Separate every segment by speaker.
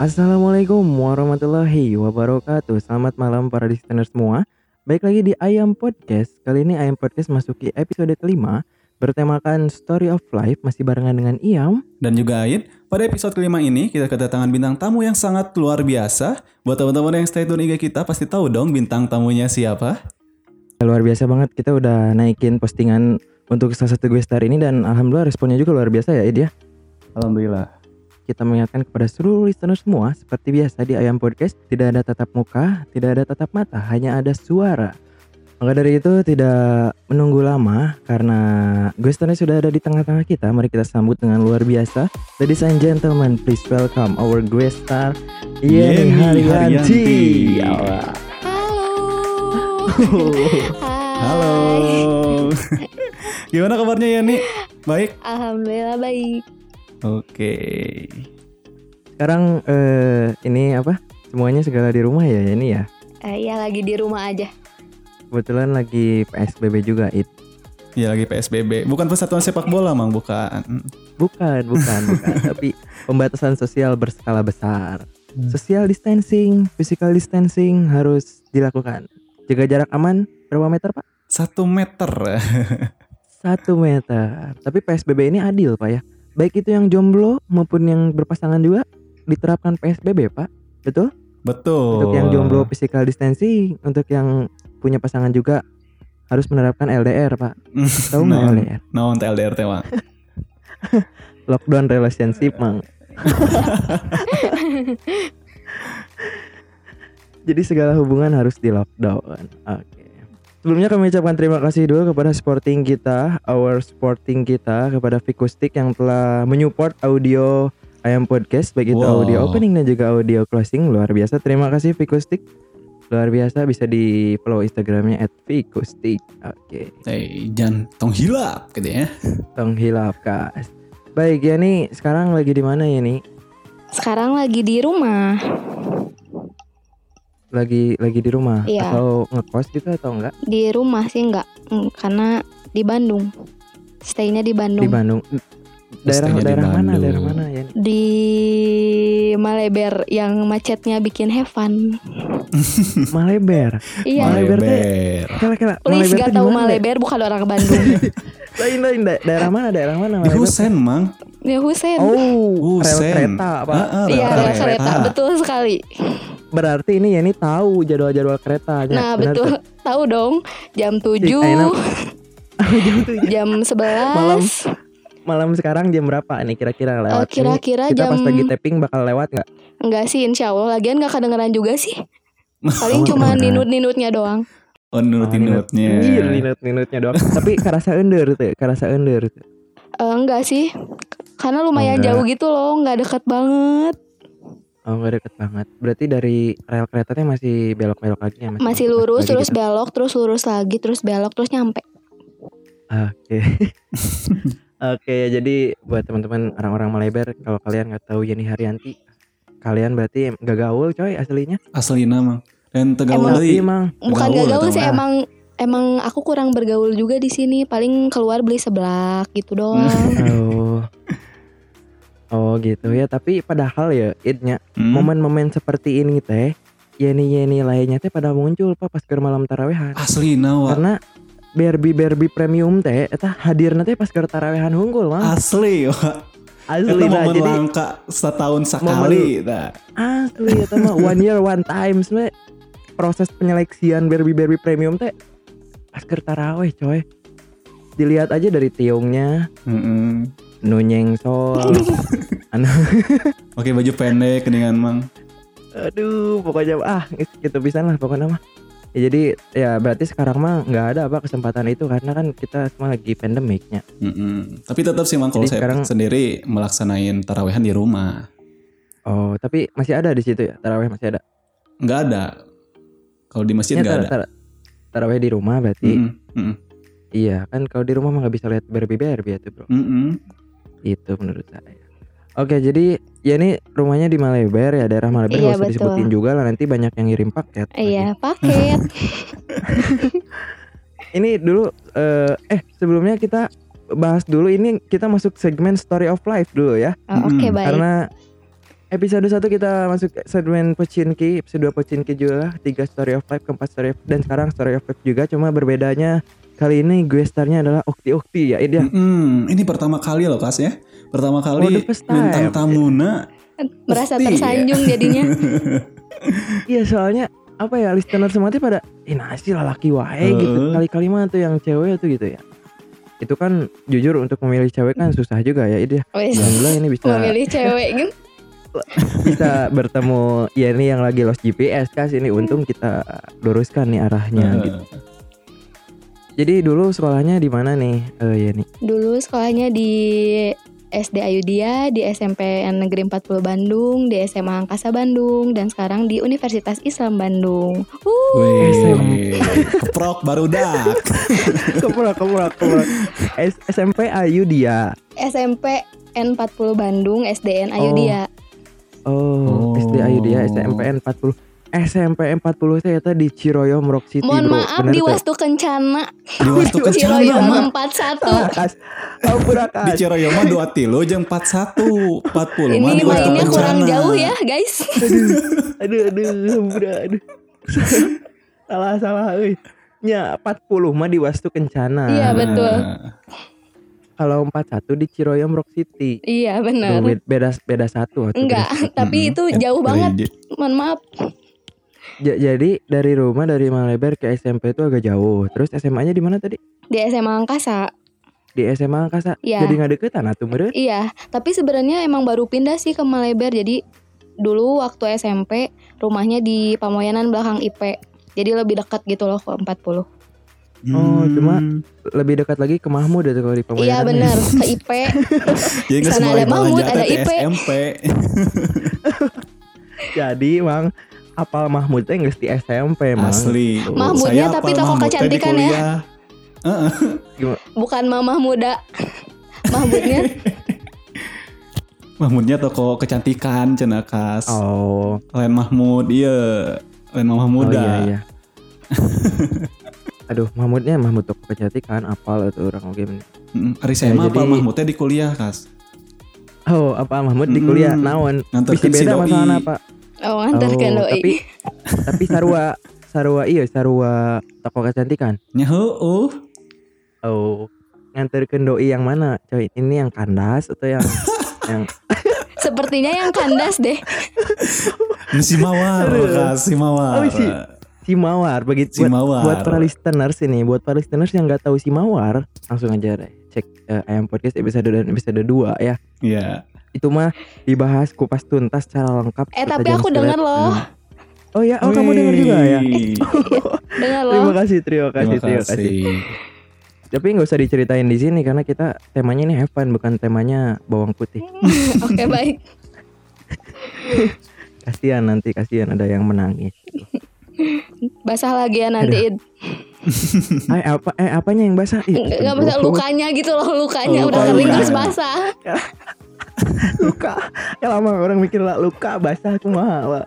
Speaker 1: Assalamualaikum warahmatullahi wabarakatuh Selamat malam para listener semua Baik lagi di Ayam Podcast Kali ini Ayam Podcast masuki episode kelima Bertemakan Story of Life Masih barengan dengan Iam
Speaker 2: dan juga Aid. Pada episode kelima ini, kita kedatangan bintang tamu yang sangat luar biasa. Buat teman-teman yang stay tune IG kita, pasti tahu dong bintang tamunya siapa.
Speaker 1: Luar biasa banget kita udah naikin postingan Untuk salah satu gue star ini Dan Alhamdulillah responnya juga luar biasa ya Id ya
Speaker 2: Alhamdulillah.
Speaker 1: kita mengingatkan kepada seluruh listener semua seperti biasa di Ayam Podcast tidak ada tatap muka, tidak ada tatap mata, hanya ada suara. Maka dari itu tidak menunggu lama karena Gustannya sudah ada di tengah-tengah kita. Mari kita sambut dengan luar biasa. Ladies and gentlemen, please welcome our guest star Yeni
Speaker 2: Yeni
Speaker 1: Haryanti.
Speaker 2: Haryanti.
Speaker 1: Alah.
Speaker 3: Halo. Hai.
Speaker 2: Halo. Gimana kabarnya Yani? Baik?
Speaker 3: Alhamdulillah baik.
Speaker 2: Oke.
Speaker 1: Sekarang eh, ini apa? Semuanya segala di rumah ya Yeni ya.
Speaker 3: Eh, ya lagi di rumah aja.
Speaker 1: Kebetulan lagi PSBB juga It.
Speaker 2: Ya lagi PSBB. Bukan persatuan sepak bola, Mang. Bukan.
Speaker 1: Bukan, bukan, bukan. Tapi pembatasan sosial berskala besar. Social distancing, physical distancing harus dilakukan. Jaga jarak aman berapa meter pak?
Speaker 2: Satu meter.
Speaker 1: Satu meter. Tapi PSBB ini adil pak ya. Baik itu yang jomblo maupun yang berpasangan juga diterapkan PSBB pak. Betul?
Speaker 2: Betul.
Speaker 1: Untuk yang jomblo physical distancing, untuk yang punya pasangan juga harus menerapkan LDR pak. Tahu nggak
Speaker 2: Nah,
Speaker 1: LDR?
Speaker 2: Nah, untuk LDR teh, Mang.
Speaker 1: Lockdown relationship mang. Jadi segala hubungan harus di lockdown. Oke. Sebelumnya kami ucapkan terima kasih dulu kepada supporting kita, our supporting kita kepada Fikustik yang telah menyupport audio Ayam Podcast baik itu
Speaker 2: Wow.
Speaker 1: audio opening dan juga audio closing luar biasa. Terima kasih Fikustik. Luar biasa bisa di follow Instagramnya @fikustik. Oke.
Speaker 2: Eh, jangan tong hilap gitu ya.
Speaker 1: Tong hilap kas. Baik ya nih, sekarang lagi di mana ya nih?
Speaker 3: Sekarang lagi di rumah.
Speaker 1: Lagi lagi di rumah
Speaker 3: Iya.
Speaker 1: atau ngekos gitu atau enggak?
Speaker 3: Di rumah sih enggak. Mm, Karena di Bandung. Stay-nya
Speaker 1: di
Speaker 3: di Bandung. Di,
Speaker 1: Bandung. Daerah
Speaker 2: Stay-nya di
Speaker 1: daerah mana?
Speaker 2: Bandung.
Speaker 1: Daerah mana ya? nih?
Speaker 3: Maleber yang macetnya bikin heaven.
Speaker 1: Maleber.
Speaker 3: iya.
Speaker 1: Maleber teh.
Speaker 2: Maleber.
Speaker 1: Kela kela.
Speaker 3: Please
Speaker 1: Maleber
Speaker 3: gak
Speaker 1: tuh
Speaker 3: tahu
Speaker 1: gimana, ya?
Speaker 3: Maleber bukan orang Bandung.
Speaker 1: Dek? Lain lain da- daerah mana? Daerah mana?
Speaker 2: Di
Speaker 1: Maleber?
Speaker 2: Husen, Mang.
Speaker 3: ya Husen.
Speaker 1: Oh, rel
Speaker 2: Husen.
Speaker 1: kereta apa?
Speaker 2: Ah, ah,
Speaker 3: Iya,
Speaker 2: rel
Speaker 3: rel kereta betul sekali.
Speaker 1: Berarti ini Yeni tahu jadwal-jadwal kereta. ya,
Speaker 3: Nah,
Speaker 1: benar
Speaker 3: betul. Tahu dong, jam
Speaker 1: tuh. Ay,
Speaker 3: 7,
Speaker 1: nam- jam tujuh.
Speaker 3: jam 11.
Speaker 1: Malam. Malam sekarang jam berapa nih kira-kira
Speaker 3: Oh,
Speaker 1: lewat? Ini
Speaker 3: kira-kira
Speaker 1: kita
Speaker 3: jam
Speaker 1: pas lagi tapping bakal lewat nggak?
Speaker 3: Enggak sih insya Allah Lagian gak kedengeran juga sih
Speaker 1: Oh,
Speaker 3: Paling cuma
Speaker 1: kedengeran.
Speaker 3: ninut-ninutnya doang
Speaker 2: Oh, nurut-nurutnya.
Speaker 1: Iya, ninut-ninutnya doang. Tapi kerasa under tuh, kerasa under. tuh.
Speaker 3: Eh, Enggak sih Karena lumayan
Speaker 1: Enggak.
Speaker 3: jauh gitu loh Enggak deket banget
Speaker 1: Oh, nggak deket banget. Berarti dari rel keretanya masih belok-belok lagi ya? belok-belok
Speaker 3: Masih lurus
Speaker 1: lagi
Speaker 3: Terus
Speaker 1: gitu.
Speaker 3: belok Terus lurus lagi Terus belok Terus nyampe
Speaker 1: Ah, Oke. Oke, ya jadi buat teman-teman orang-orang Maleber, kalau kalian nggak tahu Yeni Haryanti, kalian berarti nggak gaul coy aslinya.
Speaker 2: Asli nama. Dan tegaul
Speaker 3: Emang-
Speaker 2: deui.
Speaker 1: Tapi emang
Speaker 3: Bukan
Speaker 2: Gaul
Speaker 3: gak gaul
Speaker 2: atau
Speaker 3: sih
Speaker 1: enggak?
Speaker 3: Emang Emang aku kurang bergaul juga di sini paling keluar beli seblak gitu doang.
Speaker 1: oh. Oh gitu ya, tapi padahal ya idnya
Speaker 2: Hmm?
Speaker 1: momen-momen seperti ini teh Yeni-yeni lainnya teh pada muncul pak pas ke malam tarawehan.
Speaker 2: Asli nawa.
Speaker 1: Karena Barbie Barbie premium teh eta hadir nanti pas ke tarawehan hunggul mah.
Speaker 2: Asli. wah. Itu
Speaker 1: Asli lah
Speaker 2: momen
Speaker 1: jadi
Speaker 2: langka setahun sekali. Nah.
Speaker 1: asli eta mah one year one time sebenarnya proses penyeleksian Barbie Barbie premium teh asker taraweh coy dilihat aja dari tiungnya
Speaker 2: Mm-mm.
Speaker 1: nunyeng sol
Speaker 2: Oke baju pendek dengan mang.
Speaker 1: aduh pokoknya ah gitu pisan lah pokoknya mah Ya, jadi ya berarti sekarang mah nggak ada apa kesempatan itu karena kan kita semua lagi pandemiknya
Speaker 2: Mm-mm. Tapi tetap sih mang kalau
Speaker 1: Jadi
Speaker 2: saya
Speaker 1: sekarang-
Speaker 2: sendiri melaksanain tarawehan di rumah.
Speaker 1: oh tapi masih ada di situ ya taraweh masih ada
Speaker 2: nggak ada. Kalau di masjid
Speaker 1: Ya,
Speaker 2: nggak
Speaker 1: tar-
Speaker 2: ada. Hmm.
Speaker 1: tar- Taraweh di rumah berarti.
Speaker 2: Mm-mm, mm-mm,
Speaker 1: Iya, kan kalau di rumah mah nggak bisa lihat Barbie Barbie ya tuh, Bro.
Speaker 2: mm-mm.
Speaker 1: Itu menurut saya. Oke, jadi ya ini rumahnya di Maleber ya, daerah Maleber nggak
Speaker 3: Iya,
Speaker 1: usah
Speaker 3: betul.
Speaker 1: disebutin juga lah nanti banyak yang ngirim paket. lagi.
Speaker 3: Iya, paket.
Speaker 1: Ini dulu eh, eh sebelumnya kita bahas dulu ini kita masuk segmen story of life dulu ya.
Speaker 3: Oh,
Speaker 2: Mm-mm.
Speaker 3: Oke, baik.
Speaker 1: Karena episode 1 kita masuk ke segmen Pocinki, episode 2 Pocinki juga, 3 Story of Life, keempat Story of dan sekarang Story of Life juga cuma berbedanya kali ini gue starnya adalah Okti Okti ya. Ini dia.
Speaker 2: Mm-mm. Ini pertama kali loh Kas ya.
Speaker 1: Oh,
Speaker 2: Pertama kali
Speaker 1: the first
Speaker 2: bintang
Speaker 1: time.
Speaker 2: tamuna.
Speaker 3: Merasa
Speaker 2: Pasti, ya.
Speaker 3: tersanjung jadinya.
Speaker 1: Iya soalnya apa ya listener semua tuh pada eh nasi lah laki wae gitu.
Speaker 2: Heeh.
Speaker 1: Kali-kali mah tuh yang cewek tuh gitu ya. Itu kan jujur untuk memilih cewek kan susah juga ya. Ini dia.
Speaker 3: Wes.
Speaker 1: Alhamdulillah ini ya. bisa
Speaker 3: Iya. Memilih cewek gitu.
Speaker 1: bisa bertemu ya ini yang lagi lost GPS kas ini untung kita luruskan nih arahnya gitu.
Speaker 2: Eh,
Speaker 1: Jadi dulu sekolahnya di mana nih? Eh ya nih.
Speaker 3: Dulu sekolahnya di SD Ayudhya, di SMP Negeri 40 Bandung, di SMA Angkasa Bandung, dan sekarang di Universitas Islam Bandung. Uh,
Speaker 2: Wih, keprok barudak.
Speaker 1: Kepulak, kepulak, kepulak. S- SMP Ayudhya.
Speaker 3: SMP N40 Bandung, SDN Ayudhya.
Speaker 1: Oh,
Speaker 2: Oh.
Speaker 1: SD Ayudhya SMPN 40. SMPN 40 saya tadi di Ciroyom Rock City,
Speaker 3: Mohon
Speaker 1: Bro.
Speaker 3: maaf
Speaker 1: Bener
Speaker 3: di
Speaker 1: tuh?
Speaker 3: Wastu Kencana,
Speaker 2: Di waktu kecil
Speaker 3: Iya,
Speaker 2: mah.
Speaker 3: Ciroyom
Speaker 1: Salah,
Speaker 3: 41.
Speaker 1: Kas. Ampun, Kas.
Speaker 2: Di Ciroyom mah dua tilo jeng 41 40 mah
Speaker 3: Ini
Speaker 2: di waktu
Speaker 3: mainnya kurang
Speaker 2: bencana.
Speaker 3: jauh ya, guys.
Speaker 1: Aduh, aduh, ampun, aduh. salah, salah, euy. Ya, 40 mah di Wastu Kencana.
Speaker 3: Iya,
Speaker 2: Nah.
Speaker 3: betul.
Speaker 1: Kalau 41 di Ciroyom Rock City.
Speaker 3: Iya, benar.
Speaker 1: Tuh, beda beda satu waktu
Speaker 3: Enggak,
Speaker 2: Hmm.
Speaker 3: tapi itu
Speaker 2: Eh,
Speaker 3: jauh
Speaker 2: Iya,
Speaker 3: banget. Mohon maaf.
Speaker 1: Ja- jadi dari rumah dari Maleber ke SMP itu agak jauh. Terus SMA-nya di mana tadi?
Speaker 3: Di SMA Angkasa.
Speaker 1: Di SMA Angkasa.
Speaker 3: Iya.
Speaker 1: Jadi nggak deketan atuh meureun.
Speaker 3: Iya, tapi sebenarnya emang baru pindah sih ke Maleber. Jadi dulu waktu SMP rumahnya di Pamoyanan belakang IP. Jadi lebih dekat gitu loh ke 40.
Speaker 1: Oh, cuma
Speaker 2: Mm.
Speaker 1: Lebih dekat lagi ke Mahmud atau kalau di Pamulang.
Speaker 3: Iya benar, ke IP.
Speaker 2: Jadi Ya, nggak
Speaker 3: Sana
Speaker 2: semua
Speaker 3: ada
Speaker 2: yang belanja
Speaker 3: Mahmud, ada
Speaker 2: teh di
Speaker 3: Ipe.
Speaker 2: SMP.
Speaker 1: Jadi Mang apal Mahmud teh nggak di SMP, Mang.
Speaker 2: Asli.
Speaker 3: Mahmudnya tapi
Speaker 2: apal
Speaker 3: tokoh
Speaker 2: Mahmud teh di
Speaker 3: kecantikan ya.
Speaker 2: kuliah. Heeh.
Speaker 3: Bukan mamah muda. Mahmudnya
Speaker 2: Mahmudnya toko kecantikan cenakas.
Speaker 1: Oh.
Speaker 2: Lain Mahmud, iya. Lain
Speaker 1: Oh
Speaker 2: Mahmud muda.
Speaker 1: iya iya. Aduh, Mahmudnya Mahmud toko kecantikan apal atau orang oke. bener.
Speaker 2: Mm, Ari
Speaker 1: Ya,
Speaker 2: Sema apal
Speaker 1: jadi-
Speaker 2: Mahmudnya di kuliah, Kas.
Speaker 1: Oh, apa Mahmud di kuliah
Speaker 2: Hmm.
Speaker 1: naon? Bisa
Speaker 2: Nganterkeun si
Speaker 1: beda
Speaker 2: doi.
Speaker 1: masalahnya, Pak.
Speaker 3: oh nganterkeun
Speaker 1: Oh,
Speaker 3: doi.
Speaker 1: tapi tapi sarua sarua iya sarua kan? toko kecantikan.
Speaker 2: Nyaho, uh.
Speaker 1: Oh, nganterkeun doi yang mana, coy? Ini yang kandas atau yang yang
Speaker 3: Sepertinya yang kandas deh.
Speaker 2: Ini si Mawar,
Speaker 1: Aduh.
Speaker 2: Kas, si
Speaker 1: Oh,
Speaker 2: Mawar.
Speaker 1: si- si Mawar begitu
Speaker 2: Si
Speaker 1: buat,
Speaker 2: Mawar.
Speaker 1: buat para listeners ini, buat para listeners yang nggak tahu si Mawar, langsung aja deh cek eh, ayam podcast episode dan episode 2 ya.
Speaker 2: Iya.
Speaker 1: Itu mah dibahas kupas tuntas secara lengkap.
Speaker 3: Eh tapi
Speaker 1: setajam
Speaker 3: aku
Speaker 1: silet.
Speaker 3: dengar loh,
Speaker 1: Oh ya, oh kamu dengar juga ya.
Speaker 2: Wih.
Speaker 3: dengar loh.
Speaker 1: Terima kasih, terima kasih,
Speaker 2: Terima
Speaker 1: terima kasih.
Speaker 2: kasih.
Speaker 1: Tapi nggak usah diceritain di sini karena kita temanya ini have fun, bukan temanya bawang putih.
Speaker 3: Oke baik.
Speaker 1: Kasihan nanti, kasihan ada yang menangis.
Speaker 3: Basah lagi ya
Speaker 1: Iya.
Speaker 3: nanti. Id.
Speaker 1: Eh apa eh apanya yang basah? Ih,
Speaker 3: Nggak nggak
Speaker 1: aduh.
Speaker 3: basah lukanya gitu loh, lukanya
Speaker 2: Oh,
Speaker 3: udah kering
Speaker 2: lukanya.
Speaker 3: terus basah.
Speaker 1: luka. Ya lama orang mikir lah luka basah kumaha lah.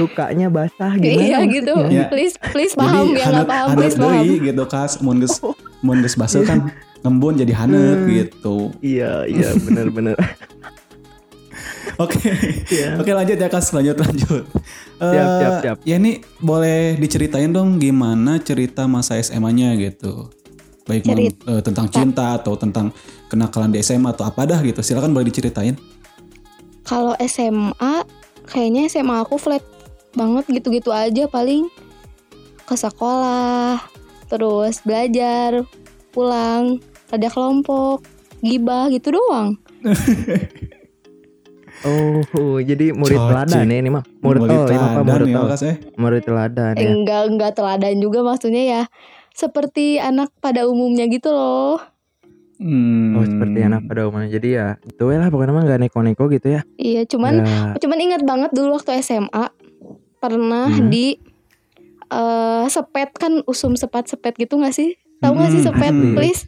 Speaker 1: Lukanya basah gimana?
Speaker 3: Iya
Speaker 1: maksudnya?
Speaker 3: gitu.
Speaker 2: Ya.
Speaker 3: Please please paham ya nggak
Speaker 2: handap-
Speaker 3: paham
Speaker 2: handap
Speaker 3: please paham.
Speaker 2: deui gitu kas mun geus mun geus basa kan ngembun jadi hanep
Speaker 1: Hmm.
Speaker 2: gitu.
Speaker 1: Iya, iya benar-benar.
Speaker 2: Oke.
Speaker 1: Iya.
Speaker 2: Oke lanjut ya kas lanjut lanjut. Eh,
Speaker 1: Siap, siap, siap.
Speaker 2: Ya ini boleh diceritain dong gimana cerita masa SMA-nya gitu. Baik mem-
Speaker 3: Cerit-
Speaker 2: eh, tentang cinta atau tentang kenakalan di SMA atau apa dah gitu. Silakan boleh diceritain.
Speaker 3: Kalau SMA kayaknya SMA aku flat banget gitu-gitu aja paling ke sekolah, terus belajar, pulang, ada kelompok, gibah gitu doang.
Speaker 1: Oh, jadi murid
Speaker 2: Cocik.
Speaker 1: teladan ya ini mah. Murid
Speaker 2: Boleh
Speaker 1: oh, ini mah apa,
Speaker 2: teladan
Speaker 1: murid
Speaker 2: ya,
Speaker 1: oh.
Speaker 2: Kas, eh.
Speaker 1: Murid teladan ya.
Speaker 3: Enggak enggak teladan juga maksudnya ya. Seperti anak pada umumnya gitu loh.
Speaker 2: Hmm.
Speaker 1: Oh, seperti anak pada umumnya. Jadi ya, itu we lah pokoknya mah enggak neko-neko gitu ya.
Speaker 3: Iya, cuman
Speaker 1: Nggak-
Speaker 3: cuman ingat banget dulu waktu SMA pernah
Speaker 2: Hmm.
Speaker 3: di eh, sepet kan usum sepat sepet gitu nggak sih? Tahu nggak sih
Speaker 2: Hmm,
Speaker 3: sepet,
Speaker 2: asli.
Speaker 3: please?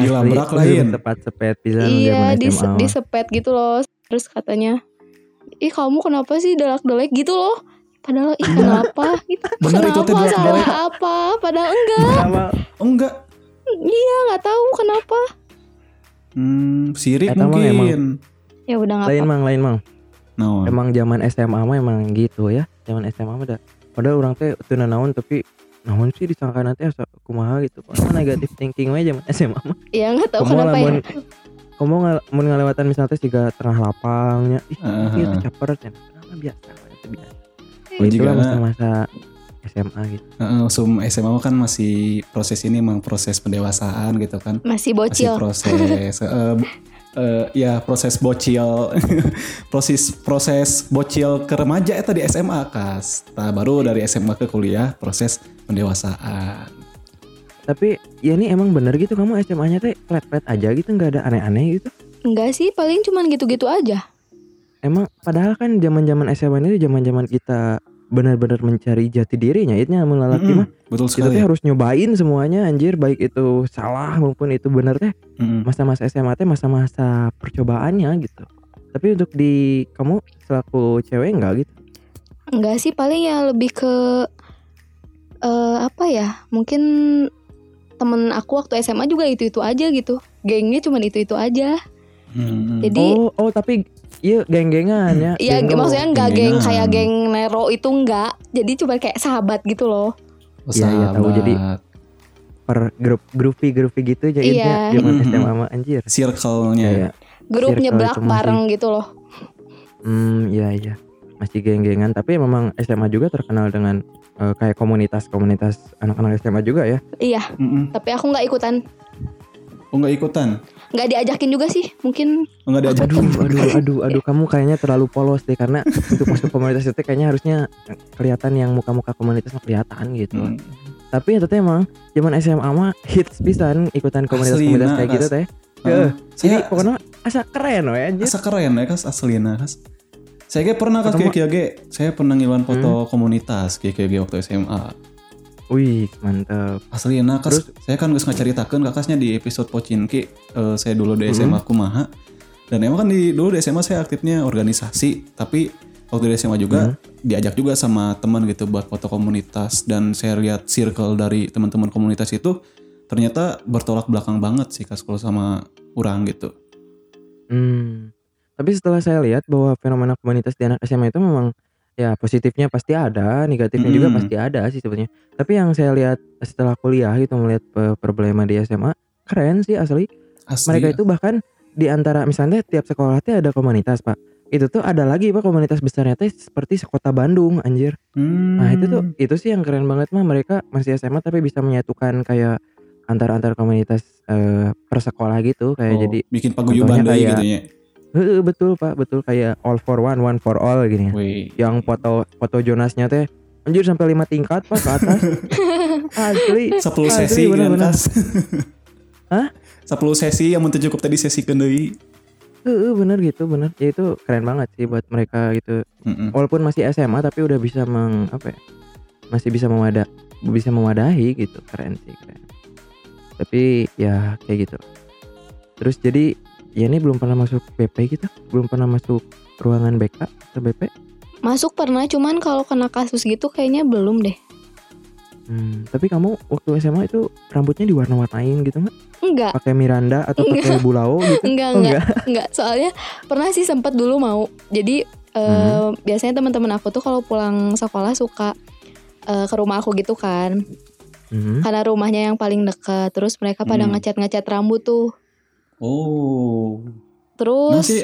Speaker 2: Di labrak
Speaker 1: Iya,
Speaker 2: lain.
Speaker 1: Tepat sepet bisa
Speaker 3: Iya, di di sepet gitu loh. Terus katanya, "Ih, kamu kenapa sih delak-delek gitu loh?" Padahal ih kenapa? Gitu.
Speaker 2: Bener itu teh
Speaker 3: kenapa
Speaker 2: delak-delek.
Speaker 3: salah apa? Padahal enggak,
Speaker 1: sama
Speaker 2: enggak
Speaker 3: iya nggak tahu kenapa.
Speaker 2: hmm, sirik
Speaker 1: Eta mah
Speaker 2: mungkin Nah, oh.
Speaker 3: Ya udah nggak
Speaker 1: lain
Speaker 3: apa.
Speaker 1: mang lain mang.
Speaker 2: Naon?
Speaker 1: Emang zaman SMA mah emang gitu ya. Zaman SMA mah udah padahal orang teh teu naon tapi naon sih disangka nanti asa kumaha gitu. Padahal negatif thinking we zaman SMA mah.
Speaker 3: Ya nggak tahu
Speaker 1: Komo
Speaker 3: kenapa ya.
Speaker 1: lamun komo ngal- mun ngalewatan misalnya teh siga tengah lapangnya. Ih,
Speaker 2: Ah.
Speaker 1: ieu teh caper teh. Kenapa biasa? we, teh biasa.
Speaker 2: Oh,
Speaker 1: Itulah
Speaker 2: jigana.
Speaker 1: masa-masa SMA gitu.
Speaker 2: Heeh, sum SMA mah kan masih proses ini emang proses pendewasaan gitu kan. Masih
Speaker 3: Masih bocil.
Speaker 2: proses eh, b- eh, ya proses bocil proses proses bocil ke remaja eh, itu di SMA kas. Nah, baru dari SMA ke kuliah proses pendewasaan.
Speaker 1: Tapi ya ini emang bener gitu kamu SMA-nya teh flat-flat aja gitu nggak ada aneh-aneh gitu.
Speaker 3: Enggak sih, paling cuman gitu-gitu aja.
Speaker 1: Emang padahal kan zaman-zaman SMA ini zaman-zaman kita benar-benar mencari jati dirinya. Itu yang lelaki
Speaker 2: Mm-mm,
Speaker 1: mah
Speaker 2: betul iya.
Speaker 1: kita
Speaker 2: sekali. ya.
Speaker 1: teh harus nyobain semuanya anjir baik itu salah maupun itu benar teh
Speaker 2: Mm-mm.
Speaker 1: masa-masa SMA teh masa-masa percobaannya gitu. Tapi untuk di kamu selaku cewek enggak gitu.
Speaker 3: Enggak sih, paling ya lebih ke eh apa ya? Mungkin temen aku waktu SMA juga itu-itu aja gitu. Gengnya cuman itu-itu aja.
Speaker 2: Mm-mm.
Speaker 3: Jadi
Speaker 1: Oh, oh tapi iya geng-gengan ya.
Speaker 3: Iya,
Speaker 1: Geng lo.
Speaker 3: maksudnya nggak geng
Speaker 2: geng-gengan.
Speaker 3: kayak geng Nero itu nggak. Jadi cuma kayak sahabat gitu loh.
Speaker 1: Iya, iya, tahu.
Speaker 2: Sahabat.
Speaker 1: Jadi- per grup groupy groupy gitu jadinya
Speaker 3: Iya.
Speaker 1: zaman
Speaker 2: Mhm.
Speaker 1: SMA mah anjir.
Speaker 2: circle-nya ya.
Speaker 1: Iya.
Speaker 3: Grup
Speaker 1: Circle
Speaker 3: nyeblak
Speaker 1: itu masih-
Speaker 3: bareng gitu loh.
Speaker 1: Hmm, iya iya. Masih geng-gengan tapi memang SMA juga terkenal dengan eh, kayak komunitas-komunitas anak-anak SMA juga ya.
Speaker 2: Mm-mm.
Speaker 3: Tapi aku nggak ikutan,
Speaker 2: Oh nggak ikutan?
Speaker 3: nggak diajakin juga sih. Mungkin
Speaker 2: Oh, Nggak diajak?
Speaker 1: Aduh, aduh, aduh, aduh, kamu kayaknya terlalu polos deh karena untuk masuk komunitas itu kayaknya harusnya kelihatan yang muka-muka komunitas mah kelihatan gitu.
Speaker 2: Mm.
Speaker 1: Tapi itu teh emang zaman SMA mah hits pisan ikutan komunitas-komunitas
Speaker 2: Asli,
Speaker 1: kayak
Speaker 2: nah,
Speaker 1: gitu
Speaker 2: as-
Speaker 1: teh.
Speaker 2: Heeh.
Speaker 1: Jadi
Speaker 2: Saya-
Speaker 1: pokoknya iya. asa keren we anjir.
Speaker 2: Asa keren ya kas aslina kas. Saya ge pernah kas
Speaker 1: Pertama-
Speaker 2: kayak kieu ge. Saya pernah ngiluan foto
Speaker 1: Hmm.
Speaker 2: komunitas kayak kieu ge waktu SMA.
Speaker 1: Wih, mantep.
Speaker 2: Aslina kas. Saya kan geus ngacaritakeun kakasnya di episode Pocinki eh, saya dulu di SMA kumaha. Dan emang kan di dulu di SMA saya aktifnya organisasi, tapi waktu di SMA juga diajak juga sama teman gitu buat foto komunitas dan saya lihat circle dari teman-teman komunitas itu ternyata bertolak belakang banget sih kas kalau sama orang gitu.
Speaker 1: Hmm. Tapi setelah saya lihat bahwa fenomena komunitas di anak SMA itu memang ya positifnya pasti ada, negatifnya juga
Speaker 2: Mm-mm.
Speaker 1: pasti ada sih sebetulnya. Tapi yang saya lihat setelah kuliah gitu melihat pe- problema di SMA keren sih asli.
Speaker 2: Asli.
Speaker 1: Mereka itu bahkan di antara misalnya tiap sekolah teh ada komunitas, Pak. Itu tuh ada lagi Pak komunitas besarnya teh seperti sekota Bandung anjir.
Speaker 2: Hmm.
Speaker 1: Nah, itu tuh itu sih yang keren banget mah mereka masih SMA tapi bisa menyatukan kayak antar-antar komunitas eh, per sekolah gitu kayak
Speaker 2: Oh,
Speaker 1: jadi
Speaker 2: bikin
Speaker 1: contohnya
Speaker 2: paguyuban deui
Speaker 1: kayak-
Speaker 2: gitu ya.
Speaker 1: Heeh, betul pak, betul kayak all for one, one for all gini. ya.
Speaker 2: Wih.
Speaker 1: Yang foto foto Jonasnya teh anjir sampai lima tingkat pak ke atas. Asli.
Speaker 2: 10
Speaker 1: Asli,
Speaker 2: sesi gitu kan,
Speaker 1: bener-bener.
Speaker 2: Kas.
Speaker 1: Hah?
Speaker 2: 10 sesi yang mentu cukup tadi sesi kendai.
Speaker 1: Heeh, bener gitu, bener. Ya itu keren banget sih buat mereka gitu.
Speaker 2: Mm-mm.
Speaker 1: Walaupun masih SMA tapi udah bisa meng apa ya? Masih bisa mewada bisa mewadahi gitu, keren sih keren. Tapi ya kayak gitu. Terus jadi ya ini belum pernah masuk BP gitu, belum pernah masuk ruangan BK atau BP.
Speaker 3: masuk pernah, cuman kalau kena kasus gitu kayaknya belum deh.
Speaker 1: Hmm, tapi kamu waktu SMA itu rambutnya diwarna-warnain gitu nggak?
Speaker 3: Enggak,
Speaker 1: Pakai Miranda atau pakai Bulao gitu?
Speaker 3: enggak,
Speaker 1: Oh,
Speaker 3: enggak, enggak. Soalnya pernah sih sempet dulu mau. Jadi eh,
Speaker 1: Hmm.
Speaker 3: biasanya teman-teman aku tuh kalau pulang sekolah suka eh, ke rumah aku gitu kan.
Speaker 1: Hmm.
Speaker 3: Karena rumahnya yang paling dekat. Terus mereka pada
Speaker 2: Hmm.
Speaker 3: ngecat-ngecat rambut tuh.
Speaker 2: Oh.
Speaker 3: Terus
Speaker 2: Nanti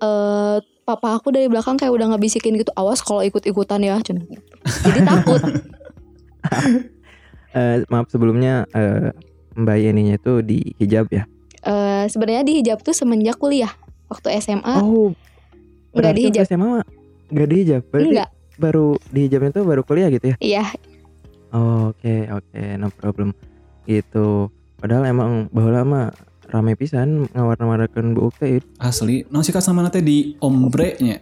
Speaker 3: eh papa aku dari belakang kayak udah ngebisikin gitu awas kalau ikut-ikutan ya cuman gitu. jadi takut
Speaker 1: Eh, maaf sebelumnya eh, Mbak Yeninya itu di hijab ya?
Speaker 3: Eh sebenarnya di hijab tuh semenjak kuliah waktu SMA
Speaker 1: oh,
Speaker 3: nggak di
Speaker 1: berarti waktu
Speaker 3: hijab
Speaker 1: SMA mah nggak di hijab? Berarti
Speaker 3: enggak
Speaker 1: baru di hijabnya itu baru kuliah gitu ya?
Speaker 3: iya
Speaker 1: Oh, Oke oke, no problem. Gitu. Padahal emang bahwa lama rame pisan ngawarna-warnakeun buuk teh.
Speaker 2: asli, naon sih Kas sama nanti di ombre-nya.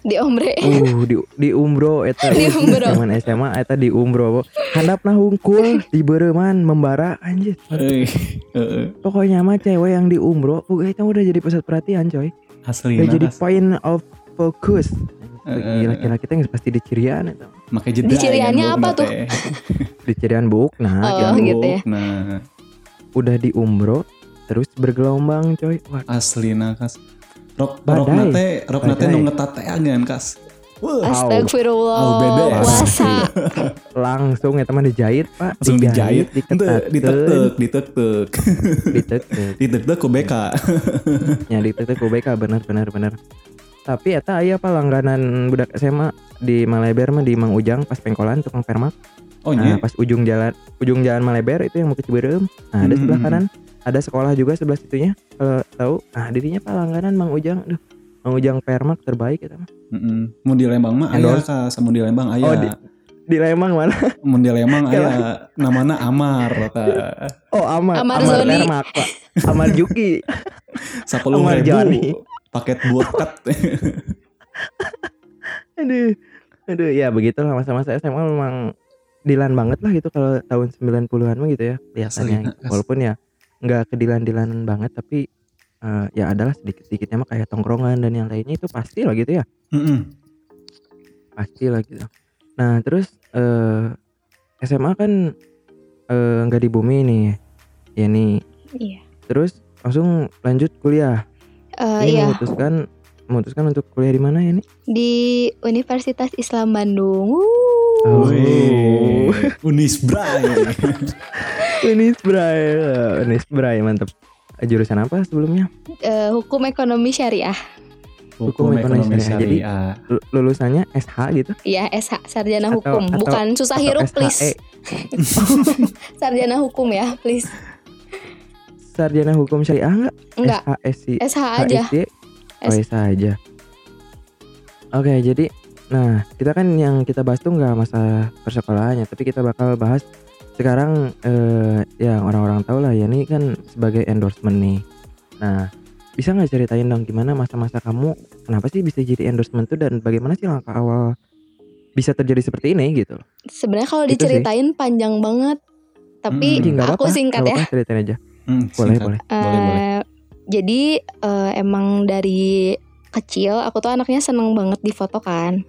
Speaker 3: di ombre
Speaker 1: Uh, di di Umbro eta iya,
Speaker 3: Di Umbro.
Speaker 1: zaman SMA eta di Umbro. Handapna hungkul di Bereuman membara anjir.
Speaker 2: Eh, eh,
Speaker 1: Pokoknya mah cewek yang di Umbro, uh, eta udah jadi pusat perhatian coy.
Speaker 2: asli
Speaker 1: Udah jadi
Speaker 2: nah,
Speaker 1: point of focus.
Speaker 2: Eh, eh,
Speaker 1: Gila laki-laki teh geus pasti dicirian eta.
Speaker 2: Makai jeda
Speaker 3: Di ciriannya
Speaker 2: ya,
Speaker 3: apa
Speaker 2: bokna
Speaker 3: tuh?
Speaker 2: teh.
Speaker 1: Dicirian buk nah,
Speaker 3: Oh,
Speaker 1: jangan
Speaker 3: gitu
Speaker 1: buk.
Speaker 3: ya.
Speaker 2: Nah,
Speaker 1: Udah di Umbro terus bergelombang coy. Wah,
Speaker 2: asli nah kas. Rok
Speaker 1: Badai.
Speaker 2: rok nate rok nate
Speaker 1: Badai.
Speaker 2: nu ngetateangan kas.
Speaker 3: Ah,
Speaker 2: Wah, Au, beda ya.
Speaker 3: astagfirullah puasa
Speaker 1: langsung eta mah dijahit, Pak.
Speaker 2: langsung dijahit,
Speaker 1: diketatkeun,
Speaker 2: ditek-tek, ditek-tek,
Speaker 1: ditek-tek.
Speaker 2: ditek-tek ku BK.
Speaker 1: Ya di TT KBK benar benar benar. Tapi eta aya apa langganan budak SMA di Maleber mah di Mang Ujang pas pengkolan tukang permak.
Speaker 2: Oh
Speaker 1: Nah,
Speaker 2: nya.
Speaker 1: pas ujung jalan ujung jalan Maleber itu yang mau ke Ciberem. Nah, ada sebelah
Speaker 2: Hmm.
Speaker 1: kanan ada sekolah juga sebelah situnya kalau tahu. Nah, dirinya pak langganan Mang Ujang. Aduh, Mang Ujang permak terbaik eta mah.
Speaker 2: Mm-mm. Mun di Lembang mah aya
Speaker 1: Endorse.
Speaker 2: kas, mun di Lembang aya.
Speaker 1: Oh, di- Di Lembang mana?
Speaker 2: Mun di Lembang aya namana Amar kak.
Speaker 1: Oh, Amar
Speaker 3: Amar
Speaker 1: Amar
Speaker 3: Zoni.
Speaker 1: permak, Pak. Amar Juki.
Speaker 2: 10.000
Speaker 1: Amar Jani.
Speaker 2: ribu paket buat
Speaker 1: Aduh. Aduh, ya begitulah masa-masa SMA memang dilan banget lah gitu kalau tahun 90-an mah gitu ya kelihatannya.
Speaker 2: Asli, asli.
Speaker 1: Walaupun ya nggak kedilan-dilanan banget tapi eh, ya adalah sedikit-sedikitnya mah kayak tongkrongan dan yang lainnya itu pasti lah gitu ya.
Speaker 2: Mm-mm.
Speaker 1: Pasti lah gitu. Nah, terus eh SMA kan eh, nggak di bumi nih. Ya nih.
Speaker 3: Iya.
Speaker 1: Terus langsung lanjut kuliah.
Speaker 3: Eh,
Speaker 1: Ini
Speaker 3: iya
Speaker 1: memutuskan memutuskan untuk kuliah di mana ya nih?
Speaker 3: di Universitas Islam Bandung Wuh.
Speaker 1: Oh.
Speaker 2: Wih, Unisbra ya.
Speaker 1: Unis Bray, eh, Unis Bray mantep. Eh, Jurusan apa sebelumnya?
Speaker 3: Eh, hukum ekonomi syariah
Speaker 1: Hukum ekonomi syariah. Jadi, Lu- Lulusannya SH gitu?
Speaker 3: ya SH sarjana
Speaker 1: Atau-
Speaker 3: hukum
Speaker 1: atau-
Speaker 3: bukan susah
Speaker 1: atau E.
Speaker 3: hirup
Speaker 1: SHE?
Speaker 3: please sarjana hukum ya please
Speaker 1: Sarjana Hukum Syariah enggak?
Speaker 3: enggak
Speaker 1: SHSI.
Speaker 3: SH aja
Speaker 1: HSC? Oh, SH aja. Oke, jadi nah, kita kan yang kita bahas tuh enggak masalah persekolahannya, tapi kita bakal bahas sekarang eh ya orang-orang tahu lah ya ini kan sebagai endorsement nih. Nah, bisa nggak ceritain dong gimana masa-masa kamu kenapa sih bisa jadi endorsement tuh dan bagaimana sih langkah awal bisa terjadi seperti ini gitu loh.
Speaker 3: sebenarnya kalau
Speaker 1: Gitu sih.
Speaker 3: diceritain panjang banget
Speaker 2: Hmm,
Speaker 3: tapi
Speaker 1: Jadi nggak apa-apa.
Speaker 3: aku singkat
Speaker 1: nggak
Speaker 3: ya
Speaker 1: apa-apa, ceritain aja. Boleh,
Speaker 2: Boleh, boleh.
Speaker 1: boleh.
Speaker 2: Boleh, boleh.
Speaker 3: Eh, jadi eh, emang dari kecil aku tuh anaknya seneng banget difoto kan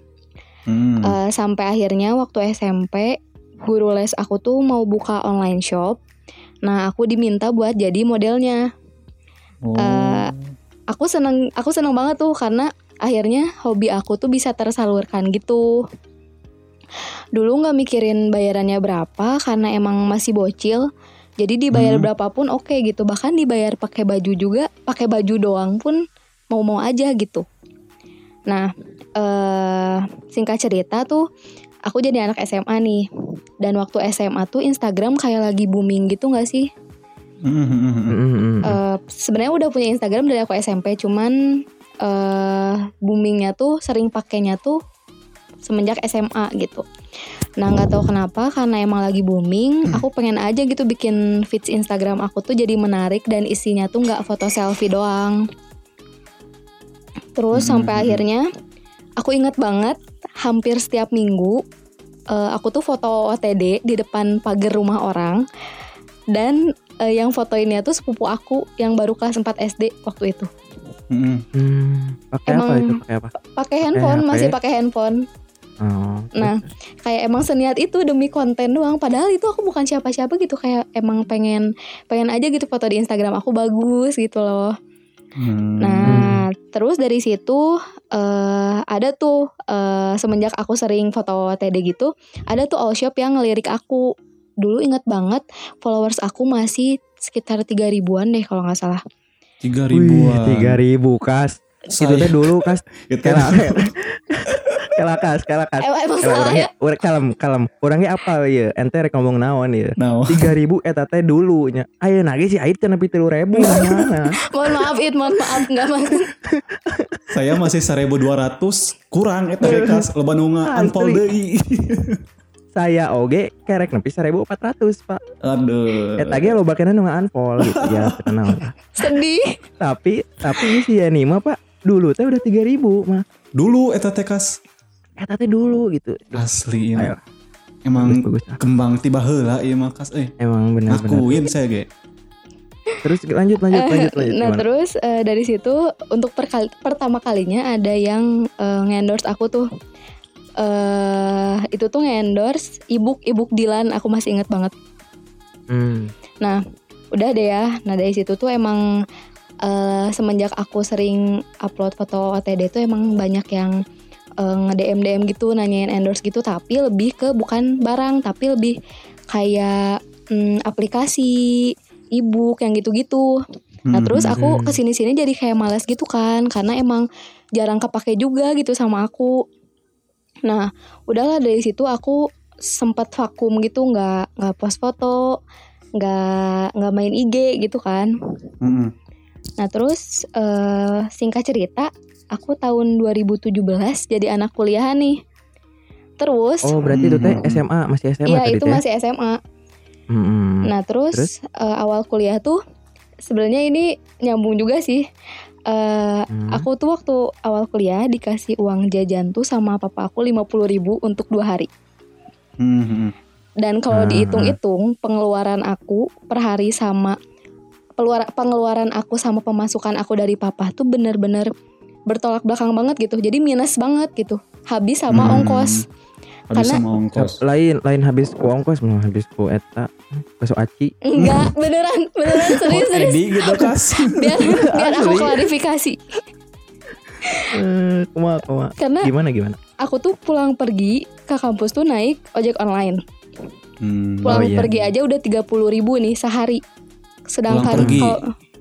Speaker 2: Hmm.
Speaker 3: Eh, sampai akhirnya waktu SMP guru les aku tuh mau buka online shop nah aku diminta buat jadi modelnya
Speaker 2: Oh.
Speaker 3: eh, aku seneng aku seneng banget tuh karena akhirnya hobi aku tuh bisa tersalurkan gitu dulu nggak mikirin bayarannya berapa karena emang masih bocil jadi dibayar
Speaker 2: Hmm.
Speaker 3: berapapun oke gitu bahkan dibayar pakai baju juga pakai baju doang pun mau mau aja gitu nah eh singkat cerita tuh aku jadi anak SMA nih dan waktu SMA tuh Instagram kayak lagi booming gitu nggak sih
Speaker 2: Hmm, hmm, hmm, hmm.
Speaker 1: Mm, mm, mm, mm.
Speaker 3: Eh, sebenarnya udah punya Instagram dari aku SMP cuman eh boomingnya tuh sering pakainya tuh semenjak SMA gitu nah nggak tahu kenapa karena emang lagi booming
Speaker 2: Hmm.
Speaker 3: aku pengen aja gitu bikin feeds Instagram aku tuh jadi menarik dan isinya tuh nggak foto selfie doang terus
Speaker 2: Hmm.
Speaker 3: sampai akhirnya aku inget banget hampir setiap minggu eh, aku tuh foto OTD di depan pagar rumah orang dan eh, yang fotoinnya tuh sepupu aku yang baru kelas 4 SD waktu itu.
Speaker 2: Hmm.
Speaker 3: Nah.
Speaker 1: Hmm, pakai apa
Speaker 3: emang-
Speaker 1: itu? Pakai apa?
Speaker 3: Pakai handphone,
Speaker 1: HP.
Speaker 3: masih pakai handphone.
Speaker 1: Oh, terus-
Speaker 3: Nah, kayak emang seniat itu demi konten doang. Padahal itu aku bukan siapa-siapa gitu, kayak emang pengen pengen aja gitu foto di Instagram aku bagus gitu loh.
Speaker 2: Hmm.
Speaker 3: Nah, terus dari situ eh ada tuh eh, semenjak aku sering foto TD gitu, ada tuh all shop yang ngelirik aku. Dulu inget banget followers aku masih sekitar 3 ribuan deh kalau nggak salah.
Speaker 2: tiga
Speaker 1: Wih,
Speaker 2: ribuan.
Speaker 1: tiga ribu kas. Itu
Speaker 2: Saya-
Speaker 1: teh Gitu dulu kas.
Speaker 2: itu
Speaker 1: Kela, kela kas, kela kas.
Speaker 3: Eh,
Speaker 1: Kela
Speaker 3: emang salah ya?
Speaker 1: orangnya, orang kalem, kalem. Orangnya apa ya? Ente rek ngomong naon ya?
Speaker 2: Nah,
Speaker 1: Tiga ribu eta teh dulunya. Ayo nage si Ait kan lebih tilu ribu.
Speaker 3: mohon maaf it mohon maaf nggak maksud
Speaker 2: saya masih 1200 kurang eta teh, kas loba nu unfollow deui.
Speaker 1: Saya oge kerek nepi seribu empat ratus pak. Eh,
Speaker 2: Aduh.
Speaker 1: Eta ge lo bakena nunga unfollow gitu ya. Tenang.
Speaker 3: sedih
Speaker 1: tapi tapi si Yanima pak dulu teh udah 3000 mah.
Speaker 2: Dulu eta teh kas
Speaker 1: Eta teh dulu gitu.
Speaker 2: asli ini.
Speaker 1: Ayo.
Speaker 2: Ah, iya, Emang
Speaker 1: Bagus, bagus.
Speaker 2: kembang tiba heula ieu mah kas euy.
Speaker 1: Emang benar-benar.
Speaker 2: Ngakuin saya ge.
Speaker 1: Terus lanjut lanjut lanjut lanjut.
Speaker 3: Nah
Speaker 1: gimana?
Speaker 3: terus eh, dari situ untuk perkal- pertama kalinya ada yang eh, ngendorse aku tuh eh itu tuh ngendorse ibuk ibuk Dilan aku masih inget banget
Speaker 1: Hmm.
Speaker 3: udah deh ya nah dari situ tuh emang eh, semenjak aku sering upload foto OTD tuh emang banyak yang eh, nge-DM DM gitu nanyain endorse gitu tapi lebih ke bukan barang tapi lebih kayak mm, aplikasi ebook yang gitu-gitu Nah terus aku
Speaker 1: Mhm.
Speaker 3: kesini-sini jadi kayak males gitu kan Karena emang jarang kepake juga gitu sama aku Nah udahlah dari situ aku sempat vakum gitu nggak nggak post foto nggak nggak main IG gitu kan
Speaker 2: Heeh.
Speaker 3: nah terus eh, singkat cerita aku tahun 2017 jadi anak kuliah nih terus
Speaker 1: Oh berarti itu teh
Speaker 2: Hmm.
Speaker 1: SMA masih SMA
Speaker 3: ya
Speaker 1: tadi teh.
Speaker 3: itu masih SMA
Speaker 1: Hmm.
Speaker 3: Nah terus,
Speaker 1: Terus?
Speaker 3: eh, awal kuliah tuh sebenarnya ini nyambung juga sih. Eh,
Speaker 1: Hmm.
Speaker 3: Aku tuh waktu awal kuliah dikasih uang jajan tuh sama papa aku 50.000 ribu untuk dua hari.
Speaker 2: Heeh.
Speaker 3: Dan
Speaker 1: Ah.
Speaker 3: kalau dihitung-hitung pengeluaran aku per hari sama peluar- pengeluaran aku sama pemasukan aku dari papa tuh bener-bener bertolak belakang banget gitu. Jadi minus banget gitu. Habis sama
Speaker 2: Hmm.
Speaker 3: ongkos.
Speaker 2: Habis
Speaker 3: Karena-
Speaker 2: sama ongkos.
Speaker 1: Lain lain habis ku ongkos mah habis ku eta besok aci.
Speaker 3: Enggak, beneran, beneran serius, serius.
Speaker 2: Edi gitu kas.
Speaker 3: Biar, biar aku
Speaker 1: Oh, iya. Asli.
Speaker 3: klarifikasi.
Speaker 1: Eh,
Speaker 3: Hmm,
Speaker 1: Kumaha kumaha.
Speaker 3: Karena
Speaker 1: Gimana gimana?
Speaker 3: aku tuh pulang pergi ke kampus tuh naik ojek online.
Speaker 2: Hmm.
Speaker 1: Wah,
Speaker 3: Pulang
Speaker 1: iya.
Speaker 3: pergi aja udah 30.000 ribu nih sehari. Sedangkan
Speaker 2: Pulang pergi.
Speaker 3: kalau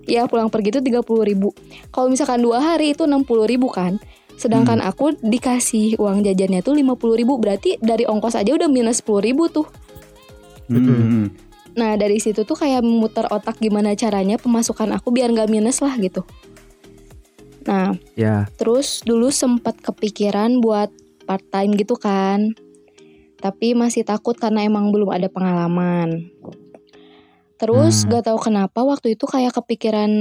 Speaker 3: ya pulang pergi itu 30.000 ribu. Kalau misalkan dua hari itu 60.000 ribu kan.
Speaker 2: Hmm.
Speaker 3: Sedangkan aku dikasih uang jajannya tuh 50.000 ribu. Berarti dari ongkos aja udah minus 10.000 ribu tuh.
Speaker 2: Hmm.
Speaker 3: Nah dari situ tuh kayak muter otak gimana caranya pemasukan aku biar nggak minus lah gitu. Nah
Speaker 1: Ya.
Speaker 3: Terus dulu sempat kepikiran buat part time gitu kan. Tapi masih takut karena emang belum ada pengalaman. Terus
Speaker 1: Hmm.
Speaker 3: gak tahu kenapa waktu itu kayak kepikiran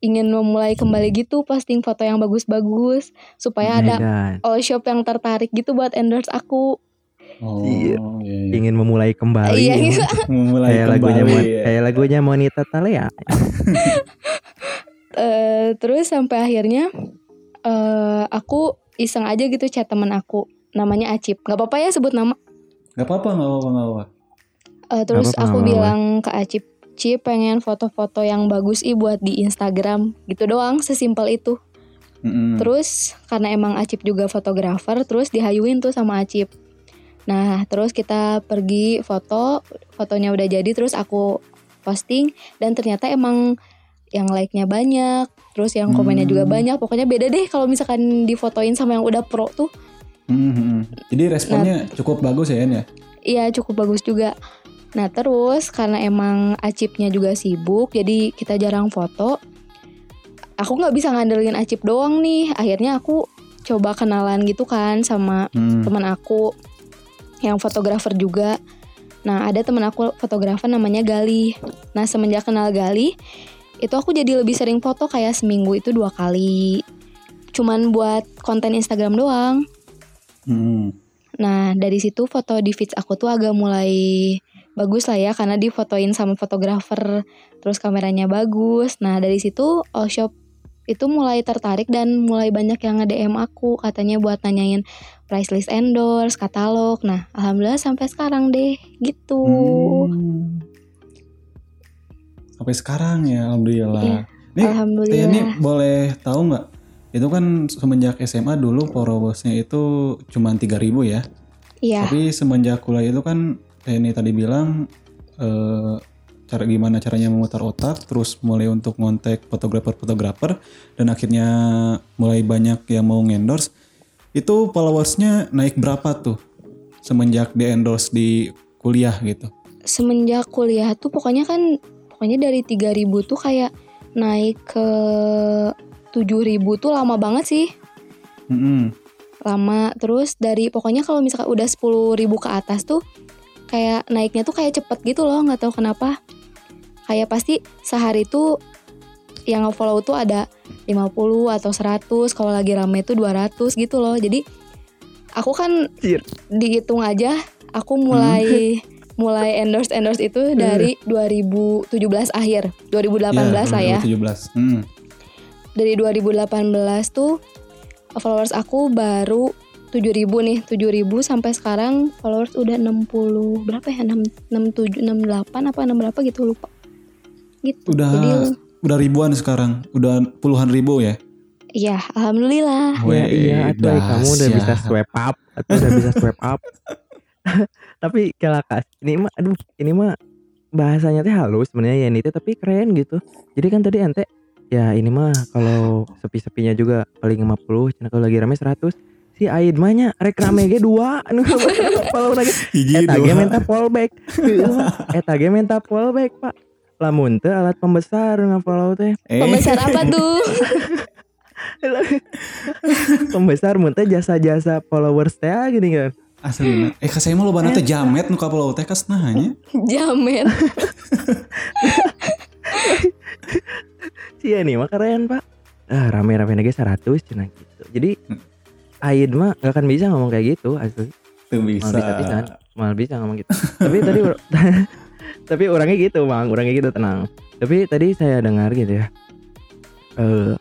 Speaker 3: ingin memulai kembali gitu posting foto yang bagus-bagus
Speaker 1: Hmm,
Speaker 3: supaya ada
Speaker 1: Medan.
Speaker 3: all shop yang tertarik gitu buat endorse aku.
Speaker 2: Oh,
Speaker 1: Iya.
Speaker 2: iya, iya.
Speaker 1: ingin memulai kembali.
Speaker 3: Iya, gitu.
Speaker 2: Memulai
Speaker 1: Kayak lagunya
Speaker 2: kembali,
Speaker 1: Mon- Eh,
Speaker 2: ya.
Speaker 1: kayak lagunya Monita Talea.
Speaker 3: Eh, terus sampai akhirnya eh, aku iseng aja gitu chat teman aku namanya Acip. Gak apa-apa ya sebut nama.
Speaker 2: Gak apa-apa, gak apa-apa, gak apa-apa.
Speaker 3: Eh, terus
Speaker 1: apa-apa,
Speaker 3: aku
Speaker 1: nggak apa-apa.
Speaker 3: bilang ke Acip, Ci pengen foto-foto yang bagus i buat di Instagram gitu doang, sesimpel itu.
Speaker 1: Hmm.
Speaker 2: Mm-mm.
Speaker 3: Terus karena emang Acip juga fotografer, terus dihayuin tuh sama Acip. Nah, terus kita pergi foto, fotonya udah jadi, terus aku posting dan ternyata emang yang like-nya banyak, terus yang komennya juga
Speaker 2: Hmm.
Speaker 3: banyak. Pokoknya beda deh kalau misalkan difotoin sama yang udah pro tuh.
Speaker 2: Mm-mm. Hmm, Jadi responnya cukup bagus ya, En, ya?
Speaker 3: Iya cukup bagus juga. Nah terus karena emang Acipnya juga sibuk, jadi kita jarang foto. Aku nggak bisa ngandelin Acip doang nih. Akhirnya aku coba kenalan gitu kan sama
Speaker 2: Hmm.
Speaker 3: teman aku yang fotografer juga. Nah ada teman aku fotografer namanya Gali. Nah semenjak kenal Gali, itu aku jadi lebih sering foto kayak seminggu itu dua kali. Cuman buat konten Instagram doang.
Speaker 2: Mm-mm.
Speaker 3: Nah dari situ foto di feeds aku tuh agak mulai bagus lah ya karena difotoin sama fotografer terus kameranya bagus. Nah dari situ all shop itu mulai tertarik dan mulai banyak yang nge-DM aku katanya buat nanyain price list endorse, katalog. Nah, alhamdulillah sampai sekarang deh gitu.
Speaker 2: Hmm. Sampai sekarang ya,
Speaker 3: Iya.
Speaker 2: Alhamdulillah. Nih, Teh
Speaker 3: alhamdulillah.
Speaker 2: ini boleh tahu nggak? Itu kan semenjak SMA dulu porobosnya itu cuma 3000 ya.
Speaker 3: Iya.
Speaker 2: Tapi semenjak kuliah itu kan ini tadi bilang eh, cara gimana caranya memutar otak, terus mulai untuk ngontek fotografer-fotografer dan akhirnya mulai banyak yang mau endorse. Itu followersnya naik berapa tuh semenjak di endorse di kuliah gitu?
Speaker 3: semenjak kuliah tuh pokoknya kan pokoknya dari 3000 tuh kayak naik ke 7000 tuh lama banget sih.
Speaker 2: Mm-mm.
Speaker 3: lama terus dari pokoknya kalau misalkan udah 10.000 ribu ke atas tuh kayak naiknya tuh kayak cepet gitu loh nggak tahu kenapa kayak pasti sehari tuh yang nge-follow tuh ada 50 atau 100 kalau lagi rame tuh 200 gitu loh jadi aku kan
Speaker 1: Anjir.
Speaker 3: dihitung aja aku mulai mulai endorse endorse itu dari 2017 akhir
Speaker 2: Iya,
Speaker 3: 2018 lah ya
Speaker 2: 17. Hmm.
Speaker 3: dari 2018 tuh followers aku baru 7000 nih 7000 sampai sekarang followers udah 60 berapa ya 6 67 68 apa 6 berapa gitu lupa gitu
Speaker 2: Udah
Speaker 3: jadi
Speaker 2: udah ribuan sekarang. Udah puluhan ribu ya.
Speaker 3: ya alhamdulillah
Speaker 1: Ya, iya,
Speaker 2: Weh,
Speaker 1: atuh, kamu udah
Speaker 2: dahsyat.
Speaker 1: bisa swipe up, atau udah bisa swipe up. tapi kelakas, ini mah, aduh, ini mah bahasanya teh halus sebenarnya ya ini teh, tapi keren gitu. Jadi kan tadi ente, ya ini mah kalau sepi-sepinya juga paling 50, cina kalau lagi rame 100. Si Aid mah nya rek rame ge dua, anu, nu follow lagi.
Speaker 2: Gigi
Speaker 1: Eta
Speaker 2: Iya, dua.
Speaker 1: ge minta fallback. Iya, mah. Eta ge minta fallback pak. Lamun teh alat pembesar ngafollow teh.
Speaker 2: Eh,
Speaker 3: pembesar apa tuh
Speaker 1: Pembesar mun teh jasa-jasa followers teh gini kan.
Speaker 2: Asli. Eh kasih mah lo bana teh jamet nu ka pulau teh kas nah nya.
Speaker 3: jamet
Speaker 1: Iya nih mah keren pak ah, Rame-rame lagi 100 cina gitu Jadi
Speaker 2: Hmm.
Speaker 1: Aid mah gak akan bisa ngomong kayak gitu asli
Speaker 2: Teu
Speaker 1: Malah bisa bisa Malah bisa ngomong gitu Tapi tadi or- Tapi orangnya gitu bang Orangnya gitu tenang Tapi tadi saya dengar gitu ya eh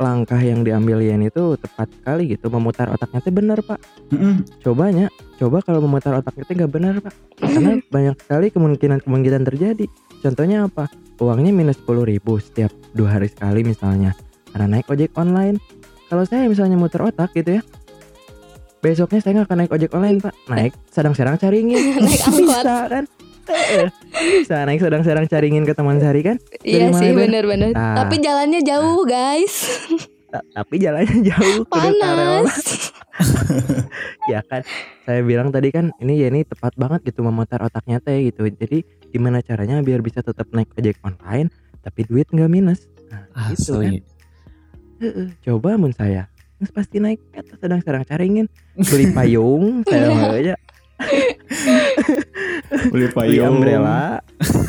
Speaker 1: Langkah yang diambil Yen itu tepat sekali gitu Memutar otaknya tuh bener pak
Speaker 2: Heeh.
Speaker 1: Cobanya Coba kalau memutar otaknya tuh gak bener pak Karena banyak sekali kemungkinan-kemungkinan terjadi Contohnya apa? Uangnya minus 10.000 ribu setiap dua hari sekali misalnya Karena naik ojek online Kalau saya misalnya muter otak gitu ya Besoknya saya nggak akan naik ojek online pak Naik sedang-sedang caringin
Speaker 3: Naik angkot.
Speaker 1: Bisa kan Eh, Bisa naik sedang-sedang caringin ke teman sehari kan
Speaker 3: iya
Speaker 1: mana
Speaker 3: sih
Speaker 1: itu?
Speaker 3: bener-bener
Speaker 1: Nah.
Speaker 3: tapi jalannya jauh guys
Speaker 1: Ta- Tapi jalannya jauh kudu taruh.
Speaker 3: panas
Speaker 1: ya kan saya bilang tadi kan ini ya ini tepat banget gitu memutar otaknya teh gitu jadi gimana caranya biar bisa tetap naik ojek online tapi duit nggak minus nah, gitu kan.
Speaker 2: Asli.
Speaker 1: Heeh, coba mun saya Terus pasti naik atau sedang-sedang caringin beli payung saya
Speaker 3: Iya.
Speaker 1: mau aja beli
Speaker 2: Beli payung.
Speaker 1: umbrella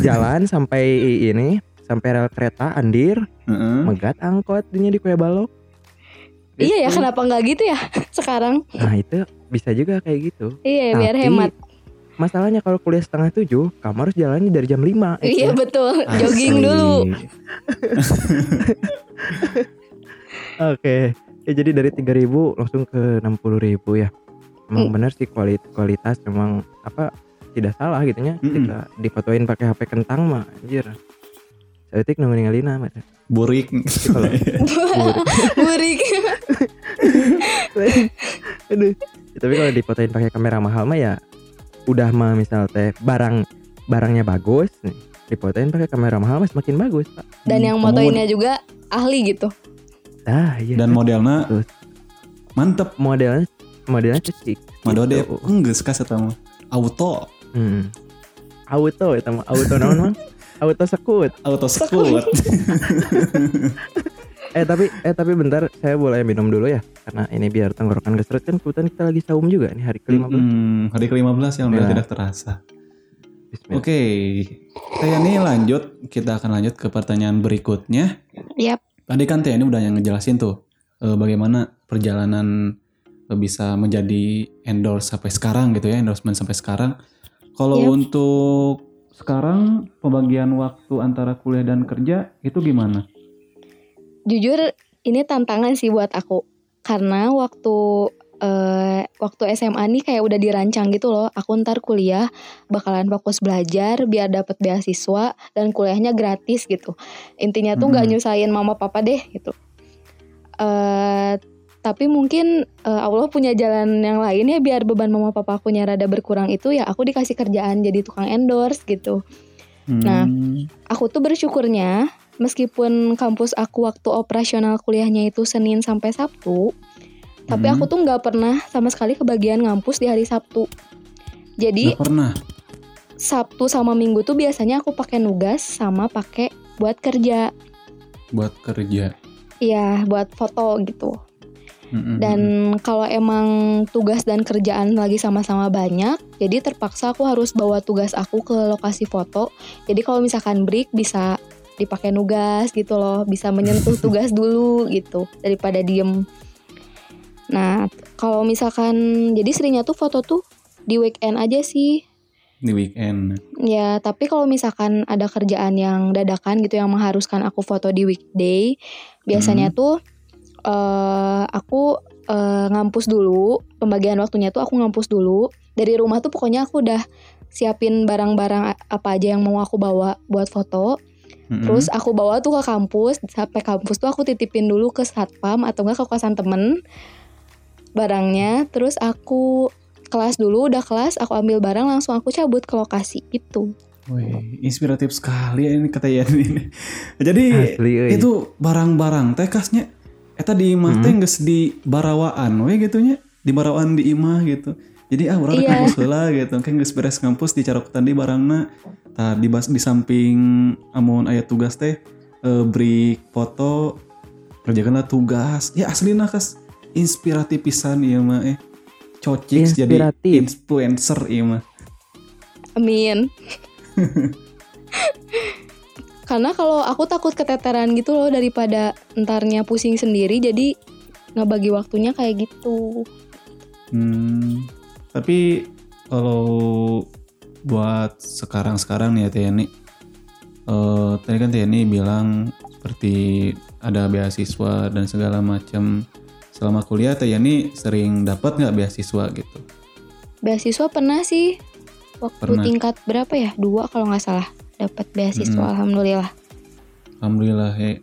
Speaker 1: jalan sampai ini sampai rel kereta andir
Speaker 2: Heeh.
Speaker 1: megat angkot dinya di kue balok
Speaker 3: iya ya
Speaker 1: Gitu.
Speaker 3: kenapa nggak gitu ya sekarang
Speaker 1: nah itu bisa juga kayak gitu
Speaker 3: iya biar
Speaker 1: Tapi,
Speaker 3: hemat
Speaker 1: masalahnya kalau kuliah setengah tujuh kamu harus jalannya dari jam 5
Speaker 3: iya betul jogging
Speaker 2: Asli.
Speaker 3: dulu
Speaker 1: Oke, ya, jadi dari 3000 langsung ke 60000 ya. Emang
Speaker 3: Hmm.
Speaker 1: benar sih kuali- kualitas memang apa tidak salah gitu nya.
Speaker 2: Mm-mm.
Speaker 1: Kita difotoin pakai HP kentang mah anjir. Seutik nu ninggalina mah.
Speaker 2: Burik.
Speaker 1: Kalau-
Speaker 3: burik
Speaker 1: Aduh. Ya, tapi kalau difotoin pakai kamera mahal mah ya udah mah misal teh barang barangnya bagus nih. Dipotoin pakai kamera mahal mah semakin bagus, Pak.
Speaker 3: dan yang
Speaker 2: Hmm, Kamu-
Speaker 3: motoinnya juga ahli gitu
Speaker 1: Dah, iya.
Speaker 2: Dan modelnya
Speaker 1: Terus.
Speaker 2: mantep.
Speaker 1: modelnya modelnya cecik.
Speaker 2: Madode
Speaker 1: Gitu.
Speaker 2: enggak suka sama auto
Speaker 1: Hmm. Auto itu mah auto naon Mang? Auto sekut.
Speaker 2: auto sekuat
Speaker 1: Eh tapi eh tapi bentar saya boleh minum dulu ya karena ini biar tenggorokan keserut kan kebetulan kita lagi saum juga nih hari ke-15.
Speaker 2: Hmm, hari ke-15 yang
Speaker 1: Ya.
Speaker 2: tidak terasa.
Speaker 1: Bismillah.
Speaker 2: Oke, Teh ini lanjut. Kita akan lanjut ke pertanyaan berikutnya.
Speaker 3: Yap.
Speaker 2: Tadi kan Teh ini udah yang ngejelasin tuh eh, bagaimana perjalanan eh, bisa menjadi endorse sampai sekarang gitu ya, endorsement sampai sekarang. Kalau
Speaker 3: Yap.
Speaker 2: untuk sekarang pembagian waktu antara kuliah dan kerja itu gimana?
Speaker 3: jujur ini tantangan sih buat aku karena waktu eh, waktu SMA nih kayak udah dirancang gitu loh aku ntar kuliah bakalan fokus belajar biar dapat beasiswa dan kuliahnya gratis gitu intinya tuh nggak
Speaker 2: Mhm.
Speaker 3: nyusahin mama papa deh gitu eh tapi mungkin eh, Allah punya jalan yang lain ya biar beban mama papa akunya rada berkurang itu ya aku dikasih kerjaan jadi tukang endorse gitu Nah,
Speaker 2: Hmm,
Speaker 3: aku tuh bersyukurnya meskipun kampus aku waktu operasional kuliahnya itu Senin sampai Sabtu, tapi
Speaker 2: Hmm.
Speaker 3: aku tuh nggak pernah sama sekali kebagian ngampus di hari Sabtu.
Speaker 2: nggak
Speaker 3: Jadi
Speaker 2: pernah.
Speaker 3: Sabtu sama Minggu tuh biasanya aku pakai nugas sama pakai buat kerja,
Speaker 2: buat kerja Hmm,
Speaker 3: ya buat foto gitu.
Speaker 2: Mm-mm.
Speaker 3: Dan kalau emang tugas dan kerjaan lagi sama-sama banyak, jadi terpaksa aku harus bawa tugas aku ke lokasi foto. Jadi kalau misalkan break bisa dipakai nugas gitu loh bisa menyentuh tugas dulu gitu daripada diem nah kalau misalkan jadi seringnya tuh foto tuh di weekend aja sih
Speaker 2: hmm, di weekend.
Speaker 3: ya tapi kalau misalkan ada kerjaan yang dadakan gitu yang mengharuskan aku foto di weekday biasanya tuh eh aku eh, ngampus dulu pembagian waktunya tuh aku ngampus dulu dari rumah tuh pokoknya aku udah siapin barang-barang a- apa aja yang mau aku bawa buat foto
Speaker 2: Mm-mm.
Speaker 3: Terus aku bawa tuh ke kampus, sampai kampus tuh aku titipin dulu ke satpam atau enggak ke kosan temen barangnya. Terus aku kelas dulu, udah kelas aku ambil barang langsung aku cabut ke lokasi gitu.
Speaker 2: Wih, inspiratif sekali ya ini kata Yan ini. Jadi
Speaker 1: Asli, euy.
Speaker 2: itu barang-barang teh kasnya eta di imah teh geus di barawaan we gitu nya, di barawaan di imah gitu. Jadi ah urang rek
Speaker 3: Iya.
Speaker 2: kampus heula gitu, kan geus beres kampus di carokutan di barangna. Tah di bas, di samping amun aya tugas teh eh, beri foto kerjakanlah tugas. Ya aslina kas inspiratif pisan ieu mah eh. Cocik jadi
Speaker 1: Inspiratif.
Speaker 2: influencer ieu mah.
Speaker 3: Amin. Karena kalau aku takut keteteran gitu loh daripada entarnya pusing sendiri jadi ngebagi waktunya kayak gitu.
Speaker 2: Hmm, tapi kalau buat sekarang-sekarang nih ya TNI, eh, tadi kan TNI bilang seperti ada beasiswa dan segala macam selama kuliah TNI sering dapat nggak beasiswa gitu?
Speaker 3: Beasiswa pernah sih waktu
Speaker 2: Pernah.
Speaker 3: tingkat berapa ya? Dua kalau nggak salah dapat beasiswa
Speaker 2: Mm-mm.
Speaker 3: alhamdulillah.
Speaker 2: Alhamdulillah ya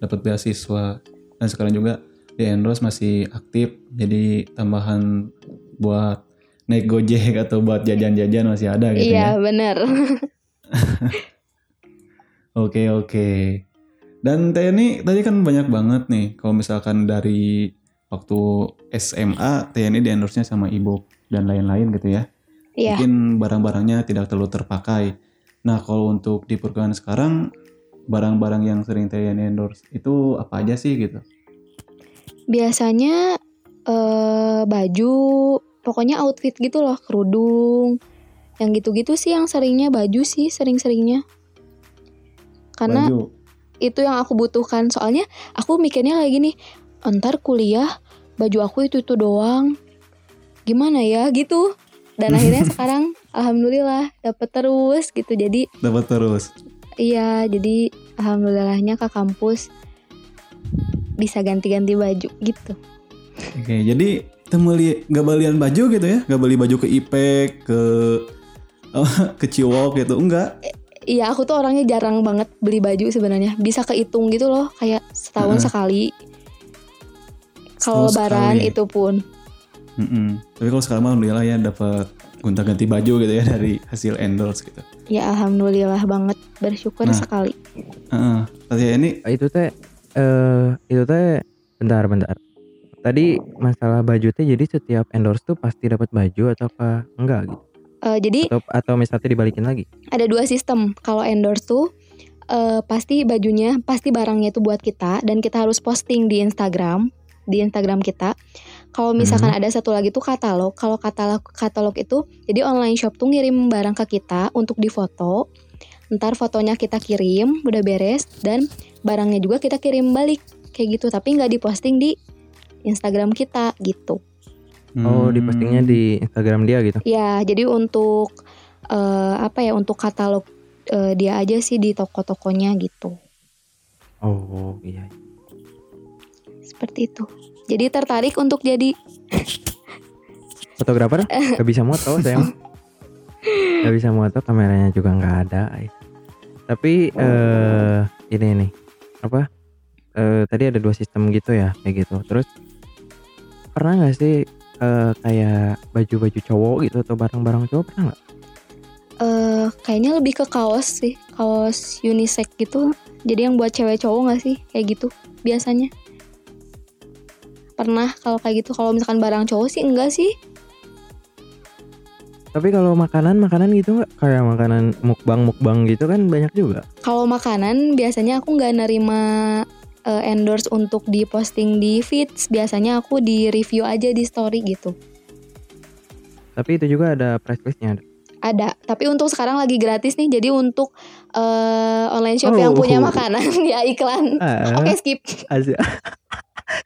Speaker 2: dapat beasiswa dan sekarang juga di endorse masih aktif jadi tambahan buat naik gojek atau buat jajan-jajan masih ada gitu ya.
Speaker 3: Iya bener
Speaker 2: Oke oke. Dan TNI tadi kan banyak banget nih. Kalau misalkan dari waktu SMA TNI di endorse-nya sama Ibu dan lain-lain gitu ya.
Speaker 3: Iya
Speaker 2: Mungkin barang-barangnya tidak terlalu terpakai. Nah kalau untuk di perguruan sekarang barang-barang yang sering TNI endorse itu apa aja sih gitu?
Speaker 3: biasanya eh, baju pokoknya outfit gitu loh kerudung yang gitu-gitu sih yang seringnya baju sih sering-seringnya karena
Speaker 2: Baju.
Speaker 3: itu yang aku butuhkan soalnya aku mikirnya kayak gini entar kuliah baju aku itu itu doang gimana ya gitu dan akhirnya sekarang alhamdulillah dapet terus gitu jadi
Speaker 2: dapat terus.
Speaker 3: Iya, jadi alhamdulillahnya ke kampus bisa ganti-ganti baju gitu.
Speaker 2: Oke jadi temeli gak balian baju gitu ya? Gak beli baju ke IPEK ke ke Ciwok gitu enggak?
Speaker 3: Iya, aku tuh orangnya jarang banget beli baju sebenarnya. Bisa kehitung gitu loh, kayak setahun
Speaker 2: Heeh.
Speaker 3: sekali.
Speaker 2: Setahun
Speaker 3: Kalau lebaran
Speaker 2: sekali.
Speaker 3: itu pun.
Speaker 2: Mm-mm. Tapi kalau sekarang alhamdulillah ya dapat gonta ganti baju gitu ya dari hasil endorse gitu.
Speaker 3: Ya alhamdulillah banget, bersyukur
Speaker 2: Nah.
Speaker 3: sekali.
Speaker 2: Heeh. Tapi ini
Speaker 1: Oh, itu teh eh itu teh bentar bentar tadi masalah baju teh jadi setiap endorse tuh pasti dapat baju atau apa enggak gitu
Speaker 3: Eh, jadi
Speaker 1: atau atau misalnya dibalikin lagi
Speaker 3: ada dua sistem. Kalau endorse tuh eh, pasti bajunya, pasti barangnya itu buat kita dan kita harus posting di Instagram, di Instagram kita. Kalau misalkan ada satu lagi tuh katalog. Kalau katalog katalog itu jadi online shop tuh ngirim barang ke kita untuk difoto. Ntar fotonya kita kirim, udah beres dan barangnya juga kita kirim balik kayak gitu, tapi nggak diposting di Instagram kita gitu.
Speaker 1: oh
Speaker 2: Hmm.
Speaker 1: dipostingnya di Instagram dia gitu
Speaker 3: Ya, jadi untuk eh, apa ya? Untuk katalog eh, dia aja sih di toko-tokonya gitu.
Speaker 1: oh iya
Speaker 3: Seperti itu. Jadi tertarik untuk jadi
Speaker 1: fotografer nggak bisa moto saya mah. nggak bisa moto kameranya juga nggak ada ay. tapi eh ini nih apa eh, tadi ada dua sistem gitu ya kayak gitu terus pernah nggak sih eh, kayak baju-baju cowok gitu atau barang-barang cowok pernah nggak
Speaker 3: eh, kayaknya lebih ke kaos sih, kaos unisex gitu. Jadi yang buat cewek cowok nggak sih kayak gitu biasanya? Pernah kalau kayak gitu. Kalau misalkan barang cowok sih enggak sih.
Speaker 1: tapi kalau makanan makanan gitu nggak kayak makanan mukbang mukbang gitu kan banyak juga
Speaker 3: Kalau makanan biasanya aku nggak nerima eh, endorse untuk diposting di feeds. Biasanya aku di review aja di story gitu.
Speaker 1: tapi itu juga ada price listnya
Speaker 3: ada tapi untuk sekarang lagi gratis nih jadi untuk eh, online shop
Speaker 1: Oh.
Speaker 3: yang punya makanan ya iklan
Speaker 1: Ah.
Speaker 3: oke skip
Speaker 1: Asia.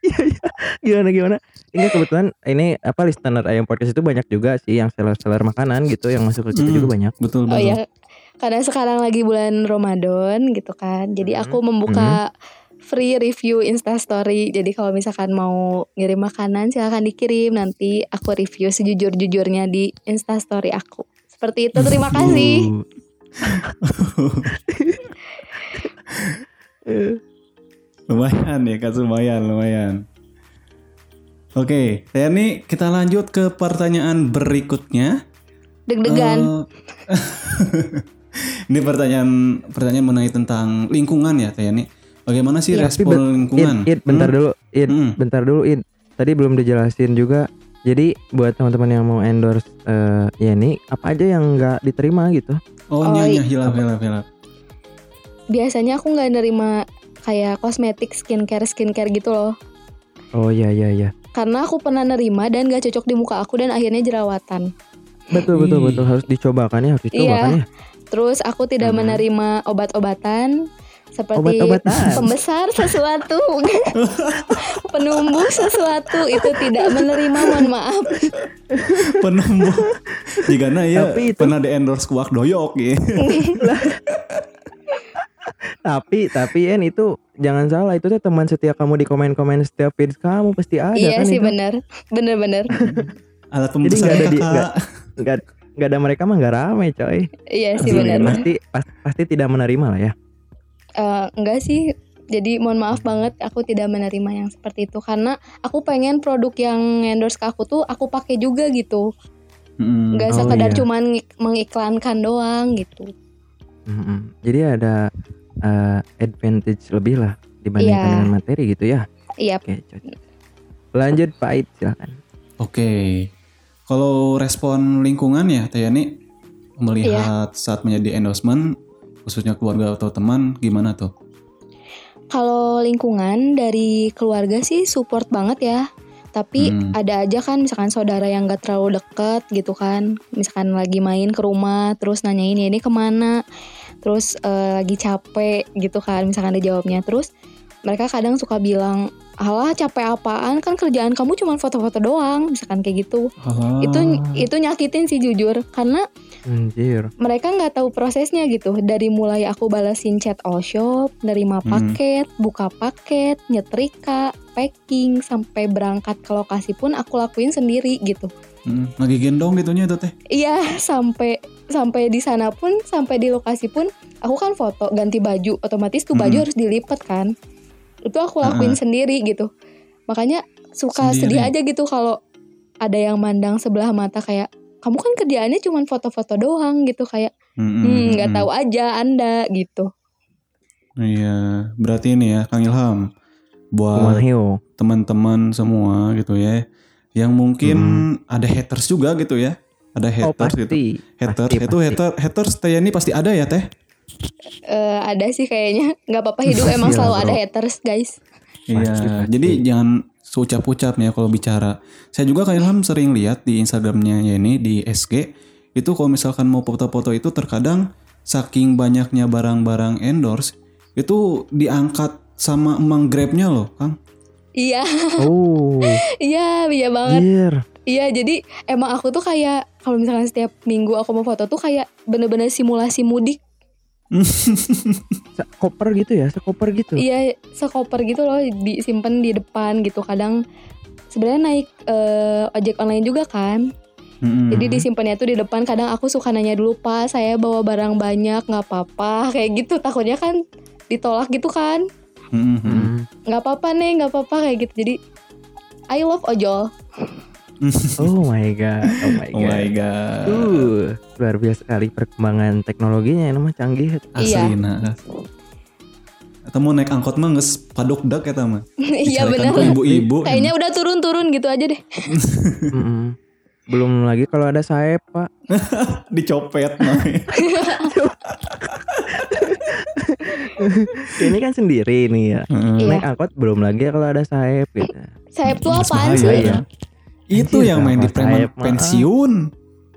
Speaker 1: Iya, iya. gimana gimana? Enggak kebetulan ini apa listener ayam podcast itu banyak juga sih yang seller-seller makanan gitu yang masuk ke kita
Speaker 2: Hmm.
Speaker 1: juga banyak.
Speaker 2: Betul
Speaker 3: oh
Speaker 2: betul.
Speaker 3: ya karena sekarang lagi bulan Ramadan gitu kan jadi aku membuka free review instastory jadi kalau misalkan mau ngirim makanan silahkan dikirim nanti aku review sejujur jujurnya di instastory aku seperti itu terima kasih
Speaker 1: Uh. Eh,
Speaker 2: Lumayan ya kan lumayan lumayan. Oke, saya nih kita lanjut ke pertanyaan berikutnya.
Speaker 3: deg-degan
Speaker 2: Eh, ini pertanyaan pertanyaan mengenai tentang lingkungan ya Teh Yani. Bagaimana sih
Speaker 1: Iya, tapi
Speaker 2: respon
Speaker 1: Id,
Speaker 2: lingkungan?
Speaker 1: Id, bentar
Speaker 2: Hmm?
Speaker 1: dulu, Id,
Speaker 2: Hmm.
Speaker 1: bentar dulu, Id. Tadi belum dijelasin juga. Jadi buat teman-teman yang mau endorse eh, Yeni, apa aja yang nggak diterima gitu?
Speaker 2: Oh,
Speaker 3: Oh,
Speaker 2: nyanyi
Speaker 3: iya.
Speaker 2: hilap hilap hilap.
Speaker 3: biasanya aku nggak nerima kayak kosmetik skincare skincare gitu loh
Speaker 1: Oh iya iya iya.
Speaker 3: karena aku pernah nerima dan gak cocok di muka aku dan akhirnya jerawatan.
Speaker 1: Betul betul
Speaker 2: Ih.
Speaker 1: betul harus dicobakan ya, harus dicobakan ya.
Speaker 3: Terus aku tidak
Speaker 1: Hmm.
Speaker 3: menerima obat-obatan seperti
Speaker 1: Obat-obatan.
Speaker 3: pembesar sesuatu, penumbuh sesuatu itu tidak menerima. Mohon maaf.
Speaker 2: Penumbuh. Jika nah ya
Speaker 1: Tapi itu-
Speaker 2: pernah di endorse kuak doyok gitu.
Speaker 1: tapi tapi En itu jangan salah itu tuh teman setia kamu di komen-komen setiap feeds kamu pasti ada
Speaker 3: iya
Speaker 1: kan
Speaker 3: sih
Speaker 1: itu.
Speaker 3: benar, benar-benar.
Speaker 1: Jadi
Speaker 2: Alat pembesar
Speaker 1: nggak ada di
Speaker 2: kakak.
Speaker 1: nggak nggak nggak ada mereka mah nggak rame coy.
Speaker 3: Iya sih
Speaker 2: Asli,
Speaker 3: benar.
Speaker 1: Pasti pas- pasti tidak menerima lah ya.
Speaker 3: Eh, enggak sih. Jadi mohon maaf banget aku tidak menerima yang seperti itu karena aku pengen produk yang endorse ke aku tuh aku pakai juga gitu.
Speaker 2: Mm-mm.
Speaker 3: Enggak
Speaker 1: Oh,
Speaker 3: sekadar
Speaker 1: iya.
Speaker 3: cuman ngik- mengiklankan doang gitu.
Speaker 1: Mm-mm. Jadi ada eh, advantage lebih lah dibandingkan
Speaker 3: Iya.
Speaker 1: dengan materi gitu ya.
Speaker 3: Iya,
Speaker 1: Oke cocok. Lanjut Pak Id silakan.
Speaker 2: Oke. Kalau respon lingkungan ya, Teh Yani
Speaker 3: Iya.
Speaker 2: melihat saat menjadi endorsement khususnya keluarga atau teman gimana tuh?
Speaker 3: Kalau lingkungan dari keluarga sih support banget ya. Tapi
Speaker 2: Hmm.
Speaker 3: ada aja kan misalkan saudara yang gak terlalu deket gitu kan. Misalkan lagi main ke rumah terus nanyain ini kemana. Terus eh, lagi capek gitu kan misalkan ada jawabnya. Terus mereka kadang suka bilang Alah capek apaan kan kerjaan kamu cuma foto-foto doang misalkan kayak gitu
Speaker 2: Alah.
Speaker 3: itu itu nyakitin sih jujur karena
Speaker 1: Anjir.
Speaker 3: mereka nggak tahu prosesnya gitu dari mulai aku balasin chat all shop nerima
Speaker 2: Hmm.
Speaker 3: paket buka paket nyetrika packing sampai berangkat ke lokasi pun aku lakuin sendiri gitu
Speaker 2: Mm, lagi gendong gitunya itu Teh.
Speaker 3: iya sampai sampai di sana pun sampai di lokasi pun aku kan foto ganti baju otomatis tuh baju
Speaker 2: Hmm. Ah.
Speaker 3: harus dilipat kan itu aku lakuin sendiri gitu makanya suka
Speaker 2: Sendiri.
Speaker 3: sedih aja gitu kalau ada yang mandang sebelah mata kayak kamu kan kerjaannya cuma foto-foto doang gitu kayak
Speaker 2: Mm-mm,
Speaker 3: Hmm, nggak
Speaker 2: mm-mm.
Speaker 3: tahu aja Anda gitu.
Speaker 2: Iya, berarti ini ya Kang Ilham buat
Speaker 1: Kumahyo.
Speaker 2: teman-teman semua gitu ya yang mungkin ada haters juga gitu ya. Ada
Speaker 1: Hmm. Oh
Speaker 2: haters gitu.
Speaker 1: pasti.
Speaker 2: Haters
Speaker 1: Pasti,
Speaker 2: itu
Speaker 1: pasti.
Speaker 2: hater haters Teh Yani pasti ada ya Teh?
Speaker 3: Eh, ada sih kayaknya. nggak apa-apa hidup
Speaker 1: Gila,
Speaker 3: emang selalu
Speaker 1: bro.
Speaker 3: ada haters, guys.
Speaker 1: Pasti,
Speaker 2: Iya,
Speaker 1: pasti.
Speaker 2: jadi jangan seucap-ucap ya kalau bicara. Saya juga Kang Ilham sering lihat di Instagramnya Yeni di SG itu kalau misalkan mau foto-foto itu terkadang saking banyaknya barang-barang endorse itu diangkat sama emang grabnya loh Kang.
Speaker 3: Iya,
Speaker 1: Oh,
Speaker 3: iya, iya banget.
Speaker 1: anjir.
Speaker 3: Iya, jadi emang aku tuh kayak kalau misalkan setiap minggu aku mau foto tuh kayak bener-bener simulasi mudik.
Speaker 1: Sekoper gitu ya, sekoper gitu.
Speaker 3: Iya, sekoper gitu loh disimpan di depan gitu. Kadang sebenarnya naik eh, ojek online juga kan.
Speaker 2: Mm-mm.
Speaker 3: Jadi disimpannya tuh di depan. Kadang aku suka nanya dulu, "Pak, saya bawa barang banyak, nggak apa-apa." Kayak gitu. Takutnya kan ditolak gitu kan.
Speaker 2: Mm-mm.
Speaker 1: Hmm.
Speaker 3: nggak apa-apa nih nggak apa-apa kayak gitu jadi I love ojol
Speaker 1: Oh my god, oh my
Speaker 2: Oh
Speaker 1: god.
Speaker 2: my god.
Speaker 1: Uh, luar biasa sekali perkembangan teknologinya ini mah canggih.
Speaker 3: Iya.
Speaker 2: Asli nah. Atau mau naik angkot mah nges padok dak ya mah.
Speaker 3: iya
Speaker 2: Dicarikan
Speaker 3: benar
Speaker 2: tuh ibu-ibu.
Speaker 3: kayaknya udah turun-turun gitu aja deh
Speaker 1: Mm-mm. Belum lagi kalau ada saep pak.
Speaker 2: dicopet mah.
Speaker 1: Ini kan sendiri nih ya.
Speaker 2: Heeh.
Speaker 3: Iya.
Speaker 1: Naik angkot belum lagi ya kalau ada saep gitu.
Speaker 3: sayap tuh
Speaker 2: Mas
Speaker 3: apaan
Speaker 2: bahaya
Speaker 3: sih
Speaker 2: ya. Itu
Speaker 1: Anjir,
Speaker 2: yang main di
Speaker 1: sama
Speaker 2: preman
Speaker 1: sayap, maaf.
Speaker 2: pensiun.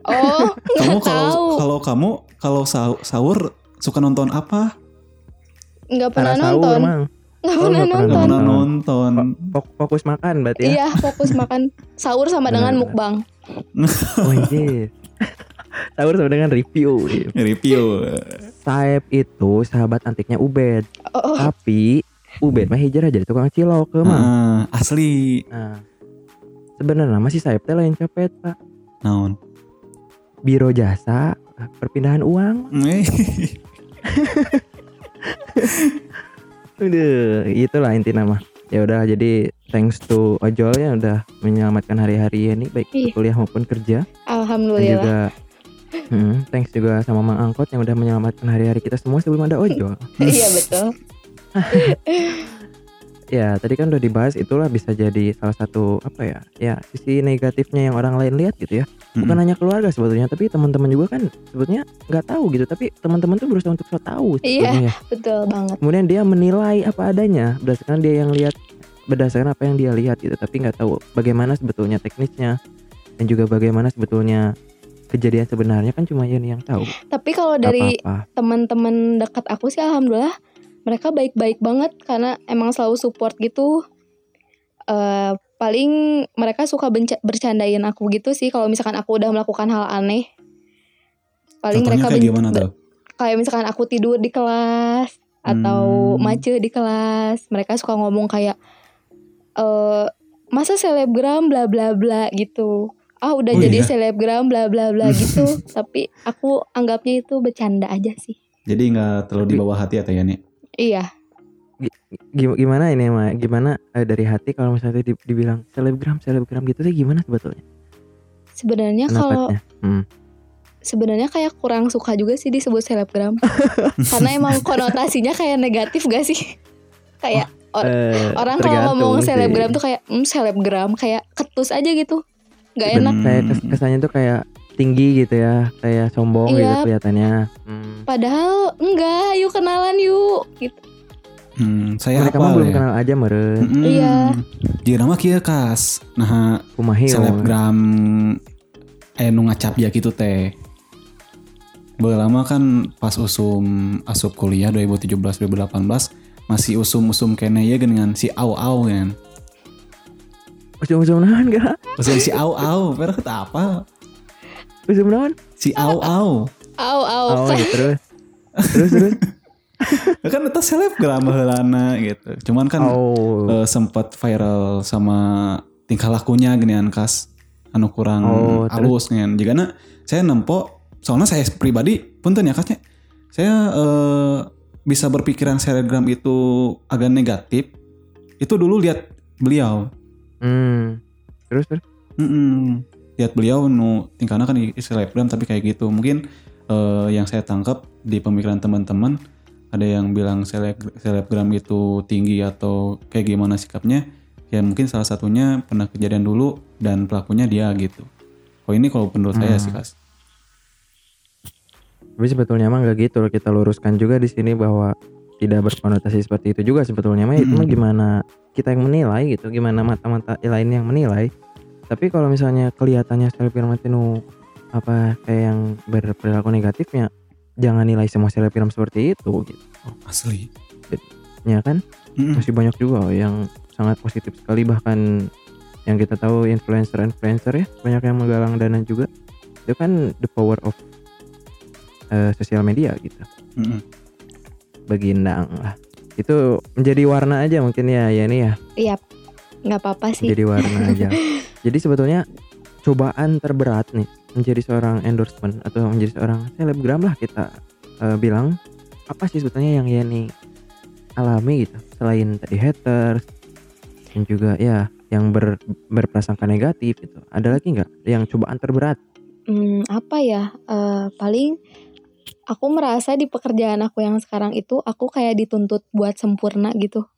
Speaker 3: Oh,
Speaker 2: Kamu
Speaker 3: nggak tahu.
Speaker 2: kalau kalau kamu kalau sau- sahur suka nonton apa?
Speaker 3: Nggak pernah
Speaker 1: Arah sahur
Speaker 3: nonton.
Speaker 1: mang.
Speaker 3: Nggak
Speaker 1: Oh,
Speaker 3: pernah
Speaker 1: nggak pernah
Speaker 2: Nggak
Speaker 3: nonton.
Speaker 2: pernah
Speaker 1: Nonton.
Speaker 2: nonton.
Speaker 1: Fok- Fokus makan berarti ya.
Speaker 3: Iya, fokus makan sahur sama dengan
Speaker 1: Benar-benar.
Speaker 3: mukbang.
Speaker 1: Oh yes. Sahur sama dengan review.
Speaker 2: Review.
Speaker 1: Saeb itu sahabat antiknya Ubed,
Speaker 3: Oh,
Speaker 1: Ah,
Speaker 3: oh.
Speaker 1: tapi Ubed mah hijrah jadi tukang cilok ke mang.
Speaker 2: Ah, asli.
Speaker 1: Nah, sebenarnya masih Saeb teh lain copet pak.
Speaker 2: Naon.
Speaker 1: Biro jasa perpindahan uang.
Speaker 2: Eh,
Speaker 1: Udah, itulah inti nama. Ya udah, jadi thanks to ojol yang udah menyelamatkan hari-hari ini baik di
Speaker 3: Iya.
Speaker 1: kuliah maupun kerja dan
Speaker 3: alhamdulillah.
Speaker 1: juga hmm, thanks juga sama Mang Angkot yang udah menyelamatkan hari-hari kita semua sebelum ada ojol.
Speaker 3: iya betul.
Speaker 1: Ya, tadi kan udah dibahas itulah bisa jadi salah satu apa ya? Ya, sisi negatifnya yang orang lain lihat gitu ya. Bukan hanya keluarga sebetulnya, tapi teman-teman juga kan sebetulnya nggak tahu gitu, tapi teman-teman tuh berusaha untuk so tahu
Speaker 3: Iya.
Speaker 1: sebetulnya. ya.
Speaker 3: Betul banget.
Speaker 1: kemudian dia menilai apa adanya berdasarkan dia yang lihat berdasarkan apa yang dia lihat gitu tapi nggak tahu bagaimana sebetulnya teknisnya dan juga bagaimana sebetulnya kejadian sebenarnya kan cuma Yeni yang tahu
Speaker 3: Tapi kalau dari
Speaker 1: apa
Speaker 3: teman-teman dekat aku sih alhamdulillah mereka baik-baik banget karena emang selalu support gitu. Eh paling mereka suka benca- bercandain aku gitu sih kalau misalkan aku udah melakukan hal aneh. Paling
Speaker 2: Contohnya
Speaker 3: mereka
Speaker 2: kayak
Speaker 3: ben-
Speaker 2: gimana tuh?
Speaker 3: kayak misalkan aku tidur di kelas atau
Speaker 2: Hmm.
Speaker 3: macet di kelas mereka suka ngomong kayak eh masa selebgram bla bla bla gitu ah udah
Speaker 2: Oh,
Speaker 3: jadi
Speaker 2: iya?
Speaker 3: selebgram bla bla bla gitu tapi aku anggapnya itu bercanda aja sih
Speaker 2: Jadi nggak terlalu di bawah hati ya Teh Yani?
Speaker 3: iya
Speaker 1: Gim- gimana ini Ma? gimana eh, dari hati kalau misalnya di- dibilang selebgram selebgram gitu sih gimana sebetulnya
Speaker 3: sebenarnya kalau
Speaker 1: pendapatnya hmm.
Speaker 3: sebenarnya kayak kurang suka juga sih disebut selebgram karena emang konotasinya kayak negatif gak sih kayak or-
Speaker 1: Eh,
Speaker 3: orang
Speaker 1: tergantung
Speaker 3: kalau ngomong
Speaker 1: sih.
Speaker 3: selebgram tuh kayak hmm selebgram kayak ketus aja gitu nggak enak
Speaker 1: saya kes- kesannya tuh kayak tinggi gitu ya kayak sombong gitu
Speaker 3: Iya.
Speaker 1: kelihatannya hmm.
Speaker 3: Padahal enggak, yuk kenalan yuk. Gitu.
Speaker 2: Hmm, saya
Speaker 1: mereka
Speaker 2: apa?
Speaker 1: mah belum
Speaker 2: ya?
Speaker 1: kenal aja meren
Speaker 2: Mm-mm.
Speaker 3: Iya.
Speaker 2: Jadi nama kieu kas. Nah,
Speaker 1: kumahi
Speaker 2: selebgram eh nu ngacap ya gitu teh. Beulah lama kan pas usum asup kuliah 2017 2018 masih usum-usum kene ya dengan si Au Au kan.
Speaker 1: Usum-usum naon gak?
Speaker 2: Usum si Au Au, pernah kata apa?
Speaker 1: Usum naon?
Speaker 2: Si Au Au.
Speaker 3: Au au.
Speaker 1: Oh, ya, terus. terus terus.
Speaker 2: Kan itu selebgram heulana gitu. Cuman kan
Speaker 1: Oh.
Speaker 2: eh, sempat viral sama tingkah lakunya genian kas anu kurang
Speaker 1: Oh,
Speaker 2: halus ngean. Jigana saya nempo soalnya saya pribadi punten ya kasnya saya eh, bisa berpikiran selebgram itu agak negatif itu dulu lihat beliau
Speaker 1: Hmm. Terus terus.
Speaker 2: Mm-mm. lihat beliau nu tingkahnya kan i- selebgram tapi kayak gitu mungkin eh, yang saya tangkap di pemikiran teman-teman ada yang bilang seleb- selebgram itu tinggi atau kayak gimana sikapnya ya mungkin salah satunya pernah kejadian dulu dan pelakunya dia gitu oh ini kalau menurut saya
Speaker 1: Hmm.
Speaker 2: sih kas
Speaker 1: Tapi sebetulnya mah nggak gitu loh kita luruskan juga di sini bahwa tidak berkonotasi seperti itu juga sebetulnya mah itu mah
Speaker 2: Mm-mm.
Speaker 1: gimana kita yang menilai gitu, gimana mata-mata lain yang menilai. Tapi kalau misalnya kelihatannya selebgram itu nu apa kayak yang berperilaku negatifnya, jangan nilai semua selebgram seperti itu gitu.
Speaker 2: Oh, asli
Speaker 1: Ya kan?
Speaker 2: Mm-mm.
Speaker 1: masih banyak juga yang sangat positif sekali bahkan yang kita tahu influencer-influencer ya banyak yang menggalang dana juga itu kan the power of eh, sosial media gitu
Speaker 2: Mm-mm.
Speaker 1: bagi Endang lah itu menjadi warna aja mungkin ya ya ini ya
Speaker 3: Iya. Nggak apa-apa sih.
Speaker 1: menjadi warna aja jadi sebetulnya cobaan terberat nih menjadi seorang endorsement atau menjadi seorang selebgram lah kita eh, bilang apa sih sebetulnya yang Yeni alami gitu selain tadi haters dan juga ya yang ber, berprasangka negatif gitu ada lagi nggak yang cobaan terberat
Speaker 3: Hmm, apa ya? Eh, paling aku merasa di pekerjaan aku yang sekarang itu aku kayak dituntut buat sempurna gitu.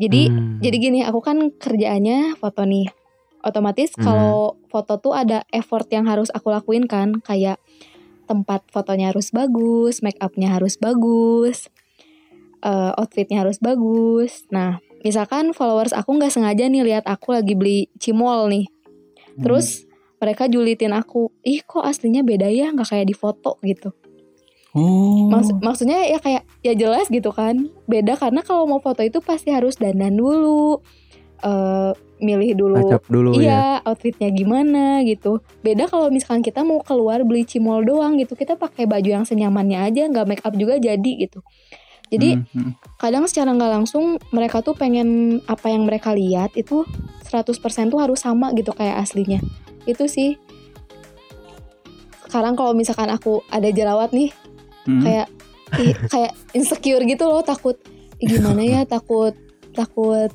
Speaker 3: Jadi
Speaker 1: Hmm,
Speaker 3: jadi gini, aku kan kerjaannya foto nih. Otomatis
Speaker 1: Hmm.
Speaker 3: kalau foto tuh ada effort yang harus aku lakuin kan, kayak tempat fotonya harus bagus, make upnya harus bagus, eh, outfitnya harus bagus.
Speaker 1: Hmm.
Speaker 3: Nah, misalkan followers aku nggak sengaja nih lihat aku lagi beli cimol nih, terus mereka julitin aku ih kok aslinya beda ya nggak kayak di foto gitu
Speaker 2: Oh.
Speaker 1: Hmm.
Speaker 3: Maks- maksudnya ya kayak ya jelas gitu kan beda karena kalau mau foto itu pasti harus dandan dulu eh milih dulu
Speaker 1: acap dulu ya
Speaker 3: iya outfitnya gimana gitu beda kalau misalkan kita mau keluar beli cimol doang gitu kita pakai baju yang senyamannya aja nggak make up juga jadi gitu jadi
Speaker 2: Hmm, hmm.
Speaker 3: kadang secara nggak langsung mereka tuh pengen apa yang mereka lihat itu 100% tuh harus sama gitu kayak aslinya. Itu sih. Sekarang kalau misalkan aku ada jerawat nih
Speaker 2: Hmm.
Speaker 3: kayak ih, kayak insecure gitu loh takut "Ih, gimana ya takut takut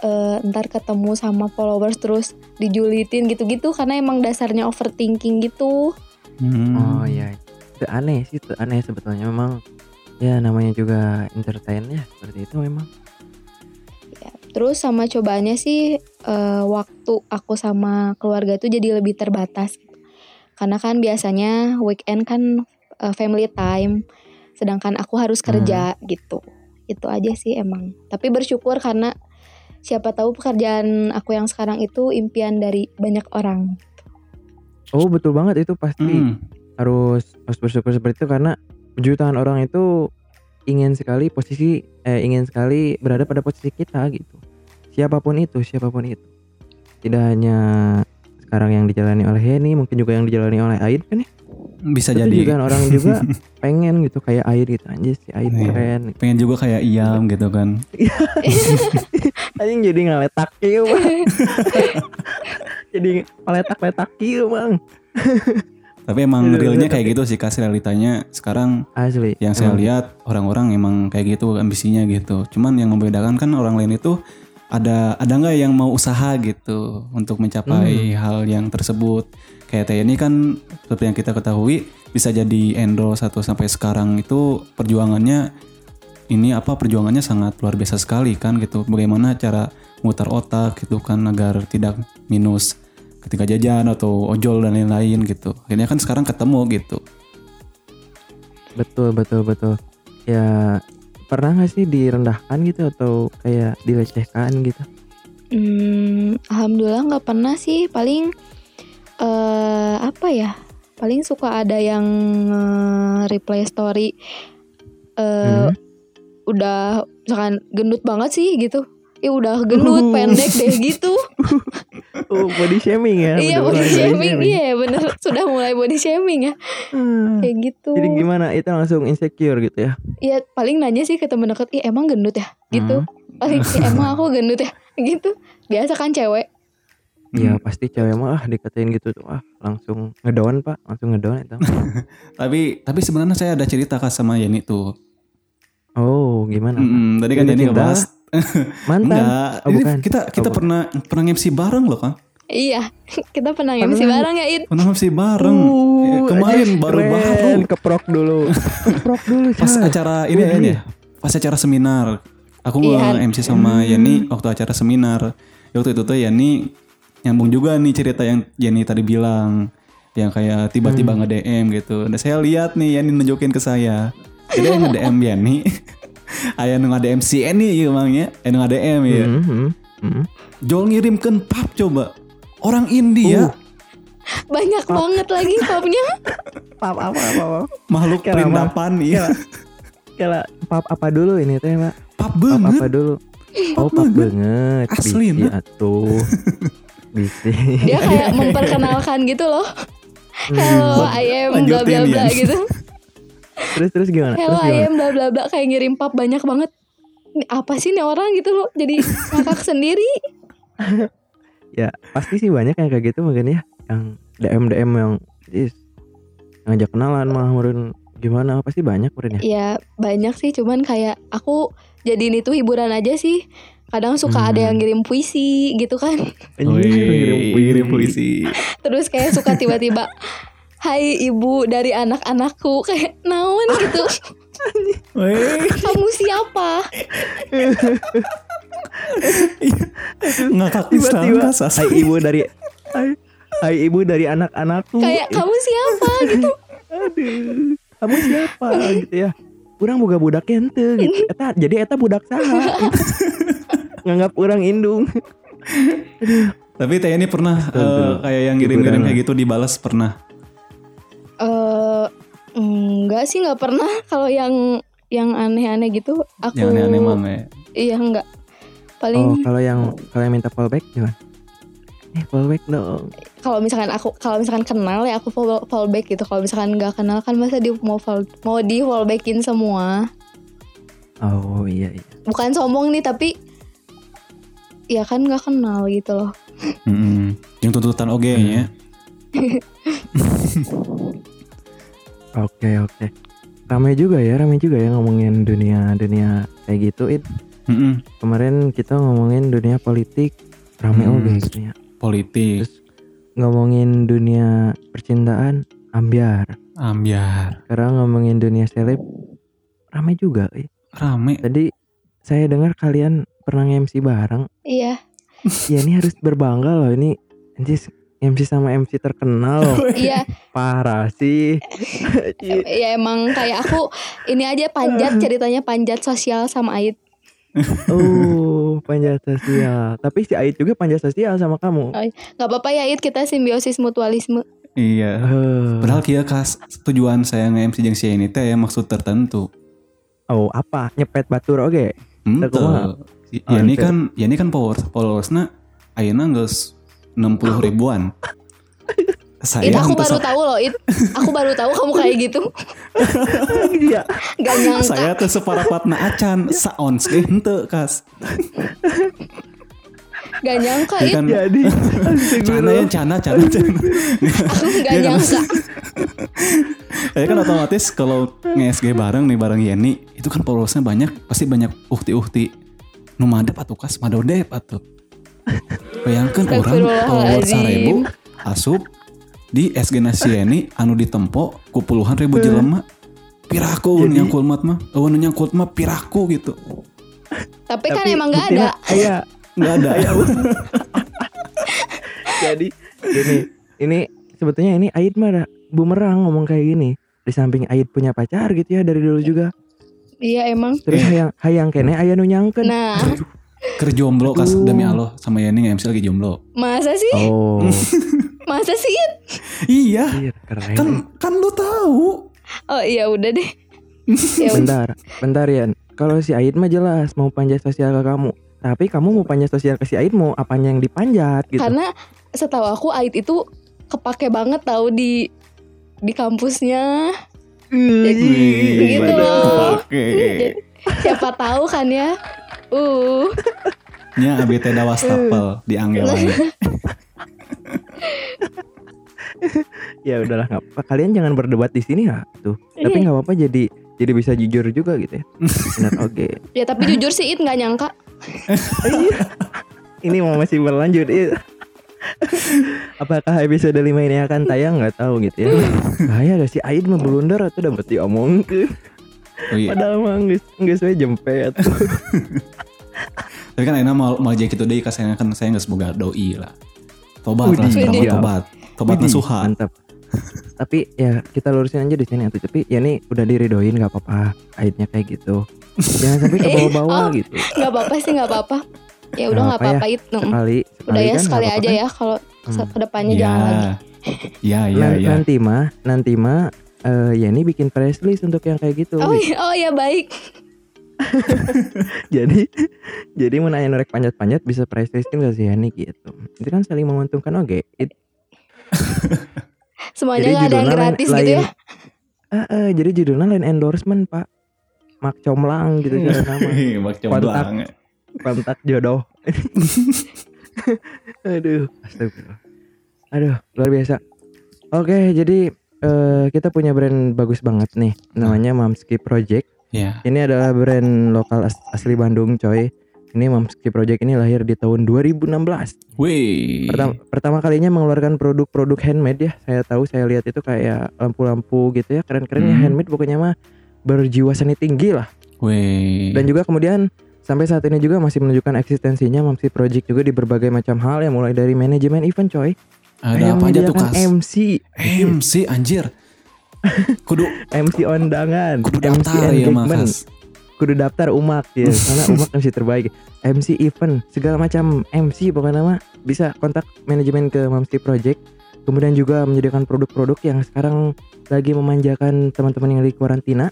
Speaker 3: eh, ntar ketemu sama followers terus dijulitin gitu-gitu karena emang dasarnya overthinking gitu.
Speaker 2: Hmm.
Speaker 1: oh iya itu aneh sih itu aneh sebetulnya memang ya namanya juga entertain ya seperti itu memang
Speaker 3: Ya, Terus sama cobaannya sih eh, waktu aku sama keluarga tuh jadi lebih terbatas. Karena kan biasanya weekend kan eh, family time, sedangkan aku harus kerja gitu. Itu aja sih emang. Tapi bersyukur karena siapa tahu pekerjaan aku yang sekarang itu impian dari banyak orang.
Speaker 1: oh betul banget itu pasti
Speaker 2: Hmm.
Speaker 1: harus harus bersyukur seperti itu karena jutaan orang itu ingin sekali posisi eh ingin sekali berada pada posisi kita gitu siapapun itu siapapun itu tidak hanya sekarang yang dijalani oleh Henny mungkin juga yang dijalani oleh Aid kan ya
Speaker 2: Bisa
Speaker 1: Itu
Speaker 2: jadi.
Speaker 1: juga kan orang juga pengen gitu kayak Aid gitu anjir si Aid
Speaker 2: Iya.
Speaker 1: keren gitu.
Speaker 2: Pengen juga kayak Iam gitu kan.
Speaker 1: Anjing jadi ngeletak kieu bang jadi ngeletak-letak kieu bang
Speaker 2: Tapi emang
Speaker 1: Iya,
Speaker 2: realnya
Speaker 1: tapi-
Speaker 2: kayak gitu sih kas realitanya sekarang
Speaker 1: asli
Speaker 2: yang saya lihat orang-orang emang kayak gitu ambisinya gitu. Cuman yang membedakan kan orang lain itu ada ada nggak yang mau usaha gitu untuk mencapai hal yang tersebut. Kayak TNI kan seperti yang kita ketahui bisa jadi endorse atau sampai sekarang itu perjuangannya ini apa perjuangannya sangat luar biasa sekali kan gitu. Bagaimana cara mutar otak gitu kan agar tidak minus ketika jajan atau ojol dan lain-lain gitu. Akhirnya kan sekarang ketemu gitu.
Speaker 1: Betul betul betul. Ya pernah nggak sih direndahkan gitu atau kayak dilecehkan gitu?
Speaker 3: Hmm, alhamdulillah nggak pernah sih. Paling eh apa ya? Paling suka ada yang eh, reply story. eh
Speaker 1: Hmm.
Speaker 3: udah misalkan gendut banget sih gitu ya udah gendut pendek deh gitu
Speaker 1: Oh body shaming ya?
Speaker 3: iya
Speaker 1: betul-betul
Speaker 3: body shaming iya bener sudah mulai body shaming ya
Speaker 1: Hmm.
Speaker 3: kayak gitu
Speaker 1: Jadi gimana? Itu langsung insecure gitu ya?
Speaker 3: ya paling nanya sih ke temen deket iya emang gendut ya
Speaker 1: Hmm.
Speaker 3: gitu paling "Ih, emang aku gendut ya gitu biasa kan cewek
Speaker 1: Ya pasti cewek mah ah dikatain gitu tuh ah langsung ngedown pak, langsung ngedown itu.
Speaker 2: Tapi tapi sebenarnya saya ada cerita kas sama Yeni tuh.
Speaker 1: Oh gimana?
Speaker 2: Mm-mm, tadi kan
Speaker 1: Yeni
Speaker 2: Yeni
Speaker 1: cinta?
Speaker 2: ngebahas.
Speaker 1: Mantan?
Speaker 2: Enggak.
Speaker 1: Oh,
Speaker 2: Ini
Speaker 1: bukan.
Speaker 2: kita kita
Speaker 1: Oh, bukan.
Speaker 2: pernah pernah MC bareng loh kan.
Speaker 3: iya kita pernah MC
Speaker 1: Pernah.
Speaker 3: bareng ya Id
Speaker 2: Pernah MC bareng. Ya,
Speaker 1: Uh,
Speaker 2: Kemarin
Speaker 1: anjir,
Speaker 2: baru-baru
Speaker 1: keren. keprok dulu, keprok dulu.
Speaker 2: pas
Speaker 1: Shay.
Speaker 2: acara ini ya,
Speaker 1: Wih.
Speaker 2: ya. Pas acara seminar. Aku
Speaker 3: Iya.
Speaker 2: nge MC sama Yeni waktu acara seminar. Ya, Waktu itu tuh Yeni nyambung juga nih cerita yang Yeni tadi bilang yang kayak tiba-tiba
Speaker 1: Hmm.
Speaker 2: nge-DM gitu. Dan saya lihat nih Yeni nunjukin ke saya. Jadi yang nge-DM Yeni. Ayah nge-DM si Yeni ya emangnya. Eh nge-DM ya.
Speaker 1: Hmm, hmm, hmm.
Speaker 2: Jol ngirimkan pap coba. Orang India,
Speaker 3: banyak banget lagi popnya
Speaker 1: Pap apa apa apa?
Speaker 2: makhluk
Speaker 1: Kira mah.
Speaker 2: perindapan iya.
Speaker 1: Kela pap apa dulu ini teh pak?
Speaker 2: Pap
Speaker 1: Pap apa
Speaker 2: banget.
Speaker 1: dulu? Oh, pap banget.
Speaker 2: Asli,
Speaker 1: Bisi
Speaker 2: Nak.
Speaker 1: atuh. Bisi.
Speaker 3: dia kayak memperkenalkan gitu loh hello I am bla bla
Speaker 2: Lanjutin,
Speaker 3: bla
Speaker 2: Yan.
Speaker 3: gitu
Speaker 1: Terus terus gimana?
Speaker 3: Hello
Speaker 1: Terus gimana?
Speaker 3: ayam bla bla bla kayak ngirim pap banyak banget. Ini apa sih nih orang gitu loh jadi ngakak sendiri.
Speaker 1: Ya, pasti sih banyak yang kayak gitu mungkin ya. Yang DM DM yang is ngajak kenalan malah murin gimana pasti banyak murin ya.
Speaker 3: Ya banyak sih cuman kayak aku jadi ini tuh hiburan aja sih. Kadang suka
Speaker 1: Hmm.
Speaker 3: ada yang ngirim puisi gitu kan.
Speaker 1: Anjir, Iya, ngirim puisi.
Speaker 3: Terus kayak suka tiba-tiba Hai ibu dari anak-anakku kayak naon gitu. Kamu siapa?
Speaker 2: Ngakak Islam
Speaker 1: Tiba-tiba
Speaker 2: kas
Speaker 1: hai ibu dari hai, hai ibu dari anak-anakku.
Speaker 3: Kayak kamu siapa gitu.
Speaker 1: Aduh, kamu siapa gitu ya? Kurang boga budak ente gitu. Eta, jadi eta budak saha. Nganggap orang indung. Aduh,
Speaker 2: Tapi TNI pernah eh,
Speaker 1: Astagfirullah.
Speaker 2: kayak yang ngirim-ngirim
Speaker 1: Hiburan
Speaker 2: kayak gitu dibalas pernah.
Speaker 3: Eh, enggak sih nggak pernah kalau yang yang aneh-aneh gitu aku
Speaker 2: Yang aneh-aneh mana ya.
Speaker 3: iya enggak
Speaker 1: Oh,
Speaker 3: paling
Speaker 1: kalau yang kalau yang minta fallback gimana? Eh, fallback dong.
Speaker 3: kalau misalkan aku kalau misalkan kenal ya aku fall, fallback gitu kalau misalkan nggak kenal kan masa di mau fall, mau di fallbackin semua
Speaker 1: Oh, iya iya.
Speaker 3: bukan sombong nih tapi ya kan nggak kenal gitu loh
Speaker 2: Mm-mm. Yang tuntutan oge nya.
Speaker 1: Oke, oke. Ramai juga ya, ramai juga ya ngomongin dunia-dunia kayak gitu. It
Speaker 2: Mm-mm.
Speaker 1: kemarin kita ngomongin dunia politik ramai
Speaker 2: Hmm.
Speaker 1: oke sebenarnya.
Speaker 2: Politik,
Speaker 1: Terus ngomongin dunia percintaan ambiar.
Speaker 2: ambiar,
Speaker 1: Sekarang ngomongin dunia seleb ramai juga. eh.
Speaker 2: rame.
Speaker 1: Tadi saya dengar kalian pernah MC bareng.
Speaker 3: iya
Speaker 1: Ya ini harus berbangga loh ini anjis MC sama MC terkenal loh.
Speaker 3: iya
Speaker 1: Parah sih. Iya.
Speaker 3: ya emang kayak aku ini aja panjat ceritanya panjat sosial sama Ait
Speaker 1: Oh, panjat sosial. Tapi si Ait juga panjat sosial sama kamu.
Speaker 3: nggak apa-apa ya Ait kita simbiosis mutualisme
Speaker 2: Iya.
Speaker 1: Eh,
Speaker 2: Padahal kia kas tujuan saya nge-MC jeung sia ini teh ya maksud tertentu.
Speaker 1: oh, apa? Nyepet batur oke.
Speaker 2: Hmm,
Speaker 1: Tak kumaha.
Speaker 2: Ya ini kan, ya ini kan power followersnya ayeuna geus 60 ribuan.
Speaker 3: It
Speaker 2: Saya henteu
Speaker 3: aku baru
Speaker 2: sa-
Speaker 3: tahu loh It aku baru tahu kamu kayak gitu
Speaker 1: Iya.
Speaker 3: Gak nyangka
Speaker 2: saya teh separapatna acan saons ge henteu kas.
Speaker 3: Gak nyangka
Speaker 2: Ya
Speaker 3: It
Speaker 2: kan
Speaker 1: Jadi
Speaker 2: cana ya cana cana cana.
Speaker 3: Aku gak
Speaker 2: Iya kan?
Speaker 3: nyangka
Speaker 2: Ya kan otomatis kalau nge-SG bareng nih bareng Yeni itu kan followersnya banyak pasti banyak uhti-uhti nu madep atuh kas madodep atuh bayangkan orang
Speaker 3: Astagfirullahaladzim.
Speaker 2: followers sarebu asup di SG na si Yeni anu ditempo ku puluhan ribu jelema piraku
Speaker 1: Hmm.
Speaker 2: anu
Speaker 1: Jadi-
Speaker 2: nyangkul mat mah eueuh nu nyangkul mah piraku gitu
Speaker 3: Tapi, kan emang gak ada
Speaker 1: Iya.
Speaker 2: nggak ada ya,
Speaker 1: Jadi gini, ini sebetulnya ini Ait mah ada bumerang ngomong kayak gini. Di samping Ait punya pacar gitu ya dari dulu juga.
Speaker 3: Iya emang
Speaker 1: Terus hayang hayang kene aya nu nyangkeun.
Speaker 3: Nah
Speaker 2: kerjomblo kas
Speaker 1: Aduh.
Speaker 2: demi Allah sama Yeni nge-MC lagi jomblo
Speaker 3: Masa sih
Speaker 1: Oh,
Speaker 3: Masa sih It
Speaker 2: iya
Speaker 1: anjir, keren.
Speaker 2: kan kan lu tahu
Speaker 3: Oh iya udah deh ya, udah.
Speaker 1: Bentar, bentar Yan. Kalau si Ait mah jelas mau panjat sosial ke kamu. Tapi kamu mau panjat sosial ke si Ait mau apanya yang dipanjat gitu.
Speaker 3: Karena setahu aku Ait itu Kepake banget tahu di Di kampusnya Begitu loh
Speaker 1: Iya,
Speaker 2: Oke.
Speaker 3: Siapa tahu kan ya Uh
Speaker 2: Iya, Nya abi teh da wastafel di Angel wae.
Speaker 1: Ya udahlah nggak apa. Kalian jangan berdebat di sini ya tuh. Tapi
Speaker 3: Iya.
Speaker 1: nggak apa-apa jadi jadi bisa jujur juga gitu ya. Benar oke.
Speaker 3: Ya tapi jujur sih It gak nyangka
Speaker 1: Iya. Ini mau masih berlanjut. Iya. Apakah episode 5 ini akan tayang nggak tahu gitu ya. Bahaya gak sih Ait mah blunder atau dapat diomong
Speaker 2: Oh iya.
Speaker 1: Padahal mah nggak nggak saya jempet.
Speaker 2: Tapi kan enak mau mau jadi gitu deui kasana kan saya geus boga doi lah. Tobat lah
Speaker 1: Widih.
Speaker 2: sekarang mah
Speaker 1: Widih.
Speaker 2: tobat. Tobat
Speaker 1: Widih,
Speaker 2: nasuha.
Speaker 1: Mantap. Tapi ya kita lurusin aja di sini atuh. Tapi ya ini udah diridoin nggak apa-apa. Aibnya kayak gitu. Jangan sampai ke
Speaker 3: Eh,
Speaker 1: bawah-bawah
Speaker 3: oh.
Speaker 1: gitu.
Speaker 3: Gak apa-apa sih gak apa-apa Ya udah
Speaker 1: Nggak
Speaker 3: gak
Speaker 1: apa-apa
Speaker 3: apa-apa It Mm.
Speaker 1: Sekali, sekali
Speaker 3: Udah ya
Speaker 1: kan,
Speaker 3: sekali
Speaker 1: nggak
Speaker 3: aja
Speaker 1: apa-apa
Speaker 3: ya Kalau
Speaker 1: kan?
Speaker 3: se-
Speaker 1: Hmm.
Speaker 3: kedepannya
Speaker 2: Iya.
Speaker 3: jangan lagi
Speaker 2: Iya iya
Speaker 1: Nan-
Speaker 2: iya.
Speaker 1: Nanti mah, nanti mah eh ya ini bikin press list untuk yang kayak gitu.
Speaker 3: Oh, iya- oh ya baik
Speaker 1: jadi jadi mau nanya norek panjat-panjat bisa press listin gak sih Yani gitu. Itu kan saling menguntungkan oke. It-
Speaker 3: Semuanya gak ada yang gratis gitu ya
Speaker 1: Eh, eh, jadi judulnya lain endorsement, Pak. Mak comlang gitu cara nama.
Speaker 2: Hehehe, Bak
Speaker 1: Kontak.
Speaker 2: comblang.
Speaker 1: kontak jodoh. Aduh, astagfirullah. Aduh, luar biasa. Oke, jadi eh, kita punya brand bagus banget nih, namanya Mamski Project.
Speaker 2: Iya.
Speaker 1: Ini adalah brand lokal as- asli Bandung, coy. Ini Mamski Project ini lahir di tahun 2016.
Speaker 2: Wih.
Speaker 1: Pertama, pertama kalinya mengeluarkan produk-produk handmade ya. Saya tahu, saya lihat itu kayak lampu-lampu gitu ya, keren-keren ya
Speaker 2: Hmm.
Speaker 1: handmade pokoknya mah berjiwa seni tinggi lah
Speaker 2: Wih.
Speaker 1: dan juga kemudian sampai saat ini juga masih menunjukkan eksistensinya Mamsi Project juga di berbagai macam hal yang mulai dari manajemen event coy
Speaker 2: ada
Speaker 1: yang
Speaker 2: apa aja tuh
Speaker 1: menyediakan
Speaker 2: kas?
Speaker 1: MC
Speaker 2: MC anjir. Kudu
Speaker 1: MC undangan MC
Speaker 2: kudu daftar ya mah
Speaker 1: engagement
Speaker 2: kas.
Speaker 1: kudu daftar umak ya karena umak MC terbaik MC event segala macam MC pokoknya mah bisa kontak manajemen ke Mamski Project kemudian juga menyediakan produk-produk yang sekarang lagi memanjakan teman-teman yang di karantina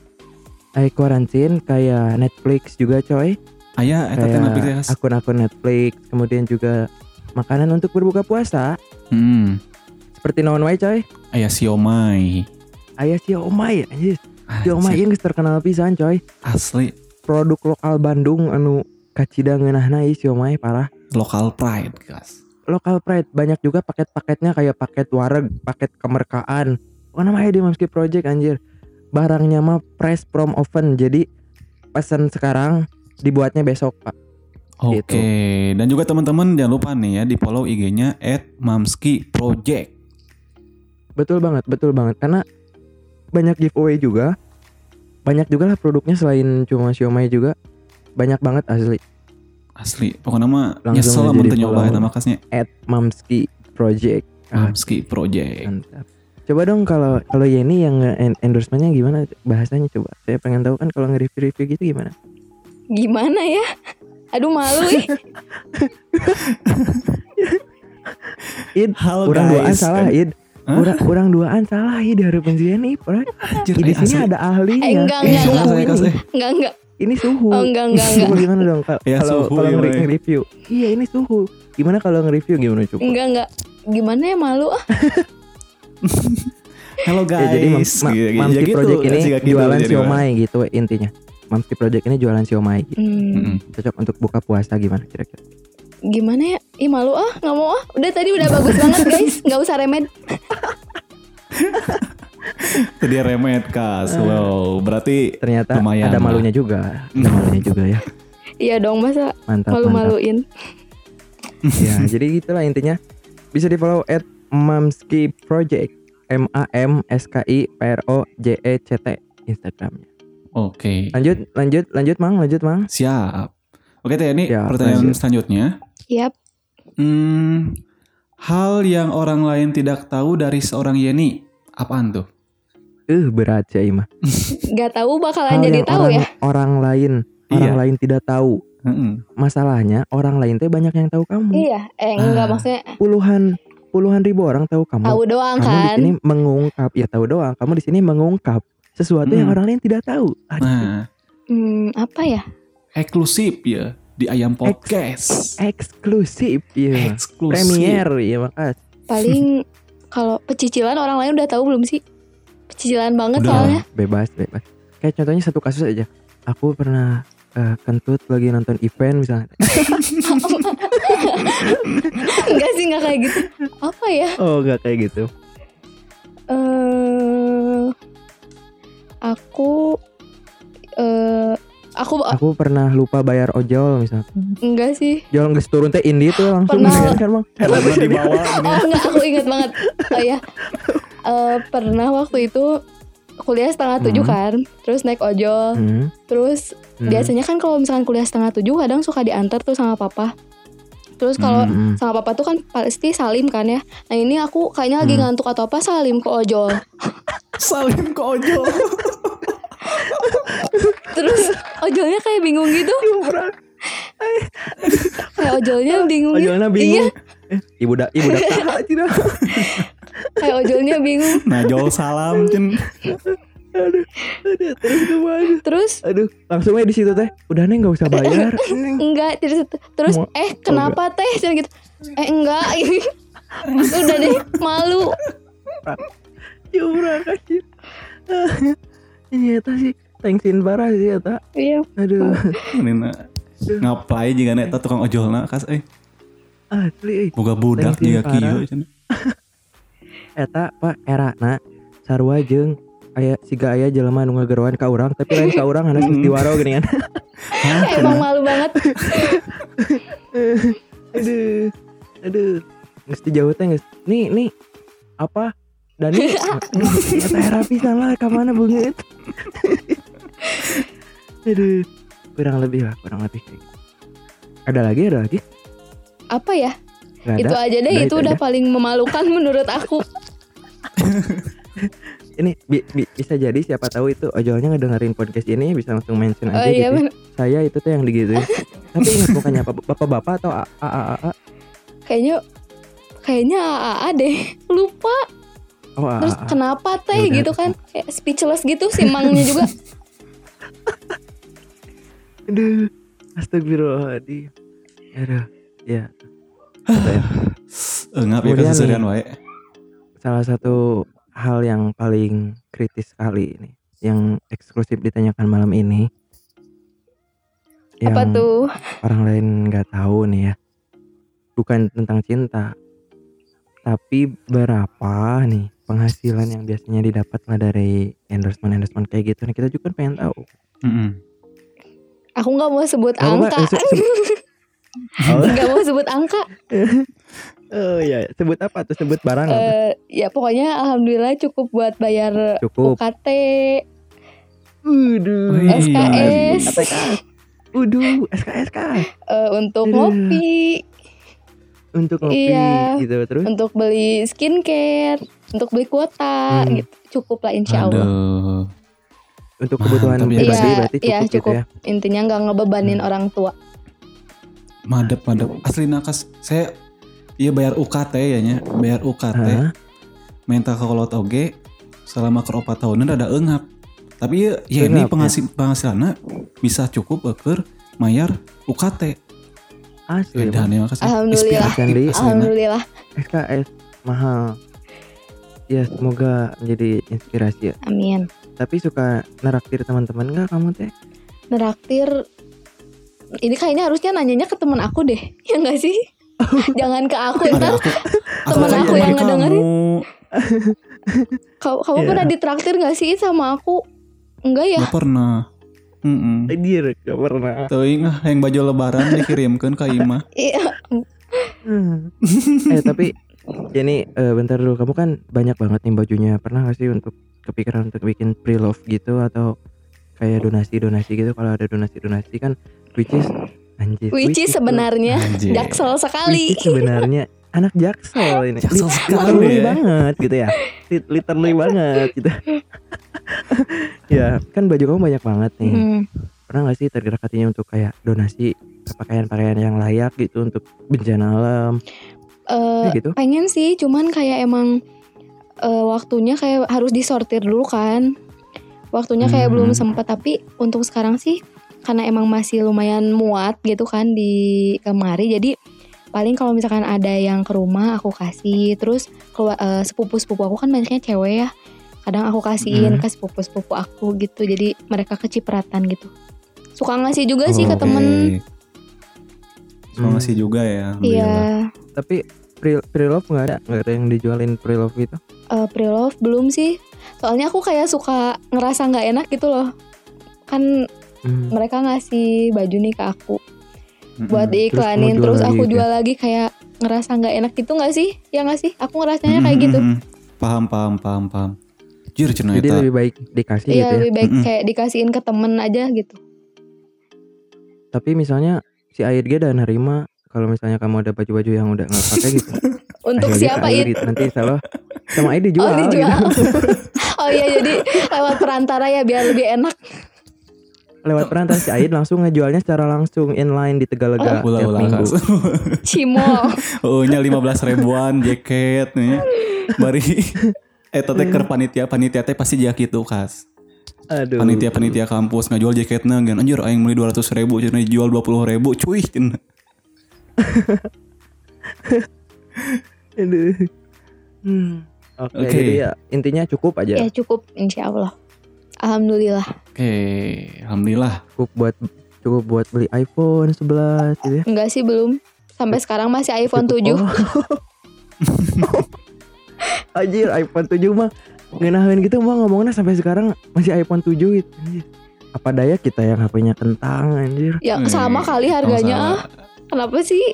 Speaker 1: eh karantin kayak Netflix juga coy
Speaker 2: Ayah, eta teh napi
Speaker 1: kayak akun-akun Netflix kemudian juga makanan untuk berbuka puasa
Speaker 2: Hmm.
Speaker 1: seperti naon wae coy
Speaker 2: Ayah siomay.
Speaker 1: ayah si omay anjir si omay
Speaker 2: Anjir,
Speaker 1: yang terkenal pisan coy
Speaker 2: Asli
Speaker 1: produk lokal Bandung anu kacida ngeunahna ieu si omay parah
Speaker 2: lokal pride, guys.
Speaker 1: lokal pride banyak juga paket-paketnya kayak paket wareg paket kemerkaan pokoknya mah aya di Mamski Project anjir barangnya mah fresh from oven jadi pesan sekarang dibuatnya besok pak
Speaker 2: Oke,
Speaker 1: Gitu.
Speaker 2: dan juga teman-teman jangan lupa nih ya di follow IG-nya @mamski_project.
Speaker 1: Betul banget, betul banget. Karena banyak giveaway juga. Banyak juga lah produknya selain cuma siomay juga. Banyak banget asli.
Speaker 2: Asli, pokoknya mah
Speaker 1: Langsung
Speaker 2: nyesel
Speaker 1: aja
Speaker 2: lamun
Speaker 1: di
Speaker 2: teu nyoba
Speaker 1: follow.
Speaker 2: eta mah kasnya
Speaker 1: At Mamski Project. Ah,
Speaker 2: Mamski Project.
Speaker 1: mantap. Coba dong kalau kalau Yeni yang nge- endorsementnya gimana bahasanya coba. Saya pengen tahu kan kalau nge-review-review gitu gimana.
Speaker 3: Gimana ya? Aduh malu ih.
Speaker 1: Id,
Speaker 2: Halo
Speaker 1: orang duaan
Speaker 2: Oh, guys. kan.
Speaker 1: salah Id.
Speaker 2: Hah?
Speaker 1: Orang orang duaan salah Id harapan si Yeni. Orang
Speaker 2: Anjir,
Speaker 1: di
Speaker 2: eh, asli.
Speaker 1: sini ada ahlinya.
Speaker 3: Eh, enggak, enggak,
Speaker 1: suhu
Speaker 3: enggak.
Speaker 1: ini.
Speaker 2: Saya kas, eh.
Speaker 3: Enggak enggak.
Speaker 1: ini suhu.
Speaker 3: Oh, enggak, enggak,
Speaker 1: Suhu gimana dong Kak?
Speaker 2: Ya,
Speaker 1: kalau
Speaker 2: suhu,
Speaker 1: kalau
Speaker 2: iya,
Speaker 1: nge-
Speaker 2: Boy.
Speaker 1: nge-review? Iya, ini suhu. Gimana kalau nge-review gimana coba?
Speaker 3: Enggak enggak. Gimana ya malu ah?
Speaker 2: Halo guys.
Speaker 1: Ya, jadi Mam- Ma-
Speaker 2: Gitu, gitu.
Speaker 1: Mamski
Speaker 2: Ya gitu,
Speaker 1: Project ini
Speaker 2: asik, gitu,
Speaker 1: jualan
Speaker 2: jadi mah.
Speaker 1: siomay gitu intinya. Mamski Project ini jualan siomay gitu.
Speaker 3: Hmm,
Speaker 2: Mm-mm.
Speaker 1: Cocok untuk buka puasa gimana kira-kira?
Speaker 3: Gimana ya? Ih malu ah, nggak mau ah. Udah tadi udah bagus banget guys. Nggak usah remed.
Speaker 2: Jadi remet kas. Wow, berarti
Speaker 1: Iya. Ternyata
Speaker 2: Lumayan
Speaker 1: ada
Speaker 2: lah. Hmm.
Speaker 1: malunya juga. Ada malunya juga ya.
Speaker 3: Iya dong masa
Speaker 1: Mantap, mantap.
Speaker 3: malu-maluin.
Speaker 1: Ya, jadi gitulah intinya. Bisa di-follow at Mamski Project. M A M S K I P R O J E C T Instagramnya.
Speaker 2: oke.
Speaker 1: Lanjut, lanjut, lanjut Mang, lanjut Mang.
Speaker 2: Siap. Oke Teh, ini
Speaker 1: Ya,
Speaker 2: pertanyaan
Speaker 1: lanjut.
Speaker 2: selanjutnya.
Speaker 3: Yap.
Speaker 2: Hmm, hal yang orang lain tidak tahu dari seorang Yeni apaan tuh?
Speaker 1: Eh, berat ya Ima.
Speaker 3: Gak tahu
Speaker 1: Hal
Speaker 3: bakalan jadi
Speaker 1: yang
Speaker 3: tahu
Speaker 1: orang,
Speaker 3: ya.
Speaker 1: orang lain, orang
Speaker 2: Iya.
Speaker 1: lain tidak tahu.
Speaker 2: Mm-mm.
Speaker 1: Masalahnya orang lain teh banyak yang tahu kamu.
Speaker 3: Iya, eh enggak
Speaker 2: Ah.
Speaker 3: maksudnya
Speaker 1: puluhan puluhan ribu orang tahu kamu.
Speaker 3: tahu doang
Speaker 1: kamu di
Speaker 3: kan.
Speaker 1: sini mengungkap, ya tahu doang. Kamu di sini mengungkap sesuatu yang
Speaker 2: Hmm.
Speaker 1: orang lain tidak tahu. Aduh,
Speaker 2: Nah,
Speaker 3: Hmm, apa ya?
Speaker 2: eksklusif ya di Ayam Podcast.
Speaker 1: eksklusif ya.
Speaker 2: Eksklusif.
Speaker 1: Premier ya makasih.
Speaker 3: Paling kalau pecicilan orang lain udah tahu belum sih? Pecicilan banget
Speaker 2: Udah.
Speaker 3: soalnya.
Speaker 1: Bebas, bebas. Kayak contohnya satu kasus aja. Aku pernah eh, kentut lagi nonton event misalnya.
Speaker 3: enggak sih enggak kayak gitu. Apa ya?
Speaker 1: Oh, enggak kayak gitu.
Speaker 3: Eh aku eh aku
Speaker 1: Aku pernah lupa bayar ojol misalnya.
Speaker 3: enggak sih.
Speaker 1: Ojol geus turun teh indi tuh langsung
Speaker 3: Pernah.
Speaker 1: misalnya kan, Bang.
Speaker 2: Helmnya di bawah ini.
Speaker 3: Oh
Speaker 1: ya?
Speaker 3: enggak, aku ingat banget. Oh ya. Eh pernah waktu itu kuliah setengah tujuh
Speaker 2: Hmm.
Speaker 3: kan, terus naik ojol,
Speaker 1: Hmm,
Speaker 3: terus
Speaker 1: hmm,
Speaker 3: biasanya kan kalau misalkan kuliah setengah tujuh kadang suka diantar tuh sama papa. Terus kalau
Speaker 1: hmm, hmm.
Speaker 3: sama papa tuh kan pasti salim kan ya. Nah ini aku kayaknya lagi
Speaker 1: Hmm.
Speaker 3: ngantuk atau apa salim ke ojol.
Speaker 2: Salim ke ojol.
Speaker 3: Terus ojolnya kayak bingung gitu. kayak ojolnya bingung. gitu.
Speaker 1: Ojolnya
Speaker 3: Iya,
Speaker 1: bingung. Eh, Ibu dak, ibu dak saha cina.
Speaker 3: kayak ojolnya bingung.
Speaker 2: Nah, jol salam cen.
Speaker 1: aduh, aduh, terus kemana?
Speaker 3: Terus
Speaker 1: Aduh, langsung aja di situ teh. Udah neng nggak usah bayar. Neng.
Speaker 3: enggak terus terus
Speaker 1: Mau-
Speaker 3: eh kenapa teh Cuman gitu. Eh enggak. Udah deh malu.
Speaker 1: Ya, Curang kasih. Ah, Ini eta sih thanksin parah sih eta.
Speaker 3: Iya.
Speaker 1: Aduh,
Speaker 2: Nina nah, ngapain jika nek teu tukang ojolna kas eh
Speaker 1: asli. eh.
Speaker 2: boga budak
Speaker 1: Thank you,
Speaker 2: jika kieu
Speaker 1: Farah. Eta pak era na sarua jeung aya siga aya jelema nu ngagaroan ka urang tapi lain ka urang hanya
Speaker 2: Mm.
Speaker 1: diwaro geuningan.
Speaker 3: Emang malu banget.
Speaker 1: aduh aduh mesti jauh teh guys nih nih apa Dani eta era pisan lah ka mana beungeut aduh kurang lebih lah kurang lebih kayak gitu. ada lagi ada lagi
Speaker 3: Apa ya?
Speaker 1: nggak
Speaker 3: Itu
Speaker 1: ada
Speaker 3: aja deh
Speaker 1: Udah,
Speaker 3: itu
Speaker 1: itu
Speaker 3: udah
Speaker 1: aja.
Speaker 3: paling memalukan menurut aku.
Speaker 1: ini bi- bi- bisa jadi siapa tahu itu ojolnya ngedengerin podcast ini bisa langsung mention aja
Speaker 3: oh iya
Speaker 1: gitu.
Speaker 3: bener.
Speaker 1: Saya itu tuh yang digitu. Tapi ingat bukannya apa- bapak-bapak atau a a a, a-
Speaker 3: kayaknya kayaknya AA deh lupa
Speaker 1: oh a,
Speaker 3: terus
Speaker 1: a- a.
Speaker 3: kenapa teh
Speaker 1: Yaudah.
Speaker 3: gitu kan kayak speechless gitu si mangnya juga
Speaker 1: Aduh. Astagfirullahaladzim. Aduh. Ya.
Speaker 2: Enggap ya
Speaker 1: Kemudian nih.
Speaker 2: keseserian wae.
Speaker 1: Salah satu hal yang paling kritis sekali ini yang eksklusif ditanyakan malam ini.
Speaker 3: apa
Speaker 1: Yang
Speaker 3: tuh
Speaker 1: orang lain nggak tahu nih ya bukan tentang cinta tapi berapa nih penghasilan yang biasanya didapat lah dari endorsement endorsement kayak gitu nah kita juga kan pengen tahu
Speaker 2: Mm-mm.
Speaker 3: aku nggak mau sebut
Speaker 1: Nggak apa-apa,
Speaker 3: angka
Speaker 1: eh, se- Oh.
Speaker 3: nggak mau sebut angka
Speaker 1: oh iya sebut apa tuh sebut barang apa?
Speaker 3: Eh, ya pokoknya alhamdulillah cukup buat bayar
Speaker 1: cukup Hmm,
Speaker 3: UKT
Speaker 1: Uduh.
Speaker 2: Wih.
Speaker 3: SKS.
Speaker 1: APK. Uduh, SKSK
Speaker 3: eh, untuk
Speaker 1: Aduh.
Speaker 3: ngopi
Speaker 1: untuk ngopi
Speaker 3: Iya.
Speaker 1: gitu terus
Speaker 3: untuk beli skincare untuk beli kuota
Speaker 1: Hmm.
Speaker 3: gitu cukup lah insya Allah
Speaker 2: Aduh.
Speaker 1: untuk kebutuhan
Speaker 2: Mantap ya.
Speaker 1: pribadi
Speaker 3: Iya,
Speaker 1: berarti cukup,
Speaker 3: iya,
Speaker 1: gitu
Speaker 3: cukup.
Speaker 1: ya.
Speaker 3: intinya nggak ngebebanin
Speaker 1: Hmm.
Speaker 3: orang tua
Speaker 2: Madep madep. Asli nakas. Saya iya bayar UKT ya nya. Bayar UKT.
Speaker 1: Hah?
Speaker 2: Minta ke kolot oge selama ke opat tahunan ada engap. Tapi iya, ya
Speaker 1: Eungap,
Speaker 2: ini
Speaker 1: ya.
Speaker 2: penghasil penghasilannya bisa cukup beker mayar UKT.
Speaker 1: asli
Speaker 2: Beda nih makasih.
Speaker 3: Alhamdulillah.
Speaker 1: Iya
Speaker 2: Inspiratif aslina.
Speaker 3: alhamdulillah
Speaker 1: SKS mahal ya semoga menjadi inspirasi ya
Speaker 3: amin
Speaker 1: tapi suka neraktir teman-teman nggak kamu teh
Speaker 3: neraktir ini kayaknya harusnya nanyanya ke teman aku deh ya nggak sih jangan ke aku
Speaker 2: Ada
Speaker 3: ntar
Speaker 1: Iya.
Speaker 2: aku, aku, kan
Speaker 3: Temen aku
Speaker 2: temen
Speaker 3: yang
Speaker 2: kamu.
Speaker 3: ngedengerin. Iya. kamu, kamu
Speaker 1: Iya.
Speaker 3: pernah ditraktir nggak sih sama aku enggak ya
Speaker 2: Gak pernah. Mm-mm.
Speaker 1: Anjir, gak pernah
Speaker 2: Teuing ah, yang baju lebaran dikirimkan ke Ima.
Speaker 3: iya
Speaker 1: eh tapi ini eh, bentar dulu kamu kan banyak banget nih bajunya pernah gak sih untuk kepikiran untuk bikin pre love gitu atau kayak donasi donasi gitu kalau ada donasi donasi kan which is anjir
Speaker 3: which is sebenarnya
Speaker 2: Anjir.
Speaker 3: jaksel
Speaker 1: Which
Speaker 3: sekali
Speaker 1: is sebenarnya anak jaksel ini
Speaker 2: Jaksel
Speaker 1: Lit-
Speaker 2: sekali
Speaker 1: literally
Speaker 2: ya.
Speaker 1: banget gitu ya Lit- literally banget gitu ya kan baju kamu banyak banget nih
Speaker 3: Hmm.
Speaker 1: pernah nggak sih tergerak hatinya untuk kayak donasi ke pakaian-pakaian yang layak gitu untuk bencana alam
Speaker 3: Eh,
Speaker 1: Kayak gitu
Speaker 3: pengen sih cuman kayak emang eh, waktunya kayak harus disortir dulu kan waktunya kayak
Speaker 1: Hmm.
Speaker 3: belum sempat tapi untuk sekarang sih karena emang masih lumayan muat gitu kan di kemari jadi paling kalau misalkan ada yang ke rumah aku kasih terus keluar sepupu sepupu aku kan banyaknya cewek ya kadang aku kasihin
Speaker 1: Hmm.
Speaker 3: ke sepupu sepupu aku gitu jadi mereka kecipratan gitu suka ngasih juga sih
Speaker 1: Oh,
Speaker 3: ke
Speaker 1: Oke.
Speaker 3: temen
Speaker 2: Cuma masih juga ya. alhamdulillah.
Speaker 3: iya
Speaker 1: tapi pre pre love nggak ada nggak ada yang dijualin pre love gitu
Speaker 3: eh pre-love belum sih soalnya aku kayak suka ngerasa nggak enak gitu loh kan
Speaker 1: Hmm.
Speaker 3: mereka ngasih baju nih ke aku
Speaker 2: Mm-mm.
Speaker 3: buat
Speaker 1: Terus kamu
Speaker 3: diiklanin
Speaker 1: jual
Speaker 3: terus,
Speaker 1: lagi
Speaker 3: aku
Speaker 1: gitu ya?
Speaker 3: jual lagi kayak ngerasa nggak enak gitu nggak sih ya nggak sih aku ngerasanya
Speaker 1: Hmm,
Speaker 3: kayak
Speaker 2: Mm-mm,
Speaker 3: gitu
Speaker 2: mm-mm. Paham paham paham paham. Jir cenah
Speaker 1: jadi
Speaker 2: eta.
Speaker 1: lebih baik dikasih
Speaker 3: Iya
Speaker 1: gitu ya
Speaker 3: lebih baik
Speaker 2: Mm-mm.
Speaker 3: kayak dikasihin ke temen aja gitu
Speaker 1: tapi misalnya si AIRG dan Harima kalau misalnya kamu ada baju-baju yang udah nggak pakai gitu
Speaker 3: untuk
Speaker 1: akhirnya ke
Speaker 3: siapa
Speaker 1: Aid
Speaker 3: itu
Speaker 1: gitu. nanti insya Allah sama Aid dijual,
Speaker 3: oh dijual
Speaker 1: gitu.
Speaker 3: oh iya jadi lewat perantara ya biar lebih enak
Speaker 1: lewat perantara si Aid langsung ngejualnya secara langsung inline di Tegalega
Speaker 2: Ulah
Speaker 1: tiap
Speaker 2: ulah
Speaker 1: minggu
Speaker 2: kas.
Speaker 3: cimol
Speaker 2: Oh nya 15 ribuan jaket nya. Bari eh teh keur panitia panitia teh pasti jak gitu kas.
Speaker 1: aduh
Speaker 2: Panitia panitia kampus ngajual jaketna kan anjir aing beli 200 ribu cenah dijual 20 ribu cuy cenah.
Speaker 1: aduh hmm. oke
Speaker 2: Oke.
Speaker 1: jadi ya intinya cukup aja
Speaker 3: ya cukup insya Allah alhamdulillah
Speaker 2: Oke, alhamdulillah.
Speaker 1: cukup buat cukup buat beli iPhone 11 gitu ya
Speaker 3: enggak sih belum sampai sekarang masih iPhone 7
Speaker 1: Cukup. Oh. Anjir iPhone 7 mah ngenahin gitu mah ngomongnya sampai sekarang masih iPhone 7 gitu. Anjir. Apa daya kita yang HP-nya kentang anjir.
Speaker 3: Ya
Speaker 2: Eh,
Speaker 3: sama kali harganya. ah.
Speaker 2: Sama-sama.
Speaker 3: Kenapa sih?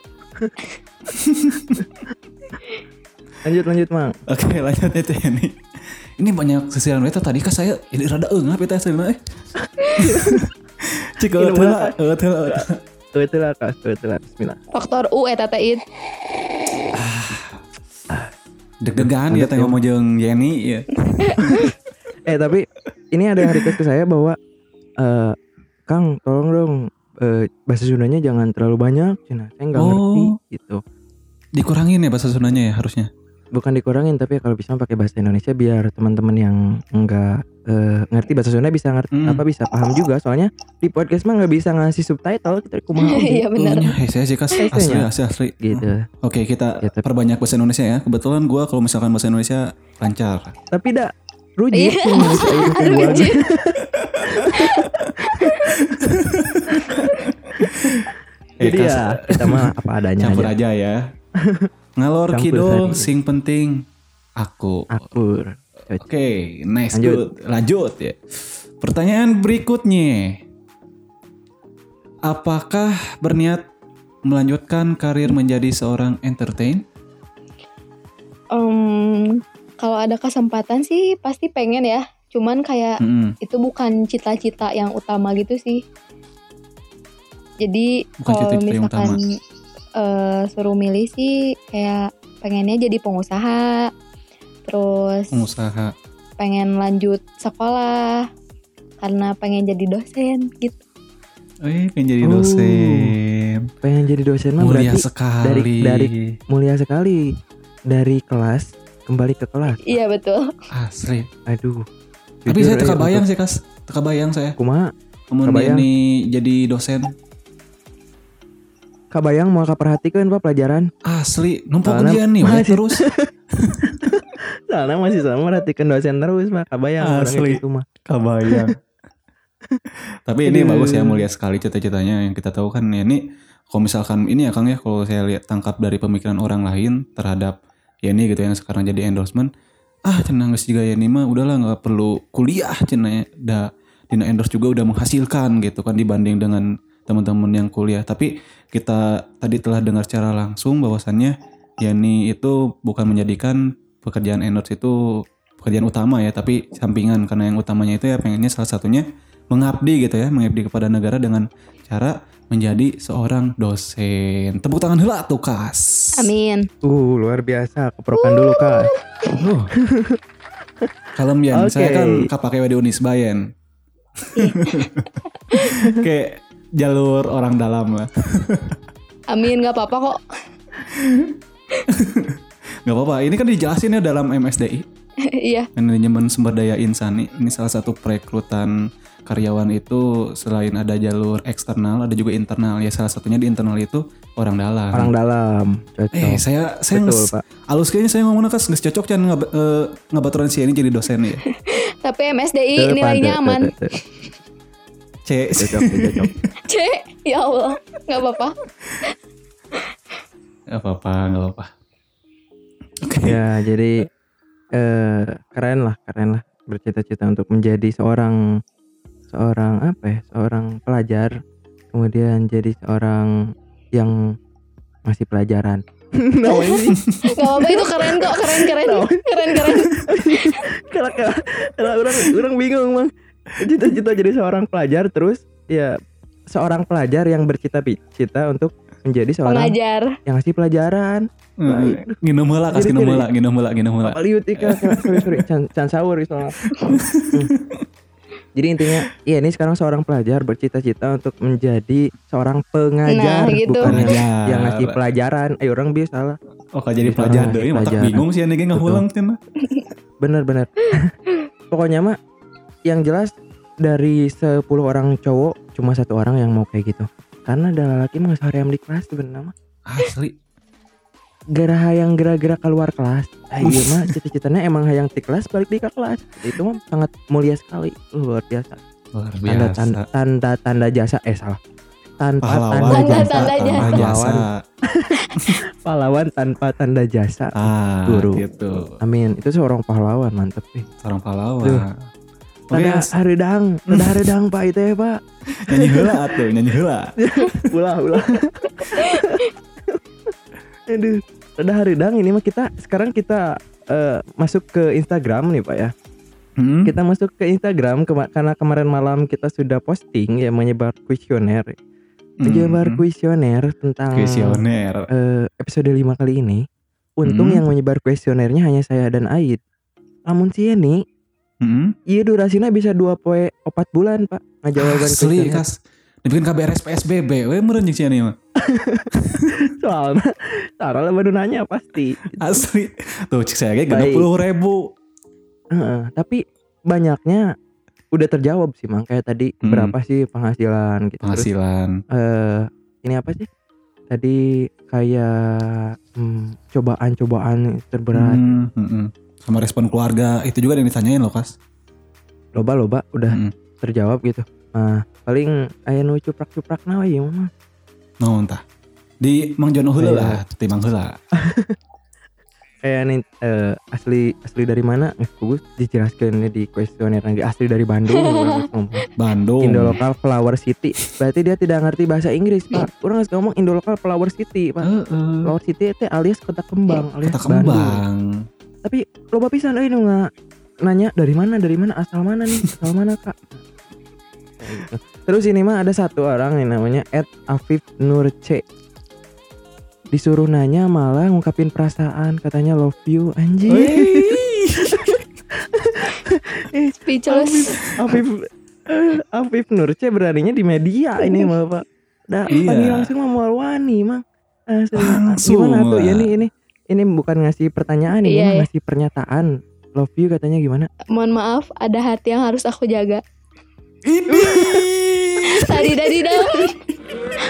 Speaker 1: Lanjut lanjut Mang.
Speaker 2: Oke lanjut ya Teh, ini. Ini banyak sisiran itu tadi kan saya jadi rada engap ya teh aslina, eh. Cik
Speaker 1: Minum
Speaker 2: eueuh teh lah, eueuh teh lah.
Speaker 1: Tuh itulah Kak, tuh itulah bismillah.
Speaker 3: Faktor U eta teh it.
Speaker 2: Deg-degan ya teh ngomong jeung Yeni ya.
Speaker 1: eh tapi ini ada yang request ke saya bahwa eh, Kang tolong dong eh, bahasa Sundanya jangan terlalu banyak Cina saya nggak ngerti
Speaker 2: Oh.
Speaker 1: gitu
Speaker 2: Dikurangin ya bahasa Sundanya ya harusnya.
Speaker 1: bukan dikurangin tapi ya kalau bisa pakai bahasa Indonesia biar teman-teman yang nggak eh, ngerti bahasa Sunda bisa ngerti
Speaker 2: Hmm.
Speaker 1: apa bisa paham juga soalnya di podcast mah nggak bisa ngasih subtitle kita kumaha
Speaker 3: Iya benar.
Speaker 2: Tuhnya, hei, saya sih kas
Speaker 1: Hei, saya.
Speaker 2: asli asli asli.
Speaker 1: gitu
Speaker 2: Oke kita
Speaker 1: Gitu.
Speaker 2: perbanyak bahasa Indonesia ya. Kebetulan gua kalau misalkan bahasa Indonesia lancar.
Speaker 1: tapi dah rugi
Speaker 3: Iya.
Speaker 1: cuma bisa itu
Speaker 3: Aduh
Speaker 1: gua.
Speaker 3: kecil.
Speaker 1: jadi
Speaker 2: kas,
Speaker 1: ya kita mah apa adanya
Speaker 2: Iya, campur
Speaker 1: aja
Speaker 2: aja ya. Ngalor
Speaker 1: Iya, Campur
Speaker 2: kidul
Speaker 1: tadi.
Speaker 2: sing penting aku.
Speaker 1: akur
Speaker 2: Oke, nice
Speaker 1: Lanjut.
Speaker 2: good. Lanjut ya. Pertanyaan berikutnya. Apakah berniat melanjutkan karir menjadi seorang entertain?
Speaker 3: Em, kalau ada kesempatan sih pasti pengen ya. Cuman kayak
Speaker 2: Mm-mm.
Speaker 3: itu bukan cita-cita yang utama gitu sih. Jadi
Speaker 2: Bukan
Speaker 3: kalau
Speaker 2: cita-cita yang
Speaker 3: misalkan eh, suruh milih sih kayak pengennya jadi pengusaha, terus
Speaker 2: Pengusaha.
Speaker 3: pengen lanjut sekolah karena pengen jadi dosen gitu.
Speaker 2: Eh, pengen jadi
Speaker 1: Oh.
Speaker 2: dosen.
Speaker 1: pengen jadi dosen mah
Speaker 2: Mulia
Speaker 1: berarti
Speaker 2: sekali.
Speaker 1: dari- mulia sekali dari kelas kembali ke kelas
Speaker 3: Iya betul.
Speaker 2: Asli.
Speaker 1: aduh
Speaker 2: Tapi
Speaker 1: Jujur,
Speaker 2: saya
Speaker 1: eh,
Speaker 2: teka bayang
Speaker 1: untuk
Speaker 2: sih, Kas. Teka bayang saya.
Speaker 1: kumaha
Speaker 2: Kemudian
Speaker 1: Kebayang.
Speaker 2: ini jadi dosen.
Speaker 1: kabayang mau kaperhatikeun pak pelajaran
Speaker 2: Asli, numpuk
Speaker 1: Soalnya-
Speaker 2: ujian nih, weh,
Speaker 1: Masih-
Speaker 2: terus.
Speaker 1: Soalnya masih sama perhatikan dosen terus mah kabayang orang gitu,
Speaker 2: Asli.
Speaker 1: itu mah.
Speaker 2: Kebayang. Tapi ini
Speaker 1: Aduh.
Speaker 2: bagus ya mulia sekali cita-citanya yang kita tahu kan ini kalau misalkan ini ya Kang ya kalau saya lihat tangkap dari pemikiran orang lain terhadap ya ini gitu yang sekarang jadi endorsement ah cenah geus juga ya ini mah udahlah nggak perlu kuliah cenah ya da dina endorse juga udah menghasilkan gitu kan dibanding dengan teman-teman yang kuliah tapi kita tadi telah dengar secara langsung bahwasannya Yani itu bukan menjadikan pekerjaan endorse itu pekerjaan utama ya tapi sampingan karena yang utamanya itu ya pengennya salah satunya mengabdi gitu ya mengabdi kepada negara dengan cara menjadi seorang dosen tepuk tangan hela tuh kas
Speaker 3: Amin.
Speaker 1: Uh luar biasa keprokan dulu kak.
Speaker 2: Loh. kalem Yan saya
Speaker 1: Oke.
Speaker 2: kan kapake di Unisba Yan kayak jalur orang dalam lah
Speaker 3: Amin nggak apa-apa kok.
Speaker 2: nggak apa-apa ini kan dijelasin ya dalam MSDI
Speaker 3: Iya.
Speaker 2: manajemen sumber daya insani ini salah satu perekrutan karyawan itu selain ada jalur eksternal ada juga internal ya salah satunya di internal itu orang dalam
Speaker 1: Orang dalam
Speaker 2: eh
Speaker 1: cocok.
Speaker 2: saya saya
Speaker 1: Betul
Speaker 2: nges-
Speaker 1: pak.
Speaker 2: alus kayaknya saya ngomongnya kas nggak cocok kan nggak eh, ngebaturan si ini jadi dosen ya
Speaker 3: Tapi MSDI
Speaker 1: Tuh,
Speaker 3: nilainya
Speaker 1: pan, tuh,
Speaker 3: aman.
Speaker 1: tuh, tuh, tuh.
Speaker 2: c
Speaker 1: Cocok tuh, cocok.
Speaker 3: C. Ya Allah. Nggak apa-apa.
Speaker 2: nggak apa-apa nggak apa-apa oke
Speaker 1: Ya jadi eh keren lah keren lah bercita-cita untuk menjadi seorang seorang apa ya seorang pelajar kemudian jadi seorang yang masih pelajaran. Namanya
Speaker 3: Gak apa-apa itu keren kok keren keren keren keren
Speaker 1: kalau kalau kalau orang orang bingung bang cita-cita jadi seorang pelajar terus ya seorang pelajar yang bercita-cita untuk menjadi seorang
Speaker 3: pengajar
Speaker 1: yang ngasih pelajaran
Speaker 2: Eh, nginum heula kas nginum heula nginum heula nginum heula
Speaker 1: liut ika sorry sorry can, can sahur gitu lah. Hmm. jadi intinya iya ini sekarang seorang pelajar bercita-cita untuk menjadi seorang pengajar
Speaker 3: Nah, gitu.
Speaker 1: bukan yang,
Speaker 2: Pengajar.
Speaker 1: yang ngasih pelajaran eh orang biasa lah
Speaker 2: oh kalau jadi
Speaker 1: Jadi
Speaker 2: pelajar
Speaker 1: orang
Speaker 2: deh
Speaker 1: ngasih
Speaker 2: matak
Speaker 1: pelajaran.
Speaker 2: bingung sih ini nggak
Speaker 1: Betul.
Speaker 2: ulang cina
Speaker 1: Bener-bener. Pokoknya mah yang jelas dari 10 orang cowok cuma satu orang yang mau kayak gitu. Karena ada laki mah seharian di kelas sebenarnya mah.
Speaker 2: asli
Speaker 1: Gara hayang gara-gara keluar kelas. Ah, iya mah cita-citanya emang hayang di kelas balik di ke kelas. Itu mah sangat mulia sekali. Luar biasa.
Speaker 2: luar
Speaker 1: Tanda
Speaker 2: biasa
Speaker 1: tanda tanda, tanda jasa eh salah. Tanpa
Speaker 2: pahlawan
Speaker 1: tanda
Speaker 3: Tanda-
Speaker 1: jasa,
Speaker 3: tanda jasa.
Speaker 2: Tanpa jasa.
Speaker 1: pahlawan tanpa tanda jasa.
Speaker 2: ah
Speaker 1: Guru.
Speaker 2: gitu
Speaker 1: Amin. Itu seorang pahlawan mantep nih.
Speaker 2: seorang pahlawan
Speaker 1: Duh.
Speaker 2: oke
Speaker 1: Tanda
Speaker 2: As.
Speaker 1: haridang, tanda haridang Pak itu ya Pak.
Speaker 2: nyanyi heula atuh nyanyi heula
Speaker 1: ulah ulah aduh udah hari dang ini mah kita sekarang kita eh, masuk ke Instagram nih pak ya
Speaker 2: Hmm?
Speaker 1: kita masuk ke Instagram kema- karena kemarin malam kita sudah posting ya menyebar kuesioner menyebar
Speaker 2: Hmm.
Speaker 1: kuesioner tentang
Speaker 2: kuesioner
Speaker 1: eh, episode 5 kali ini untung
Speaker 2: Hmm.
Speaker 1: yang menyebar kuesionernya hanya saya dan Aid lamun sih ya nih
Speaker 2: Mm-mm.
Speaker 1: iya durasinya bisa dua poe opat bulan pak ngajawaban
Speaker 2: Asli
Speaker 1: kuesioner.
Speaker 2: kas. Dibikin KBRS PSBB, we meureun jeung cenah mah.
Speaker 1: soalnya soalnya baru nanya pasti
Speaker 2: Asli. Tuh cek saya ge
Speaker 1: Baik.
Speaker 2: 60.000.
Speaker 1: Heeh, tapi banyaknya udah terjawab sih mang kayak tadi
Speaker 2: Hmm.
Speaker 1: berapa sih penghasilan gitu Terus,
Speaker 2: Penghasilan.
Speaker 1: eh, ini apa sih tadi kayak hmm, cobaan-cobaan terberat
Speaker 2: Hmm, mm-mm. Sama respon keluarga itu juga ada yang ditanyain loh, Kas. Hmm.
Speaker 1: loba-loba udah
Speaker 2: Mm-mm.
Speaker 1: terjawab gitu nah paling aya nu cuprak-cuprak nawe ya mah
Speaker 2: Nah, entah. Di Mang Jono heula
Speaker 1: Iya.
Speaker 2: lah, di Mang heula.
Speaker 1: kayak nih eh, asli asli dari mana Eh, nggak kugus dijelaskan di kuesioner lagi asli dari Bandung orang ngomong.
Speaker 2: Bandung.
Speaker 1: Indo lokal Flower City berarti dia tidak ngerti bahasa Inggris pak
Speaker 2: Iya.
Speaker 1: orang harus ngomong Indo lokal Flower City pak
Speaker 2: Heeh.
Speaker 1: Flower City itu alias kota kembang alias
Speaker 2: Iya, Kota
Speaker 1: Bandung
Speaker 2: Kembang.
Speaker 1: tapi loba pisan euy nu nga- nanya dari mana dari mana asal mana nih asal mana kak Kayak gitu. terus ini mah ada satu orang yang namanya Ed Afif Nur C disuruh nanya malah ngungkapin perasaan katanya love you anjing
Speaker 2: Wih.
Speaker 3: Speechless.
Speaker 1: Afif eh, Afif Nur C beraninya di media ini mah pak Dah
Speaker 2: Iya.
Speaker 1: panggil langsung mah mual wani mah Asli.
Speaker 2: Langsung,
Speaker 1: gimana tuh
Speaker 2: Mak.
Speaker 1: ya ini ini ini bukan ngasih pertanyaan ini
Speaker 3: Iya,
Speaker 1: mah
Speaker 3: iya.
Speaker 1: ngasih pernyataan love you katanya gimana
Speaker 3: Mohon maaf, ada hati yang harus aku jaga.
Speaker 2: Ini.
Speaker 3: Tadi dari dalam.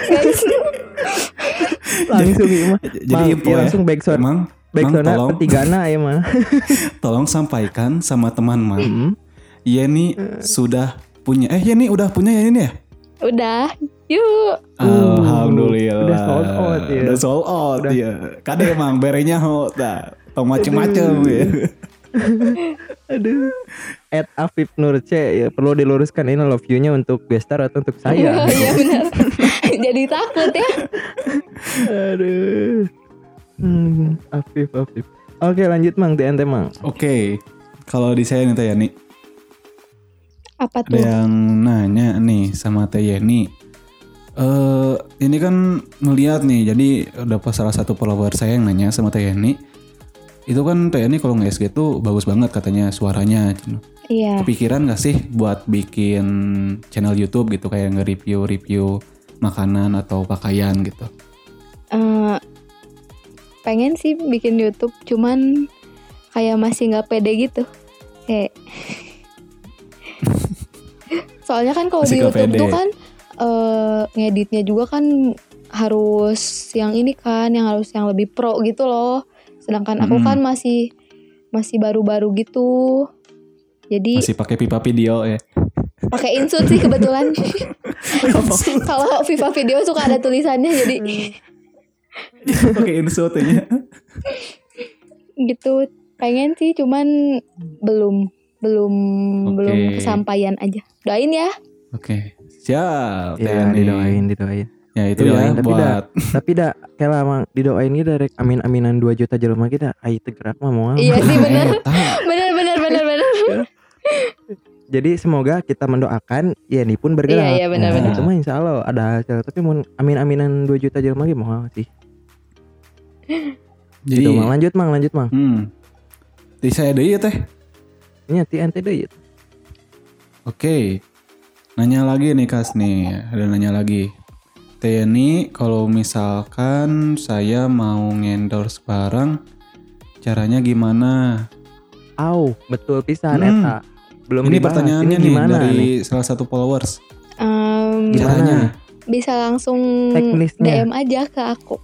Speaker 3: Guys,
Speaker 1: langsung ya mah
Speaker 2: Jadi
Speaker 1: Mang,
Speaker 2: info
Speaker 1: iya,
Speaker 2: ya.
Speaker 1: langsung backsound
Speaker 2: Mang,
Speaker 1: backsoundnya
Speaker 2: tolong.
Speaker 1: pertigana ya mah
Speaker 2: tolong sampaikan sama teman Mang.
Speaker 1: Mm.
Speaker 2: Yeni
Speaker 1: Hmm.
Speaker 2: sudah punya. Eh Yeni udah punya Yeni ya?
Speaker 3: udah. Yuk.
Speaker 1: Uh,
Speaker 2: Alhamdulillah.
Speaker 1: udah sold out ya.
Speaker 2: Udah sold out
Speaker 1: Udah.
Speaker 2: ya. Kade emang berenya ho tah. Tong macem-macem ya.
Speaker 1: aduh Ed Afif Nur C ya, perlu diluruskan ini love you nya untuk Bestar atau untuk saya
Speaker 3: Iya benar. Jadi takut ya.
Speaker 1: aduh hmm, Afif Afif oke lanjut mang di ente mang
Speaker 2: Oke. Kalau di saya nih Teh Yani,
Speaker 3: Apa
Speaker 1: Hmm.
Speaker 2: ada
Speaker 3: tuh?
Speaker 2: yang nanya nih sama Teh Yani. Eh, ini kan melihat nih, jadi ada pas salah satu follower saya yang nanya sama Teh Yani. Itu kan Teh Yani kalau nge-SG tuh bagus banget katanya suaranya.
Speaker 3: Iya.
Speaker 2: kepikiran gak sih buat bikin channel YouTube gitu kayak nge-review review makanan atau pakaian gitu.
Speaker 3: Eh, pengen sih bikin YouTube, cuman kayak masih nggak pede gitu. Kayak soalnya kan kalau di
Speaker 2: Masih nggak
Speaker 3: YouTube
Speaker 2: pede.
Speaker 3: tuh kan eh, ngeditnya juga kan harus yang ini kan, yang harus yang lebih pro gitu loh. Sedangkan aku
Speaker 2: Mm-mm.
Speaker 3: kan masih masih baru-baru gitu. Jadi
Speaker 2: Masih pakai pipa video ya.
Speaker 3: pakai insut sih kebetulan kalau Viva video suka ada tulisannya jadi
Speaker 2: pakai
Speaker 1: ya.
Speaker 2: insultnya.
Speaker 3: gitu pengen sih cuman belum belum
Speaker 2: Oke.
Speaker 3: belum kesampaian aja doain ya
Speaker 2: Oke.
Speaker 1: ya
Speaker 2: Siap. Teh Yani.
Speaker 1: didoain didoain
Speaker 2: Ya itu
Speaker 1: Didoain,
Speaker 2: ya
Speaker 1: tapi dah.
Speaker 2: buat
Speaker 1: tapi dah kayak mang didoain gitu rek amin aminan 2 juta jelema kita ayo tergerak mah moal
Speaker 3: iya sih
Speaker 2: Eh,
Speaker 3: bener
Speaker 2: tah.
Speaker 3: bener bener bener bener
Speaker 1: Jadi semoga kita mendoakan ya ini pun bergerak.
Speaker 3: Iya, iya, benar-benar.
Speaker 1: Nah, itu mah insya Allah ada hasil. Tapi mau amin aminan 2 juta jelma lagi mau sih.
Speaker 2: Jadi
Speaker 1: Gitu,
Speaker 2: Iya.
Speaker 1: mang lanjut mang lanjut mang.
Speaker 2: hmm. Di saya deh ya teh.
Speaker 1: Ini ti ente iya. deui.
Speaker 2: Oke. Nanya lagi nih Kas nih. Ada nanya lagi. Teh Yani kalau misalkan saya mau ngendorse barang caranya gimana?
Speaker 1: Au, betul pisan
Speaker 2: Hmm.
Speaker 1: eta. Belum
Speaker 2: ini
Speaker 1: dibahas.
Speaker 2: pertanyaannya
Speaker 1: ini
Speaker 2: nih
Speaker 1: gimana
Speaker 2: dari
Speaker 1: nih?
Speaker 2: salah satu followers.
Speaker 3: Em,
Speaker 1: Gimana?
Speaker 2: Caranya
Speaker 3: bisa langsung
Speaker 1: Teknisnya.
Speaker 3: dm aja ke aku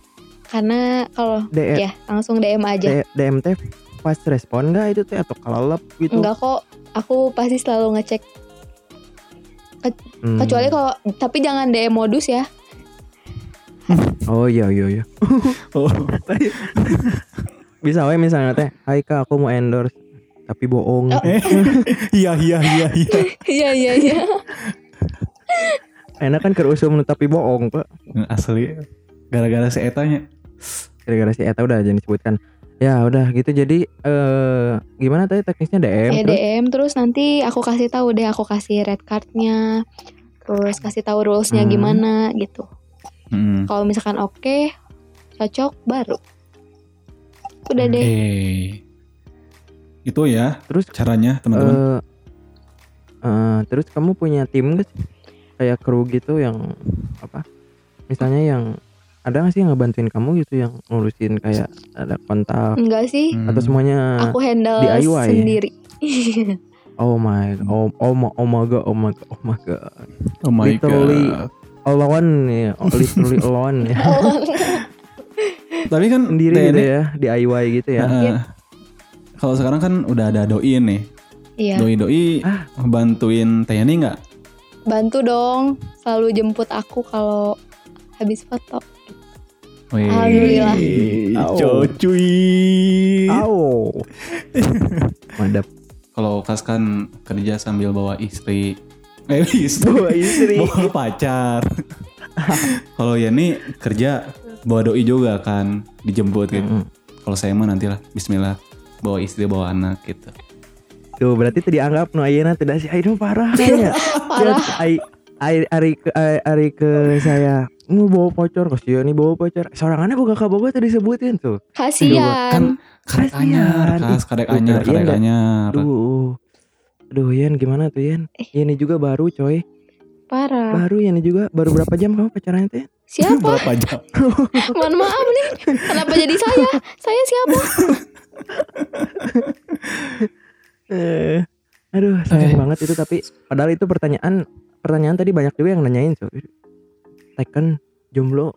Speaker 3: karena kalau
Speaker 1: D- E,
Speaker 3: ya langsung dm aja
Speaker 1: D- DMT fast respon enggak itu teh atau kelelep gitu.
Speaker 3: enggak kok aku pasti selalu ngecek
Speaker 1: Hmm.
Speaker 3: kecuali kalau tapi jangan dm modus ya
Speaker 1: Oh iya iya iya.
Speaker 2: Oh,
Speaker 1: Bisa we misalnya teh, "Hai Kak, aku mau endorse." Tapi bohong.
Speaker 3: Oh.
Speaker 2: iya iya iya iya.
Speaker 3: iya iya iya
Speaker 1: Enak kan keur usum nu tapi bohong, Pak.
Speaker 2: Hmm, Asli gara-gara si etanya.
Speaker 1: gara-gara si Eta udah aja disebutkan ya udah gitu jadi eh gimana tadi teknisnya DM
Speaker 3: Ya,
Speaker 1: terus
Speaker 3: DM terus nanti aku kasih tahu deh aku kasih red cardnya terus kasih tahu rulesnya
Speaker 1: Hmm.
Speaker 3: gimana gitu
Speaker 2: Hmm.
Speaker 3: kalau misalkan oke cocok baru udah deh
Speaker 2: Eh. Itu ya
Speaker 1: Terus
Speaker 2: caranya teman-teman.
Speaker 1: eh eh, terus kamu punya tim gak sih? Kayak kru gitu yang apa? Misalnya yang ada gak sih yang ngebantuin kamu gitu yang ngurusin kayak ada kontak
Speaker 3: Enggak sih,
Speaker 2: Hmm.
Speaker 1: atau semuanya
Speaker 3: aku handle
Speaker 1: DIY.
Speaker 3: sendiri.
Speaker 1: oh my oh oh my oh my god oh my god oh my god
Speaker 2: Oh my
Speaker 1: literally
Speaker 2: god.
Speaker 1: alone ya oh, literally alone ya
Speaker 2: Tapi kan
Speaker 1: sendiri
Speaker 2: TNI
Speaker 1: gitu ya DIY gitu ya
Speaker 2: Heeh. Kalau sekarang kan udah ada doin nih.
Speaker 3: Iya,
Speaker 2: Doi-doi
Speaker 1: Ah.
Speaker 2: bantuin TNI nggak?
Speaker 3: bantu dong. Selalu jemput aku kalau habis foto.
Speaker 2: Wih.
Speaker 3: Alhamdulillah.
Speaker 1: Au.
Speaker 2: Cocuy.
Speaker 1: Au. Madap
Speaker 2: Kalau Kas kan kerja sambil bawa istri. Eh, istri.
Speaker 1: Bawa istri.
Speaker 2: bawa pacar. Kalau Yani kerja bawa doi juga kan dijemput
Speaker 1: Mm.
Speaker 2: gitu. Kalau saya mah nantilah bismillah bawa istri bawa anak gitu.
Speaker 1: Tuh berarti tadi anggap nu ayeuna tidak sih aduh parah ya.
Speaker 3: Parah.
Speaker 1: Ai ai ari ke ai- ari ke saya mau bawa pocor kasihan nih bawa pocor. Sorangannya boga ka boga tadi sebutin tuh.
Speaker 2: Kan
Speaker 3: Kasihan.
Speaker 2: karek
Speaker 1: Kasihan.
Speaker 2: anyar, Kas,
Speaker 1: Ih,
Speaker 2: karek
Speaker 1: bener,
Speaker 2: anyar,
Speaker 1: iya
Speaker 2: karek
Speaker 1: nggak?
Speaker 2: anyar.
Speaker 1: Aduh. Aduh Yan gimana tuh Yan? Ini juga baru coy.
Speaker 3: Parah.
Speaker 1: Baru Yan juga baru berapa jam kamu pacarannya tuh? Yan?
Speaker 3: Siapa?
Speaker 2: Berapa jam?
Speaker 3: Mohon maaf nih. Kenapa jadi saya? Saya siapa?
Speaker 1: Eh, aduh sayang
Speaker 2: Oke.
Speaker 1: banget itu tapi padahal itu pertanyaan pertanyaan tadi banyak juga yang nanyain coy. Tekken jomblo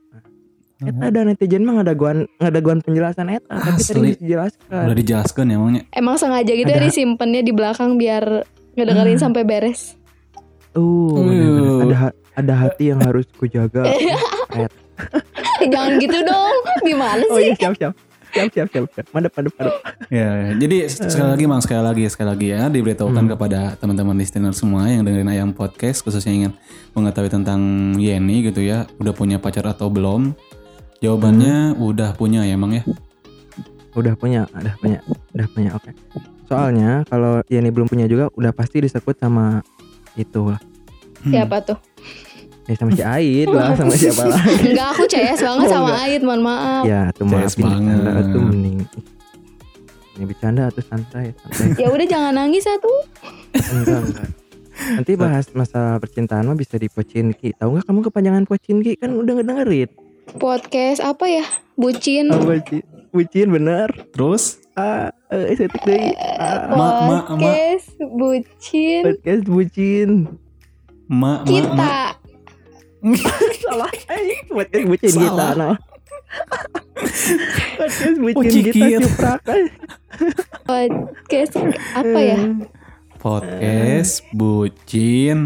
Speaker 1: Eta ada netizen mah ngadaguan ngadaguan penjelasan eta tapi tadi
Speaker 2: Asli.
Speaker 1: geus dijelaskan.
Speaker 2: Udah dijelaskan ya emangnya.
Speaker 3: Emang sengaja gitu ya
Speaker 1: Ada. Ah.
Speaker 3: disimpannya di belakang biar ngedengerin sampai beres.
Speaker 1: Tuh,
Speaker 2: Iya.
Speaker 1: bener-bener. ada ha- ada hati yang harus kujaga.
Speaker 3: Jangan gitu dong. Gimana
Speaker 1: oh
Speaker 3: sih?
Speaker 1: iya, siap siap. Siap siap siap. siap. Madep madep madep.
Speaker 2: Ya, jadi sekali lagi Mang, sekali lagi, sekali lagi ya diberitahukan kepada teman-teman listener semua yang dengerin Ayam Podcast khususnya ingin mengetahui tentang Yeni gitu ya, udah punya pacar atau belum? Jawabannya udah punya ya, Mang ya.
Speaker 1: Udah punya, udah punya, udah punya. Oke. Soalnya kalau Yeni belum punya juga udah pasti disekut sama itu lah.
Speaker 3: Siapa tuh?
Speaker 1: Ya, sama si Aid lah, sama siapa lah.
Speaker 3: Enggak, aku CS banget
Speaker 1: Oh,
Speaker 3: sama
Speaker 1: enggak.
Speaker 3: Ait, mohon maaf.
Speaker 1: Ya, tuh
Speaker 2: Serius
Speaker 1: maaf ini bercanda
Speaker 2: banget.
Speaker 1: tuh mending. Ini bercanda atau santai, santai.
Speaker 3: Ya udah jangan nangis satu.
Speaker 1: enggak, enggak. Nanti bahas masa percintaan mah bisa di Pocinki. Tahu nggak kamu kepanjangan Pocinki? Kan udah ngedengerin.
Speaker 3: Podcast apa ya? Bucin.
Speaker 1: Apa sih? Bucin bener.
Speaker 2: Terus
Speaker 1: Ah, eh, saya tek deui. Ah,
Speaker 2: Ma, ma, ma.
Speaker 3: Podcast bucin.
Speaker 1: podcast bucin.
Speaker 2: ma ma ma.
Speaker 3: Kita.
Speaker 1: Salah. Eh, podcast bucin kita. No.
Speaker 2: Salah.
Speaker 1: podcast bucin
Speaker 2: Bucin
Speaker 1: kita
Speaker 2: kita.
Speaker 1: cuprak. eh.
Speaker 3: Podcast apa ya?
Speaker 2: Podcast bucin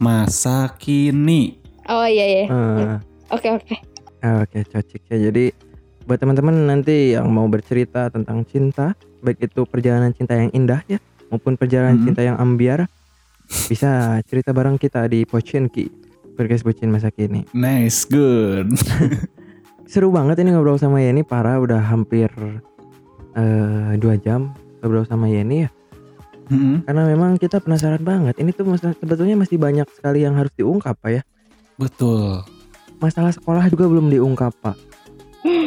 Speaker 2: masa kini.
Speaker 3: Oh iya iya.
Speaker 1: Eh,
Speaker 3: Oke oke.
Speaker 1: ah, Oke, cocok ya. Jadi buat teman-teman nanti yang mau bercerita tentang cinta, baik itu perjalanan cinta yang indah ya, maupun perjalanan
Speaker 2: Mhm.
Speaker 1: cinta yang ambiar, bisa cerita bareng kita di Pocinki. Podcast bucin masa kini.
Speaker 2: Nice, good.
Speaker 1: seru banget ini ngobrol sama Yeni parah udah hampir eh, dua jam ngobrol sama Yeni ya
Speaker 2: Mm-mm.
Speaker 1: karena memang kita penasaran banget ini tuh mas- sebetulnya masih banyak sekali yang harus diungkap Pak, ya
Speaker 2: Betul.
Speaker 1: masalah sekolah juga belum diungkap pak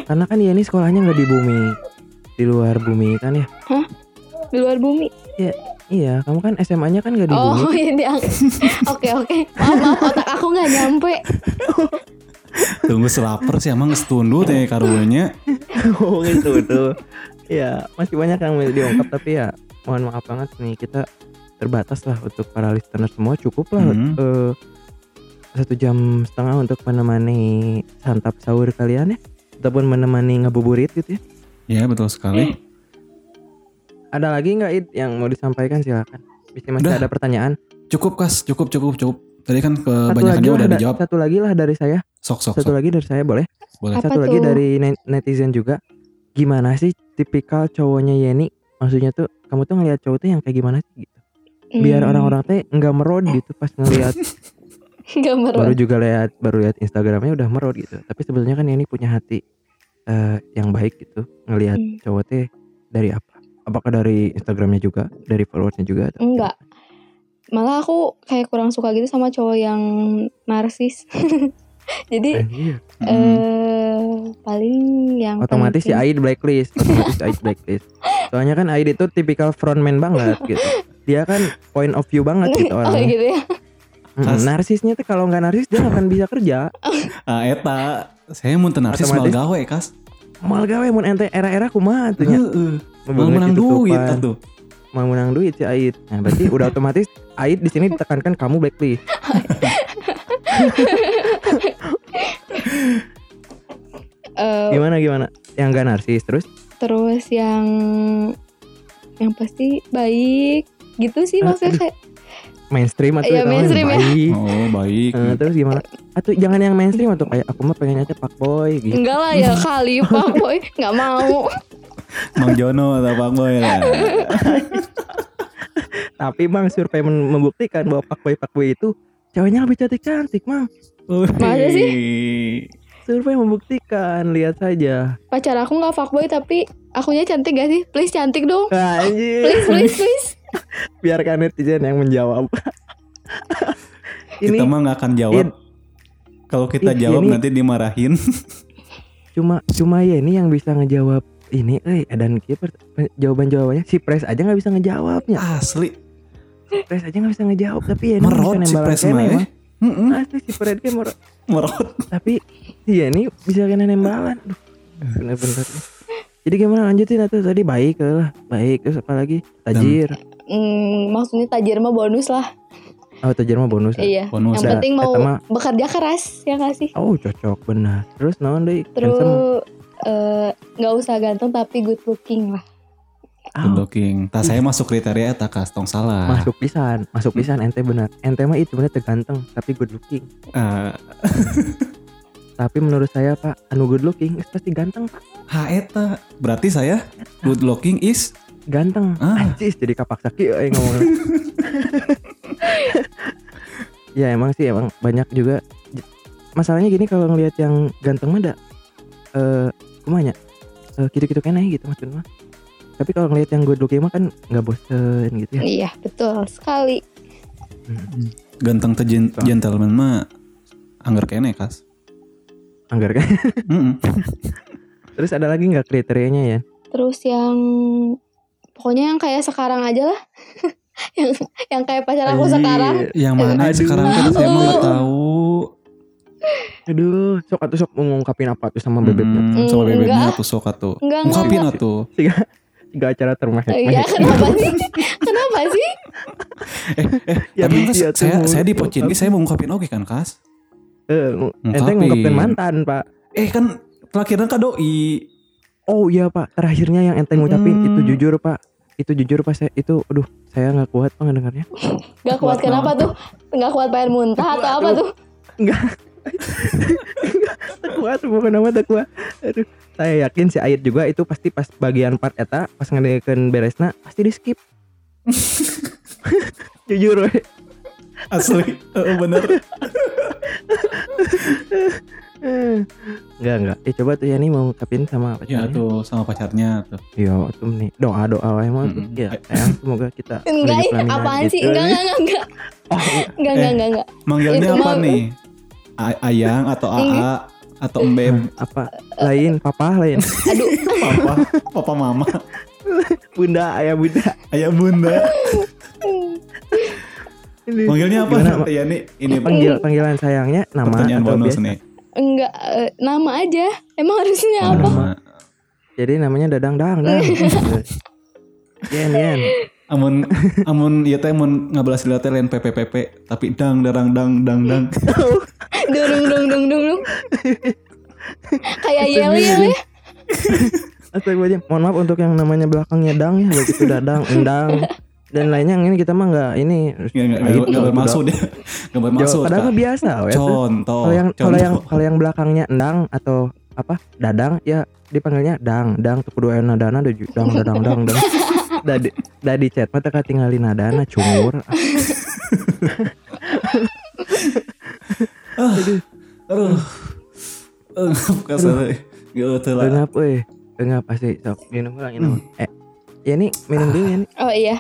Speaker 1: karena kan Yeni sekolahnya nggak di bumi di luar bumi kan ya
Speaker 3: Di luar bumi.
Speaker 1: iya kamu kan SMA-nya kan nggak di bumi
Speaker 3: Oh iya dia. Oke oke. Maaf maaf otak aku nggak nyampe.
Speaker 2: Tunggu selaper sih emang setundu teh karunya.
Speaker 1: Oh gitu tuh. ya masih banyak yang mau diungkap tapi ya mohon maaf banget nih kita terbatas lah untuk para listener semua cukup lah
Speaker 2: Hmm.
Speaker 1: eh, satu jam setengah untuk menemani santap sahur kalian ya ataupun menemani ngabuburit gitu ya.
Speaker 2: Ya, betul sekali.
Speaker 1: Ada lagi nggak Id yang mau disampaikan silakan. Bisa masih
Speaker 2: Udah.
Speaker 1: ada pertanyaan.
Speaker 2: Cukup Kas, cukup cukup cukup. Tadi kan
Speaker 1: Satu lagi,
Speaker 2: kebanyakannya
Speaker 1: lah
Speaker 2: udah
Speaker 1: da-
Speaker 2: dijawab.
Speaker 1: satu lagi lah dari saya.
Speaker 2: Sok sok.
Speaker 1: Satu
Speaker 2: sok.
Speaker 1: lagi dari saya boleh.
Speaker 2: Boleh.
Speaker 3: Apa
Speaker 1: satu lagi
Speaker 3: tuh?
Speaker 1: dari net- netizen juga. Gimana sih tipikal cowoknya Yeni? Maksudnya tuh kamu tuh ngelihat cowok tuh yang kayak gimana sih gitu.
Speaker 3: Hmm,
Speaker 1: biar orang-orang teh nggak merod gitu pas ngelihat
Speaker 3: nggak merem.
Speaker 1: baru juga lihat baru lihat Instagramnya udah merod gitu tapi sebetulnya kan ini punya hati eh, yang baik gitu ngelihat
Speaker 3: Hmm.
Speaker 1: cowok teh dari apa apakah dari Instagramnya juga dari followersnya juga atau-
Speaker 3: Enggak. Malah aku kayak kurang suka gitu sama cowok yang narsis. Jadi
Speaker 1: Eh, hmm. iya.
Speaker 3: eh paling yang
Speaker 1: otomatis si
Speaker 3: penting-
Speaker 1: ya Aid blacklist otomatis si Aid blacklist Soalnya kan Aid itu tipikal frontman banget gitu. Dia kan point of view banget gitu
Speaker 3: oh
Speaker 1: orangnya.
Speaker 3: gitu ya
Speaker 1: Mm, narsisnya tuh kalau nggak narsis dia nggak akan bisa kerja.
Speaker 2: Ah, eta saya mau narsis mal
Speaker 1: Otomatis.
Speaker 2: gawe kas.
Speaker 1: Mal gawe mun ente era-era kumaha tuh nya.
Speaker 2: Heeh.
Speaker 1: Mau
Speaker 2: Iya, Mau menang duit
Speaker 1: tutupan.
Speaker 2: tuh.
Speaker 1: Mau menang duit si Aid. Nah, berarti udah otomatis Aid di sini ditekankan kamu blacklist.
Speaker 3: Eh,
Speaker 1: Gimana gimana? Yang nggak narsis terus
Speaker 3: terus yang yang pasti baik gitu sih maksudnya kayak
Speaker 1: mainstream atau
Speaker 3: Iya, mainstream ya.
Speaker 1: baik.
Speaker 2: Oh, baik.
Speaker 1: Eh, terus gimana? Atau jangan yang mainstream atau kayak aku mah pengennya aja pak boy gitu.
Speaker 3: enggak lah ya kali pak boy nggak mau
Speaker 2: Mang Jono atau Bang Boy lah.
Speaker 1: Tapi Mang survei men- membuktikan bahwa pak boy pak boy itu ceweknya lebih cantik cantik Mang.
Speaker 3: Masa sih?
Speaker 1: Survei membuktikan, lihat saja.
Speaker 3: pacar aku nggak fuckboy tapi akunya cantik gak sih please cantik dong please
Speaker 1: Anjir,
Speaker 3: please please
Speaker 1: biarkan netizen yang menjawab.
Speaker 2: Kita
Speaker 1: Ini
Speaker 2: mah nggak akan jawab.
Speaker 1: Ini-
Speaker 2: Kalau kita
Speaker 1: Ini-
Speaker 2: jawab
Speaker 1: ini-
Speaker 2: nanti dimarahin.
Speaker 1: cuma cuma ya ini yang bisa ngejawab ini eh dan kiper jawaban jawabannya si Pres aja nggak bisa ngejawabnya.
Speaker 2: Asli.
Speaker 1: Pres aja nggak bisa ngejawab tapi ya ini bisa
Speaker 2: Merot si
Speaker 1: nembak
Speaker 2: Pres
Speaker 1: kene,
Speaker 2: mah. eh.
Speaker 1: Mang.
Speaker 2: Mm-mm,
Speaker 1: Asli si Pres dia merot.
Speaker 2: Merot.
Speaker 1: tapi iya nih bisa kena nembalan aduh bener-bener jadi gimana lanjutin atau tadi baik lah baik terus apa lagi tajir
Speaker 3: Hmm, maksudnya tajir mah bonus lah
Speaker 1: oh tajir mah bonus ya.
Speaker 3: iya
Speaker 2: Bonus.
Speaker 3: yang
Speaker 1: Udah,
Speaker 3: penting mau
Speaker 1: eta mah.
Speaker 3: bekerja keras ya nggak sih
Speaker 1: oh cocok benar terus naon deh handsome
Speaker 3: terus eh, nggak usah ganteng tapi good looking lah
Speaker 1: Ah,
Speaker 2: Blocking. Tah saya masuk kriteria eta kas tong salah.
Speaker 1: masuk pisan masuk pisan
Speaker 3: Hmm.
Speaker 1: ente benar ente mah itu benar terganteng tapi good looking
Speaker 2: Ah,
Speaker 1: tapi menurut saya pak anu good looking pasti ganteng Pak.
Speaker 2: ha eta. Berarti saya good looking is
Speaker 1: ganteng
Speaker 2: Ah.
Speaker 1: anjis jadi kapaksa kieu euy ngomongnya ya emang sih emang banyak juga J- masalahnya gini kalau ngelihat yang ganteng mah da eh kumanya eh, gitu-gitu kena gitu maksudnya tapi kalau ngelihat yang good looking mah kan nggak bosen gitu ya
Speaker 3: iya betul sekali
Speaker 2: ganteng teh gen- gentleman mah anggar kene kas.
Speaker 1: anggar kan
Speaker 2: Mm-mm.
Speaker 1: terus ada lagi nggak kriterianya ya
Speaker 3: terus yang pokoknya yang kayak sekarang aja lah yang yang kayak pacar aku
Speaker 1: Anjir.
Speaker 3: sekarang
Speaker 2: Yang mana
Speaker 1: Aduh.
Speaker 2: sekarang kita saya mau nggak tahu.
Speaker 1: aduh sok atau sok mengungkapin apa tuh sama bebeknya
Speaker 2: Hmm, sama
Speaker 3: Mm,
Speaker 2: bebeknya
Speaker 3: enggak.
Speaker 2: tuh sok atuh.
Speaker 3: enggak enggak
Speaker 2: Ungkapin atuh.
Speaker 1: tiga acara termahek
Speaker 3: Iya, kenapa sih? kenapa sih?
Speaker 2: Tapi kan
Speaker 1: iya tuh
Speaker 2: saya
Speaker 1: mau-
Speaker 2: saya di pocin ge, saya mau ngungkapin oke kan kas.
Speaker 1: Eh, ente
Speaker 2: Ngungkapin.
Speaker 1: ngungkapin mantan pak
Speaker 2: Eh kan terakhirnya ka doi.
Speaker 1: Oh iya pak, terakhirnya yang ente ngucapin
Speaker 2: Hmm.
Speaker 1: itu jujur pak, itu jujur pak saya itu, aduh saya nggak kuat pak ngedengarnya.
Speaker 3: Gak kuat
Speaker 2: Kuat
Speaker 3: kenapa tuh? Gak kuat pengen muntah atau apa
Speaker 1: Waduh.
Speaker 3: tuh?
Speaker 1: Tak kuat bukan nama tak kuat. Aduh, saya yakin si Ayat juga itu pasti pas bagian part eta pas ngedengerin beresna pasti di skip. jujur, we.
Speaker 2: Asli. Heeh, bener.
Speaker 1: Eh, nggak nggak. Eh coba tuh Yani mau ngucapin sama
Speaker 2: Ya
Speaker 1: pacarnya.
Speaker 2: tuh sama pacarnya tuh.
Speaker 1: Iya tuh nih doa doa wae mah tuh.
Speaker 2: Mm-mm.
Speaker 1: Ya sayang semoga kita
Speaker 3: Enggak,
Speaker 1: menuju pelaminan
Speaker 3: apaan sih?
Speaker 1: gitu.
Speaker 3: Enggak, enggak, enggak, enggak.
Speaker 1: Oh,
Speaker 3: Enggak, enggak, enggak, enggak.
Speaker 2: Manggilnya
Speaker 3: Itu
Speaker 2: apa
Speaker 3: mah-
Speaker 2: nih? A- Ayang atau AA atau Embem?
Speaker 1: apa lain papa lain
Speaker 3: Aduh,
Speaker 2: Papa, papa mama,
Speaker 1: bunda ayah bunda
Speaker 2: ayah bunda. Manggilnya apa?
Speaker 1: Gimana,
Speaker 2: Gimana,
Speaker 1: Mak?
Speaker 2: ya nih, ini
Speaker 1: panggil
Speaker 3: Iya.
Speaker 1: panggilan sayangnya nama
Speaker 2: pertanyaan
Speaker 1: atau
Speaker 2: bonus
Speaker 1: biasa?
Speaker 2: nih.
Speaker 3: enggak. eh, nama aja. Emang harusnya apa?
Speaker 2: Nama.
Speaker 1: Jadi namanya Dadang Dang. Dang.
Speaker 3: Iya.
Speaker 1: Gitu. yen Yen.
Speaker 2: Amun amun ieu teh mun ngabelas lihat teh lain PPPP tapi dang darang dang dang dang.
Speaker 3: Durung, durung, durung, durung, durung. Kayak yel yel ya.
Speaker 1: Astagfirullahaladzim. Mohon maaf untuk yang namanya belakangnya Dang ya, begitu Dadang, Endang dan lainnya yang ini kita mah nggak ini.
Speaker 2: Enggak enggak
Speaker 1: Aib,
Speaker 2: enggak
Speaker 1: udah.
Speaker 2: bermaksud ya. Enggak bermaksud.
Speaker 1: Jawab- Padahal mah
Speaker 2: Kak.
Speaker 1: biasa. we.
Speaker 2: Contoh.
Speaker 1: Kalau yang kalau yang
Speaker 2: contoh.
Speaker 1: kalau yang belakangnya Endang atau apa Dadang ya dipanggilnya Dang, Dang tuh kudu aya nadana deui. Dang Dadang Dang Dang. Dadi dadi chat mah teu katinggalin nadana cungur.
Speaker 2: Ah, aduh. Eh, kasar. Enggak tahu Gitu lah.
Speaker 1: Engap euy. Engap pasti sok minum ulang minum. Eh, ya nih minum dulu ya nih.
Speaker 3: Oh iya.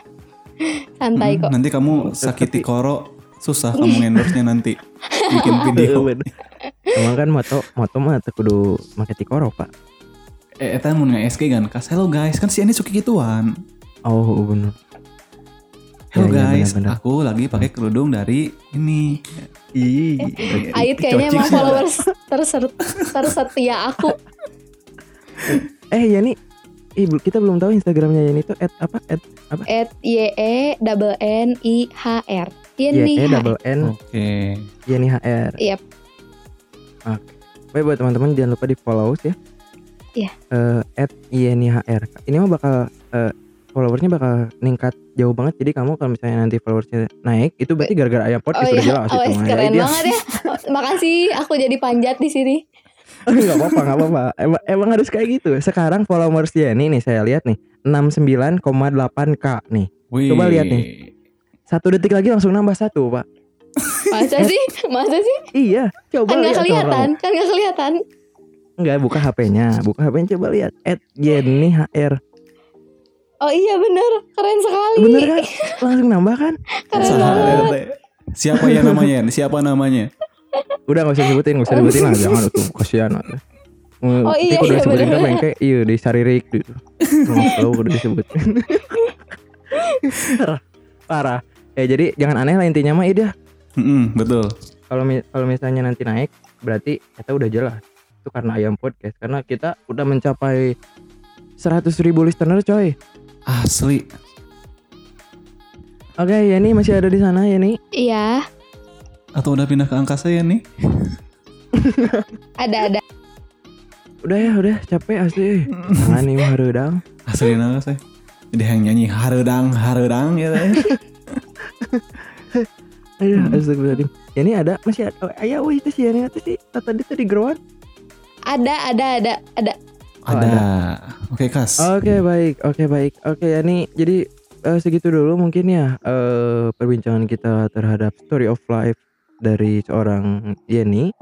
Speaker 3: Santai
Speaker 2: Hmm,
Speaker 3: kok.
Speaker 2: Nanti kamu sakiti koro susah kamu endorse-nya nanti bikin video.
Speaker 1: Emang kan moto moto mah teu kudu make tikoro, Pak.
Speaker 2: eh eta mun SG kan kas hello guys kan si ini suki gituan
Speaker 1: Oh bener.
Speaker 2: hello
Speaker 1: Ya, iya,
Speaker 2: guys
Speaker 1: benar-benar.
Speaker 2: aku lagi pakai kerudung dari ini
Speaker 1: Ih,
Speaker 3: Ait Eh, kayaknya emang followers terser- tersetia aku.
Speaker 1: eh Yani, ih, bel- kita belum tahu Instagramnya Yani itu at apa? At
Speaker 3: At Y E double N I H R.
Speaker 1: Y
Speaker 3: Yeni
Speaker 1: E
Speaker 3: H.
Speaker 1: double N
Speaker 2: oke
Speaker 1: Yani HR.
Speaker 3: Yep.
Speaker 1: Oke. Baik buat teman-teman jangan lupa di follow ya.
Speaker 3: Iya.
Speaker 1: Eh, At Yani HR. Ini mah bakal eh, followersnya bakal ningkat jauh banget. Jadi kamu kalau misalnya nanti followersnya naik, itu berarti gara-gara ayam pot
Speaker 3: Oh
Speaker 1: udah
Speaker 3: iya,
Speaker 1: jelas
Speaker 3: oh,
Speaker 1: itu mah. Ya,
Speaker 3: keren
Speaker 1: dia-
Speaker 3: banget ya. Makasih aku jadi panjat di sini.
Speaker 1: Enggak apa-apa, enggak apa-apa. Emang, emang harus kayak gitu. Sekarang followers dia nih nih saya lihat nih 69,8k nih.
Speaker 2: Wih.
Speaker 1: Coba lihat nih. Satu detik lagi langsung nambah satu, Pak.
Speaker 3: Masa sih? Masa sih?
Speaker 1: Iya, Eh, coba
Speaker 3: Kan nggak
Speaker 1: lihat
Speaker 3: kelihatan,
Speaker 1: orang.
Speaker 3: kan nggak kelihatan.
Speaker 1: Enggak, buka HP-nya. Buka HP-nya coba lihat. At Jenny HR.
Speaker 3: Oh iya bener, keren sekali.
Speaker 1: Bener kan? Langsung nambah kan?
Speaker 3: Keren
Speaker 2: Saha,
Speaker 3: banget.
Speaker 2: teh. siapa ya namanya siapa namanya
Speaker 1: Udah gak usah disebutin, gak usah disebutin lah. Jangan tuh, kasihan. atuh.
Speaker 3: Oh
Speaker 1: Nanti
Speaker 3: iya,
Speaker 1: kudu
Speaker 3: iya,
Speaker 1: disebutin
Speaker 3: bener.
Speaker 1: kan bengke, iya di saririk gitu. Kalau kudu disebutin. Parah, Parah. Ya jadi jangan aneh lah intinya mah iya
Speaker 2: Mm-mm, betul
Speaker 1: kalau mi- kalau misalnya nanti naik berarti kita udah jelas itu karena ayam podcast karena kita udah mencapai 100.000 ribu listener coy
Speaker 2: asli
Speaker 1: oke Yani masih ada di sana ya Yani
Speaker 3: Iya,
Speaker 2: atau udah pindah ke angkasa ya nih
Speaker 3: ada ada.
Speaker 1: udah ya udah capek asli jangan nih harudang
Speaker 2: asli nama saya jadi yang nyanyi haredang haredang ya teh
Speaker 1: aduh astagfirullahaladzim Yani ada masih ada oh, ayah wih itu si Yani itu si tadi tadi gerowan
Speaker 3: Ada ada ada ada.
Speaker 1: Oh,
Speaker 2: ada oke kas
Speaker 1: oke baik oke baik oke Yani jadi eh, segitu dulu mungkin ya eh, perbincangan kita terhadap story of life dari seorang Yani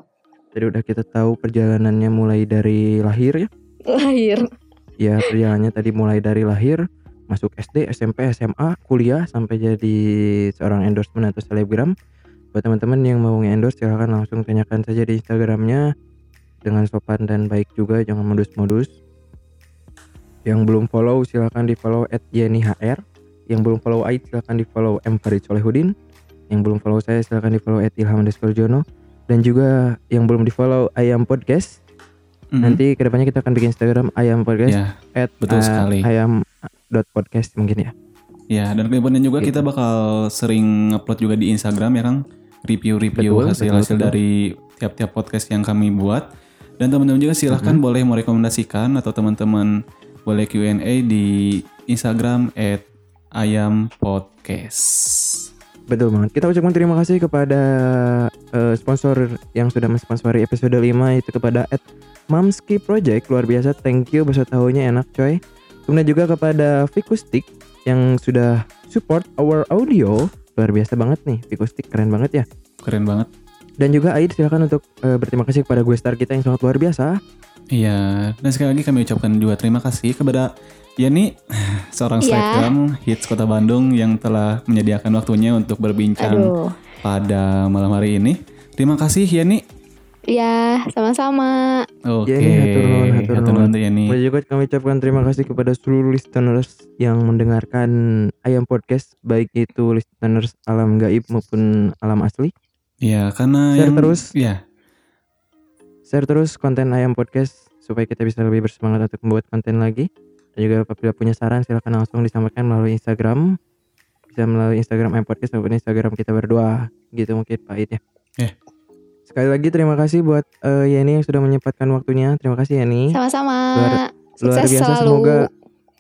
Speaker 1: jadi udah kita tahu perjalanannya mulai dari lahir ya
Speaker 3: Lahir.
Speaker 1: ya perjalanannya tadi mulai dari lahir masuk SD, SMP, SMA, kuliah sampai jadi seorang endorsement atau selebgram. Buat teman-teman yang mau nge-endorse silahkan langsung tanyakan saja di Instagramnya dengan sopan dan baik juga jangan modus-modus. Yang belum follow silahkan di follow @yenihr. Yang belum follow Ait silahkan di follow M Farid Solehudin. Yang belum follow saya silahkan di follow @ilham_jono dan juga yang belum di follow Ayam Podcast
Speaker 2: Mm-mm.
Speaker 1: nanti kedepannya kita akan bikin Instagram Ayam Podcast
Speaker 2: ya
Speaker 1: at
Speaker 2: Betul
Speaker 1: uh,
Speaker 2: sekali.
Speaker 1: ayam dot podcast mungkin ya
Speaker 2: Ya, dan kemudian juga
Speaker 1: Gitu.
Speaker 2: kita bakal sering upload juga di Instagram ya Kang review-review
Speaker 1: Betul,
Speaker 2: hasil-hasil
Speaker 1: betul, betul.
Speaker 2: dari tiap-tiap podcast yang kami buat. Dan teman-teman juga silahkan
Speaker 1: Mm-hmm.
Speaker 2: boleh merekomendasikan atau teman-teman boleh Q&A di Instagram at ayam podcast.
Speaker 1: betul banget kita ucapkan terima kasih kepada eh, sponsor yang sudah mensponsori episode 5 itu kepada at Mamski Project luar biasa thank you bakso tahunya enak coy kemudian juga kepada Fikustik yang sudah support our audio luar biasa banget nih Fikustik keren banget ya
Speaker 2: Keren banget.
Speaker 1: dan juga Aid silakan untuk eh, berterima kasih kepada gue star kita yang sangat luar biasa
Speaker 2: Iya, dan sekali lagi kami ucapkan juga terima kasih kepada Yani, seorang
Speaker 3: Iya.
Speaker 2: selebgram hits kota Bandung yang telah menyediakan waktunya untuk berbincang
Speaker 3: Aduh.
Speaker 2: pada malam hari ini. Terima kasih Yani.
Speaker 3: Ya, sama-sama.
Speaker 2: Oke.
Speaker 1: Jenny, Iya, hatur nuhun, hatur
Speaker 2: Hatur nuhun tuh Jenny.
Speaker 1: Dan juga kami ucapkan terima kasih kepada seluruh listeners yang mendengarkan Ayam Podcast baik itu listeners alam gaib maupun alam asli.
Speaker 2: Ya, karena
Speaker 1: Share
Speaker 2: yang
Speaker 1: terus.
Speaker 2: Ya,
Speaker 1: Share terus konten Ayam Podcast supaya kita bisa lebih bersemangat untuk membuat konten lagi. Dan juga apabila punya saran silahkan langsung disampaikan melalui Instagram. Bisa melalui Instagram Ayam Podcast maupun Instagram kita berdua. Gitu mungkin Pak Id ya.
Speaker 2: Eh.
Speaker 1: Sekali lagi terima kasih buat eh, Yeni yang sudah menyempatkan waktunya. Terima kasih Yeni.
Speaker 3: Sama-sama.
Speaker 1: Luar- luar
Speaker 3: Sukses
Speaker 1: biasa
Speaker 3: selalu.
Speaker 1: semoga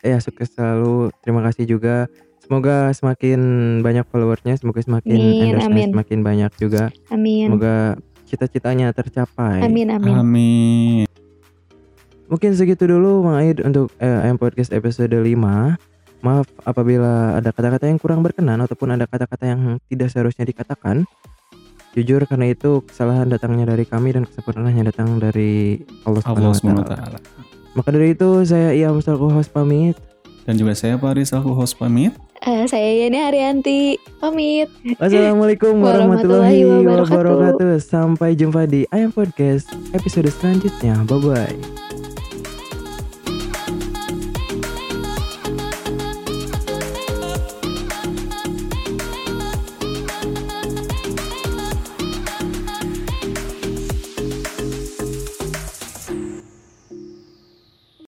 Speaker 1: ya sukses selalu terima kasih juga semoga semakin banyak followersnya semoga semakin
Speaker 3: Amin,
Speaker 1: endorse-nya
Speaker 3: amin.
Speaker 1: semakin banyak juga
Speaker 3: Amin.
Speaker 1: semoga cita-citanya tercapai
Speaker 3: Amin, amin.
Speaker 1: Hmm.
Speaker 2: amin.
Speaker 1: mungkin segitu dulu Mang Aid untuk eh, AM Podcast episode 5 maaf apabila ada kata-kata yang kurang berkenan ataupun ada kata-kata yang tidak seharusnya dikatakan jujur karena itu kesalahan datangnya dari kami dan kesempurnaannya datang dari Allah
Speaker 2: Allah
Speaker 1: Subhanahu wa
Speaker 2: Subhanahu wa
Speaker 1: taala.
Speaker 2: taala.
Speaker 1: Maka dari itu saya Ia Mustafa host pamit
Speaker 2: Dan juga saya Paris selaku host pamit.
Speaker 3: Eh, saya Yeni Arianti. Pamit.
Speaker 1: Wassalamualaikum warahmatullahi
Speaker 3: Warahmatullahi
Speaker 1: wabarakatuh.
Speaker 3: wabarakatuh.
Speaker 1: Sampai jumpa di Ayam Podcast episode selanjutnya. Bye bye.